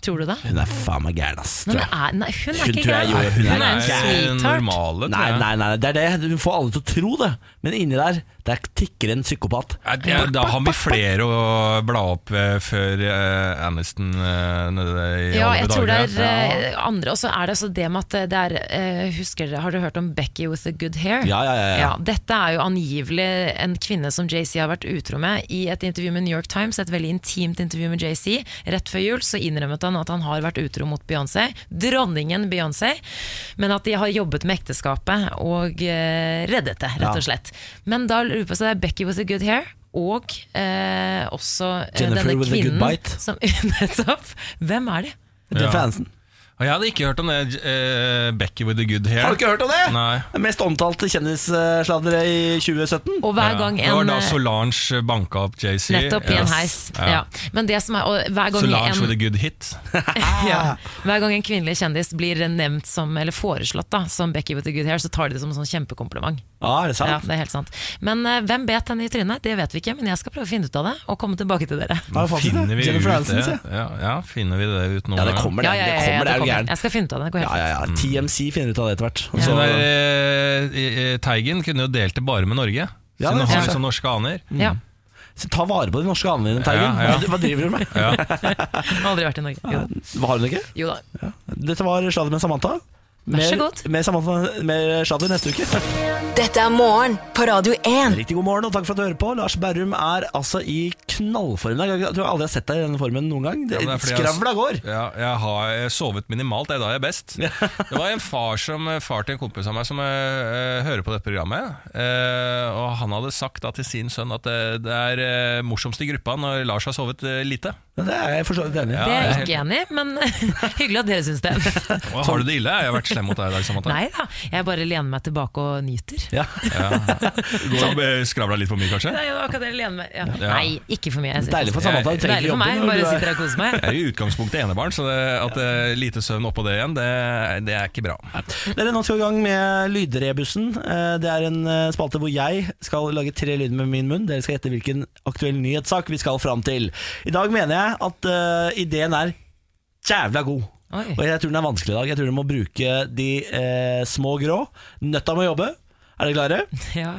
[SPEAKER 3] Tror du det?
[SPEAKER 1] Hun er faen meg gæren, ass.
[SPEAKER 3] Nei,
[SPEAKER 1] tror
[SPEAKER 3] men
[SPEAKER 1] jeg.
[SPEAKER 3] er, nei hun er
[SPEAKER 1] Hun
[SPEAKER 3] ikke
[SPEAKER 1] tror jeg
[SPEAKER 3] gæren.
[SPEAKER 1] gjorde- hun
[SPEAKER 3] Hun
[SPEAKER 1] er
[SPEAKER 3] er en
[SPEAKER 2] Nei,
[SPEAKER 3] sweetheart.
[SPEAKER 2] Eh, normale,
[SPEAKER 1] Nei,
[SPEAKER 2] tror jeg.
[SPEAKER 1] nei, nei, det er det. Hun får alle til å tro det, men inni der der tikker en psykopat.
[SPEAKER 2] Nei, det er- Da har vi flere å bla opp eh, før eh, Aniston eh, nede i
[SPEAKER 3] Ja,
[SPEAKER 2] alle
[SPEAKER 3] jeg tror det
[SPEAKER 2] dager.
[SPEAKER 3] er eh, andre. Og så er det altså det med at eh, det er eh, Husker dere, har dere hørt om Becky with the good hair?
[SPEAKER 1] Ja, ja, ja, ja.
[SPEAKER 3] Dette er jo angivelig en kvinne som JC har vært utro med. I et intervju med New York Times, et veldig intimt intervju med JC, rett før jul så innrømmet han at han har vært utro mot Beyoncé, dronningen Beyoncé, men at de har jobbet med ekteskapet og eh, reddet det, rett
[SPEAKER 1] Ja.
[SPEAKER 3] og slett. Men da lurer jeg på så det er Becky with the good hair. Og eh, også eh,
[SPEAKER 1] Jennifer
[SPEAKER 3] denne
[SPEAKER 1] with the good
[SPEAKER 3] kvinnen
[SPEAKER 1] bite.
[SPEAKER 3] som Nettopp. Hvem er de?
[SPEAKER 1] Jennifer
[SPEAKER 2] Ja.
[SPEAKER 1] Aniston.
[SPEAKER 2] Og jeg hadde ikke hørt om det eh, Becky with the good hair.
[SPEAKER 1] Har du ikke hørt om det?
[SPEAKER 2] Nei.
[SPEAKER 1] Det Mest omtalte kjendissladret i 2017.
[SPEAKER 3] Og hver gang
[SPEAKER 2] ja. Det var
[SPEAKER 3] en eh,
[SPEAKER 2] da Solange banka opp JC.
[SPEAKER 3] Nettopp i en
[SPEAKER 2] Yes.
[SPEAKER 3] heis. Ja. Men det som er, og hver gang
[SPEAKER 2] Solange with a
[SPEAKER 3] en,
[SPEAKER 2] good hit.
[SPEAKER 1] Ah.
[SPEAKER 3] ja, hver gang en kvinnelig kjendis blir nevnt som, eller foreslått da, som Becky with the good hair, så tar de det som en sånn kjempekompliment.
[SPEAKER 1] Ja, er det sant?
[SPEAKER 3] Ja, det er helt sant. Men eh, hvem bet henne i trynet? Det vet vi ikke, men jeg skal prøve å finne ut av det og komme tilbake til dere.
[SPEAKER 1] Har du fasit,
[SPEAKER 2] Finner vi
[SPEAKER 1] Jennifer
[SPEAKER 2] ut
[SPEAKER 1] Aniston, sier
[SPEAKER 2] det?
[SPEAKER 1] jeg.
[SPEAKER 2] Ja, ja, finner vi det ut noen
[SPEAKER 1] Ja, det
[SPEAKER 2] gang?
[SPEAKER 1] kommer, det.
[SPEAKER 3] Ja, ja, ja,
[SPEAKER 1] det
[SPEAKER 3] ja,
[SPEAKER 1] kommer, det er
[SPEAKER 3] det
[SPEAKER 1] jo Mm.
[SPEAKER 3] kommer.
[SPEAKER 1] gæren.
[SPEAKER 3] Jeg skal finne ut av det. det går
[SPEAKER 1] Ja,
[SPEAKER 3] helt
[SPEAKER 1] ja,
[SPEAKER 3] fint.
[SPEAKER 1] ja. TMC finner ut av det etter hvert. Og
[SPEAKER 2] Så
[SPEAKER 1] så-
[SPEAKER 2] der, eh, eh, Teigen kunne jo delt det bare med Norge,
[SPEAKER 1] Ja,
[SPEAKER 2] siden
[SPEAKER 1] det
[SPEAKER 2] han har
[SPEAKER 1] synes jeg.
[SPEAKER 2] liksom norske aner.
[SPEAKER 3] Ja,
[SPEAKER 1] Så ta vare på de norske anene dine, Teigen.
[SPEAKER 2] Ja, ja.
[SPEAKER 1] Hva, hva driver du med?
[SPEAKER 3] jeg har aldri vært i Norge. Jo da.
[SPEAKER 1] Hva har hun ikke?
[SPEAKER 3] Jo da.
[SPEAKER 1] Dette var Sladder med Samantha.
[SPEAKER 3] Vær så
[SPEAKER 1] Mer-
[SPEAKER 3] god.
[SPEAKER 1] Mer, Samantha, mer sladder neste uke.
[SPEAKER 4] Dette er morgen på Radio 1.
[SPEAKER 1] Riktig god morgen og takk for at du hører på. Lars Berrum er altså i knallform. i dag. Jeg tror jeg aldri har sett deg i denne formen noen gang. Det,
[SPEAKER 2] Ja, men det er fordi jeg-
[SPEAKER 1] skravla går.
[SPEAKER 2] Ja, jeg har eh, sovet minimalt, det er da jeg er best. Det var en far, som, eh, far til en kompis av meg som eh, eh, hører på dette programmet. eh, og han hadde sagt da til sin sønn at eh, det er eh, morsomst i gruppa når Lars har sovet eh, lite.
[SPEAKER 1] Ja, Det er jeg forståelig enig i.
[SPEAKER 2] Ja,
[SPEAKER 3] Det er
[SPEAKER 2] jeg
[SPEAKER 3] jeg ikke enig i, men hyggelig at dere syns det.
[SPEAKER 1] Sånn.
[SPEAKER 2] Og har du det ille? Jeg har vært slem mot deg i dag, Samantha.
[SPEAKER 3] Nei da, jeg bare lener meg tilbake og nyter.
[SPEAKER 1] Ja.
[SPEAKER 2] Går og eh, skravla litt for mye, kanskje?
[SPEAKER 3] Nei, det var akkurat det jeg lener meg ja.
[SPEAKER 2] Ja.
[SPEAKER 3] Nei, ikke for mye. Jeg sitter-
[SPEAKER 1] Deilig for Samantha. Hun trenger ikke
[SPEAKER 3] Deilig for meg,
[SPEAKER 1] jobbe når
[SPEAKER 3] bare
[SPEAKER 1] du er-
[SPEAKER 3] sitter her og koser
[SPEAKER 2] Jeg
[SPEAKER 3] meg.
[SPEAKER 2] er i utgangspunktet enebarn, så det, at eh, lite søvn oppå det igjen, det, det er ikke bra.
[SPEAKER 1] Dere, nå skal vi i gang med lydrebussen. Eh, Det er en eh, spalte hvor jeg skal lage tre lyder med min munn. Dere skal gjette hvilken aktuell nyhetssak vi skal fram til. I dag mener jeg at eh, ideen er jævla god.
[SPEAKER 3] Oi.
[SPEAKER 1] Og jeg tror den er vanskelig i dag. Jeg tror du må bruke de eh, små grå. Nøtta må jobbe. Er dere klare?
[SPEAKER 3] Ja.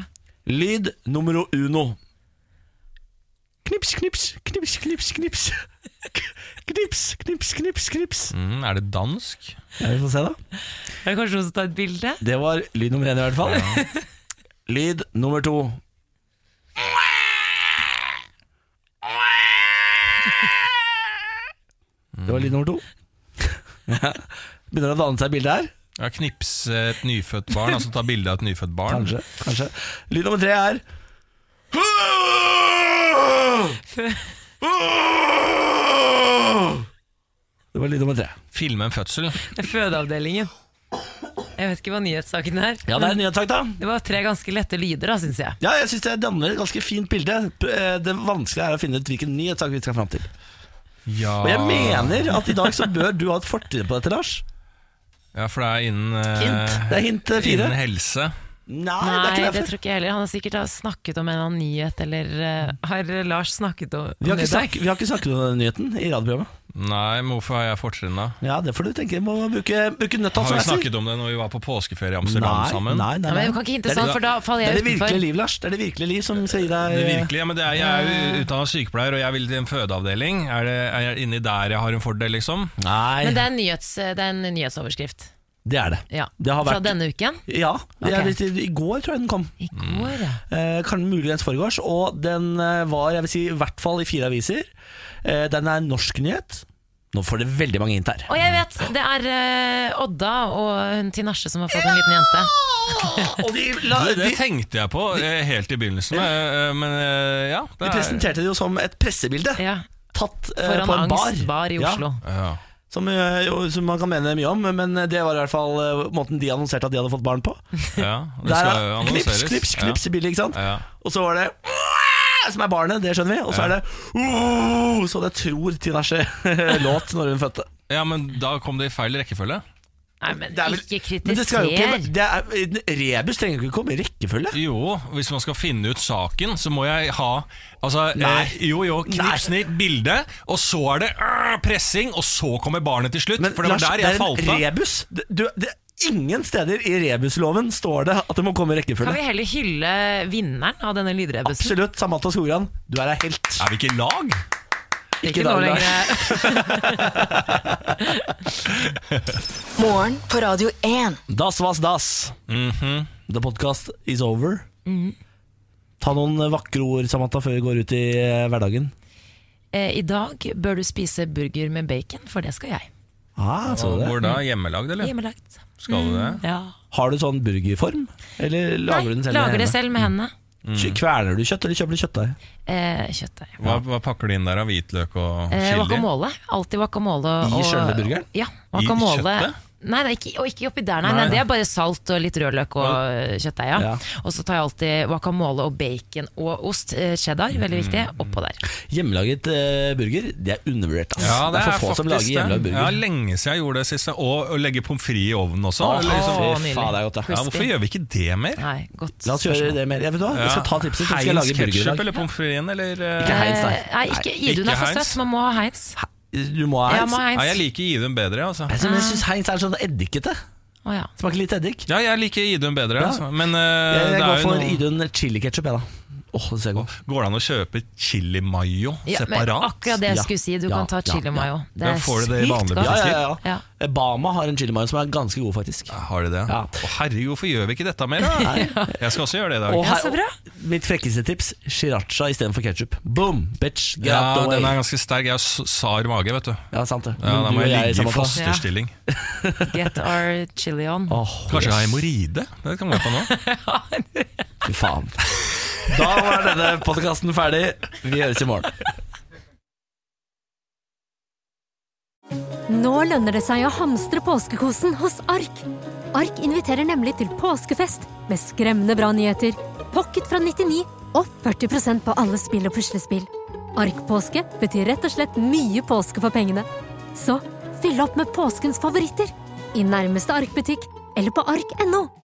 [SPEAKER 1] Lyd nummer uno. Knips, knips, knips, knips, knips. Knips, knips, knips, knips.
[SPEAKER 2] Mm, er det dansk?
[SPEAKER 1] Ja, vi får se, da.
[SPEAKER 3] Er det kanskje noen som tar et bilde?
[SPEAKER 1] Det var lyd nummer én, i hvert fall. Lyd nummer to. Det var lyd nummer to. Begynner det å danne seg et bilde her?
[SPEAKER 2] Ja, knipse et nyfødt barn, altså ta bilde av et nyfødt barn.
[SPEAKER 1] Kanskje. kanskje Lyd nummer tre er Det var lyd nummer tre.
[SPEAKER 2] Filme en fødsel.
[SPEAKER 3] Det er Fødeavdelingen. Jeg vet ikke hva nyhetssaken er.
[SPEAKER 1] Ja, det er en nyhetssak, da.
[SPEAKER 3] Det var tre ganske lette lyder, da, syns jeg.
[SPEAKER 1] Ja, jeg syns det danner et ganske fint bilde. P- eh, Det vanskelige er å finne ut hvilken nyhetssak vi skal fram til.
[SPEAKER 2] Ja.
[SPEAKER 1] Og jeg mener at i dag så bør du ha et fortrinn på dette, Lars.
[SPEAKER 2] ja, for det er innen eh,
[SPEAKER 1] Det er hint eh, fire.
[SPEAKER 2] Innen helse.
[SPEAKER 1] Nei, det er
[SPEAKER 3] Nei,
[SPEAKER 1] ikke
[SPEAKER 3] det
[SPEAKER 1] derfor.
[SPEAKER 3] tror ikke jeg heller. Han har sikkert har snakket om en eller annen nyhet, eller eh, har Lars snakket om
[SPEAKER 1] Vi har, ikke
[SPEAKER 3] om det i dag?
[SPEAKER 1] snakket, vi har ikke snakket om den nyheten i radioprogrammet.
[SPEAKER 2] Nei, men hvorfor har jeg fortrinn da?
[SPEAKER 1] Ja, Det får du tenke. Må bruke, bruke nøtta
[SPEAKER 2] Har
[SPEAKER 1] som Altså,
[SPEAKER 2] vi
[SPEAKER 1] jeg sier.
[SPEAKER 2] snakket om det når vi var på påskeferie i
[SPEAKER 1] Nei,
[SPEAKER 2] Amsterdam
[SPEAKER 1] nei,
[SPEAKER 2] sammen?
[SPEAKER 1] nei,
[SPEAKER 3] Ja, men
[SPEAKER 1] nei.
[SPEAKER 3] Vi kan ikke hinte
[SPEAKER 1] Det er
[SPEAKER 3] sånn,
[SPEAKER 1] det-
[SPEAKER 3] for da faller
[SPEAKER 1] Det er
[SPEAKER 3] jeg
[SPEAKER 1] det virkelige
[SPEAKER 3] utenfor.
[SPEAKER 1] liv, Lars. Det er det virkelige liv som sier deg
[SPEAKER 2] Det virkelige, men det er, jeg er jo utdanna sykepleier, og jeg vil til en fødeavdeling. Er, det, er jeg inni der jeg har en fordel, liksom?
[SPEAKER 1] Nei,
[SPEAKER 3] Men det
[SPEAKER 1] det,
[SPEAKER 3] er, en nyhets, det er en nyhetsoverskrift.
[SPEAKER 1] er det.
[SPEAKER 3] Ja.
[SPEAKER 1] Det har
[SPEAKER 3] Fra
[SPEAKER 1] vært-
[SPEAKER 3] denne uken.
[SPEAKER 1] Ja, jeg
[SPEAKER 3] Ok.
[SPEAKER 1] vet ikke, I går tror jeg den kom.
[SPEAKER 3] I går, ja.
[SPEAKER 1] Eh, kan muligens foregårs. Og den eh, var jeg vil si, i hvert fall i fire aviser. Eh, den er norsk nyhet. Nå får det veldig mange hint her.
[SPEAKER 3] Og jeg vet, det er eh, Odda og hun Tinashe som har fått en liten jente.
[SPEAKER 1] Og de, la,
[SPEAKER 2] Det,
[SPEAKER 1] de,
[SPEAKER 2] det tenkte jeg på eh, helt i begynnelsen, eh, eh, men eh, ja.
[SPEAKER 1] de
[SPEAKER 2] Det er,
[SPEAKER 1] presenterte det jo som et pressebilde
[SPEAKER 3] Ja.
[SPEAKER 1] tatt eh,
[SPEAKER 3] Foran
[SPEAKER 1] på en bar.
[SPEAKER 3] Angst bar i
[SPEAKER 1] Ja,
[SPEAKER 3] Oslo.
[SPEAKER 2] ja.
[SPEAKER 1] som, eh, jo, som man kan mene mye om, men det var i hvert fall eh, måten de annonserte at de hadde fått barn på.
[SPEAKER 2] ja det
[SPEAKER 1] Der,
[SPEAKER 2] skal
[SPEAKER 1] ja.
[SPEAKER 2] jo
[SPEAKER 1] knips,
[SPEAKER 2] annonseres.
[SPEAKER 1] knips, knips i bildet, ikke sant?
[SPEAKER 2] Ja. Ja.
[SPEAKER 1] Og så var det som er barnet, det skjønner vi. Og så er det «Åh», sånn jeg tror Tinashe låt når hun fødte.
[SPEAKER 2] ja, men da kom det i feil rekkefølge.
[SPEAKER 3] Nei, men
[SPEAKER 1] Det er vel-
[SPEAKER 3] ikke
[SPEAKER 1] Men det skal jo
[SPEAKER 3] kritiser.
[SPEAKER 1] ikke det er, Rebus trenger jo ikke komme i rekkefølge.
[SPEAKER 2] Jo, hvis man skal finne ut saken, så må jeg ha Altså,
[SPEAKER 1] Nei.
[SPEAKER 2] eh, jo, jo, knips
[SPEAKER 1] Nei.
[SPEAKER 2] ned bilde, og så er det øh, pressing, og så kommer barnet til slutt.
[SPEAKER 1] Men
[SPEAKER 2] for det var
[SPEAKER 1] Lars,
[SPEAKER 2] der
[SPEAKER 1] det
[SPEAKER 2] jeg
[SPEAKER 1] er
[SPEAKER 2] falt
[SPEAKER 1] en
[SPEAKER 2] av.
[SPEAKER 1] rebus. Det, du, det, ingen steder i rebusloven står det at det må komme i
[SPEAKER 3] Kan
[SPEAKER 1] rekkefølge.
[SPEAKER 3] vi heller hylle vinneren av denne lydrebussen?
[SPEAKER 1] Absolutt. Samantha Skogran, du er ei helt.
[SPEAKER 2] Er vi ikke i lag?
[SPEAKER 1] ikke
[SPEAKER 3] nå
[SPEAKER 1] da, Lars.
[SPEAKER 3] lenger.
[SPEAKER 4] Morgen på Radio 1.
[SPEAKER 1] Das was das.
[SPEAKER 2] Mhm.
[SPEAKER 1] The podcast is over. Ta noen vakre ord, Samantha, før vi går ut i eh, hverdagen.
[SPEAKER 3] Eh, I dag bør du spise burger med bacon, for det skal jeg.
[SPEAKER 1] Ah, så du det.
[SPEAKER 2] Hvor da? Hjemmelagd, eller?
[SPEAKER 3] Hjemmelagt.
[SPEAKER 2] Skal du det?
[SPEAKER 3] Ja.
[SPEAKER 1] Har du sånn burgerform? Eller lager du den
[SPEAKER 3] Nei,
[SPEAKER 1] selv?
[SPEAKER 3] lager det
[SPEAKER 1] hjemme?
[SPEAKER 3] selv med hendene.
[SPEAKER 2] Mm.
[SPEAKER 1] Kj- Kveler du kjøtt, eller kjøper du kjøttdeig?
[SPEAKER 3] Eh, kjøttdeig.
[SPEAKER 2] Hva, hva pakker du inn der av hvitløk og
[SPEAKER 3] Eh,
[SPEAKER 2] chili?
[SPEAKER 3] guacamole. Alltid guacamole.
[SPEAKER 1] I selve burgeren?
[SPEAKER 3] Ja,
[SPEAKER 2] I
[SPEAKER 3] guacamole.
[SPEAKER 2] kjøttet?
[SPEAKER 3] Nei, nei ikke, og ikke oppi der, nei,
[SPEAKER 2] Nei.
[SPEAKER 3] nei. Det er bare salt og litt rødløk og eh, kjøttdeig. Ja.
[SPEAKER 1] Ja.
[SPEAKER 3] Og så tar jeg alltid guacamole og bacon og ost. eh, Cheddar, veldig viktig, oppå der.
[SPEAKER 1] Hjemmelaget eh, burger, det er undervurdert. ass.
[SPEAKER 2] Ja, det,
[SPEAKER 1] er
[SPEAKER 2] er,
[SPEAKER 1] for få som lager
[SPEAKER 2] faktisk
[SPEAKER 1] hjemmelaget
[SPEAKER 2] det.
[SPEAKER 1] burger.
[SPEAKER 2] Ja, lenge siden jeg gjorde det siste. Og å legge pommes frites i ovnen også.
[SPEAKER 1] Åh,
[SPEAKER 2] Eller liksom,
[SPEAKER 3] Åh,
[SPEAKER 1] fy
[SPEAKER 3] nydelig.
[SPEAKER 1] faen, det er godt, da.
[SPEAKER 2] ja, hvorfor gjør vi ikke det mer?
[SPEAKER 3] Nei, godt
[SPEAKER 1] La oss gjøre det mer. Jeg vet du hva, jeg skal ta tipset. så Skal jeg
[SPEAKER 2] Heinz
[SPEAKER 1] lage burger i
[SPEAKER 2] ketchup
[SPEAKER 1] dag.
[SPEAKER 2] eller pommes fritesen, eller
[SPEAKER 1] Ikke
[SPEAKER 2] eh,
[SPEAKER 1] Heinz,
[SPEAKER 3] Eh,
[SPEAKER 1] nei.
[SPEAKER 3] Nei, ikke
[SPEAKER 1] Nei,
[SPEAKER 3] Idun
[SPEAKER 2] ikke
[SPEAKER 3] er for
[SPEAKER 2] Heinz.
[SPEAKER 3] søt, man må ha Heinz.
[SPEAKER 1] Du må ha
[SPEAKER 3] Ja,
[SPEAKER 1] Heinz.
[SPEAKER 3] må ha
[SPEAKER 2] Nei, jeg
[SPEAKER 3] Heinz.
[SPEAKER 2] liker Idun bedre, altså.
[SPEAKER 1] Jeg synes- jeg syns Heinz er sånn eddikete.
[SPEAKER 3] Å, ja.
[SPEAKER 1] Smaker litt eddik.
[SPEAKER 2] Ja, jeg liker Idun bedre,
[SPEAKER 1] Ja.
[SPEAKER 2] altså. Men eh,
[SPEAKER 1] Jeg, jeg
[SPEAKER 2] det
[SPEAKER 1] går
[SPEAKER 2] er jo
[SPEAKER 1] for
[SPEAKER 2] noe
[SPEAKER 1] Idun chiliketchup, jeg, da. Åh, det ser godt
[SPEAKER 2] Går det an å kjøpe chili mayo
[SPEAKER 3] Ja, men
[SPEAKER 2] separat?
[SPEAKER 3] akkurat det jeg
[SPEAKER 1] Ja,
[SPEAKER 3] skulle si. Du
[SPEAKER 1] ja,
[SPEAKER 3] kan ta
[SPEAKER 1] ja,
[SPEAKER 3] chili
[SPEAKER 1] ja.
[SPEAKER 3] mayo. Det
[SPEAKER 2] Ja,
[SPEAKER 3] er
[SPEAKER 2] får du det i
[SPEAKER 3] sykt
[SPEAKER 2] vanlig
[SPEAKER 3] godt.
[SPEAKER 1] Ja, ja, ja,
[SPEAKER 3] Ja.
[SPEAKER 1] ja. Bama har en chilimayo som er ganske god, faktisk.
[SPEAKER 2] Har de det?
[SPEAKER 1] Ja.
[SPEAKER 2] Å, herregud, hvorfor gjør vi ikke dette mer, da? Jeg skal også gjøre det i dag.
[SPEAKER 1] Og
[SPEAKER 3] så bra.
[SPEAKER 1] mitt frekkeste tips Shiracha istedenfor ketsjup. Boom! Bitch, get out
[SPEAKER 2] Ja,
[SPEAKER 1] the way.
[SPEAKER 2] den er ganske sterk. Jeg har s- sar mage, vet du.
[SPEAKER 1] Ja, sant det.
[SPEAKER 2] Ja,
[SPEAKER 1] Men
[SPEAKER 2] da
[SPEAKER 1] du
[SPEAKER 2] må
[SPEAKER 1] og
[SPEAKER 2] jeg
[SPEAKER 1] jeg
[SPEAKER 2] ligge i
[SPEAKER 1] Samantha-
[SPEAKER 2] fosterstilling.
[SPEAKER 3] Get our chili on.
[SPEAKER 1] Åh,
[SPEAKER 2] Kanskje jeg har
[SPEAKER 1] yes.
[SPEAKER 2] hemoroide? Det kan vi være på nå.
[SPEAKER 1] Fy faen. Da var denne podkasten ferdig. Vi høres i morgen.
[SPEAKER 8] Nå lønner det seg å hamstre påskekosen hos Ark. Ark inviterer nemlig til påskefest med skremmende bra nyheter, pocket fra 99 og 40 på alle spill og puslespill. Ark-påske betyr rett og slett mye påske for pengene. Så fyll opp med påskens favoritter i nærmeste Ark-butikk eller på ark.no.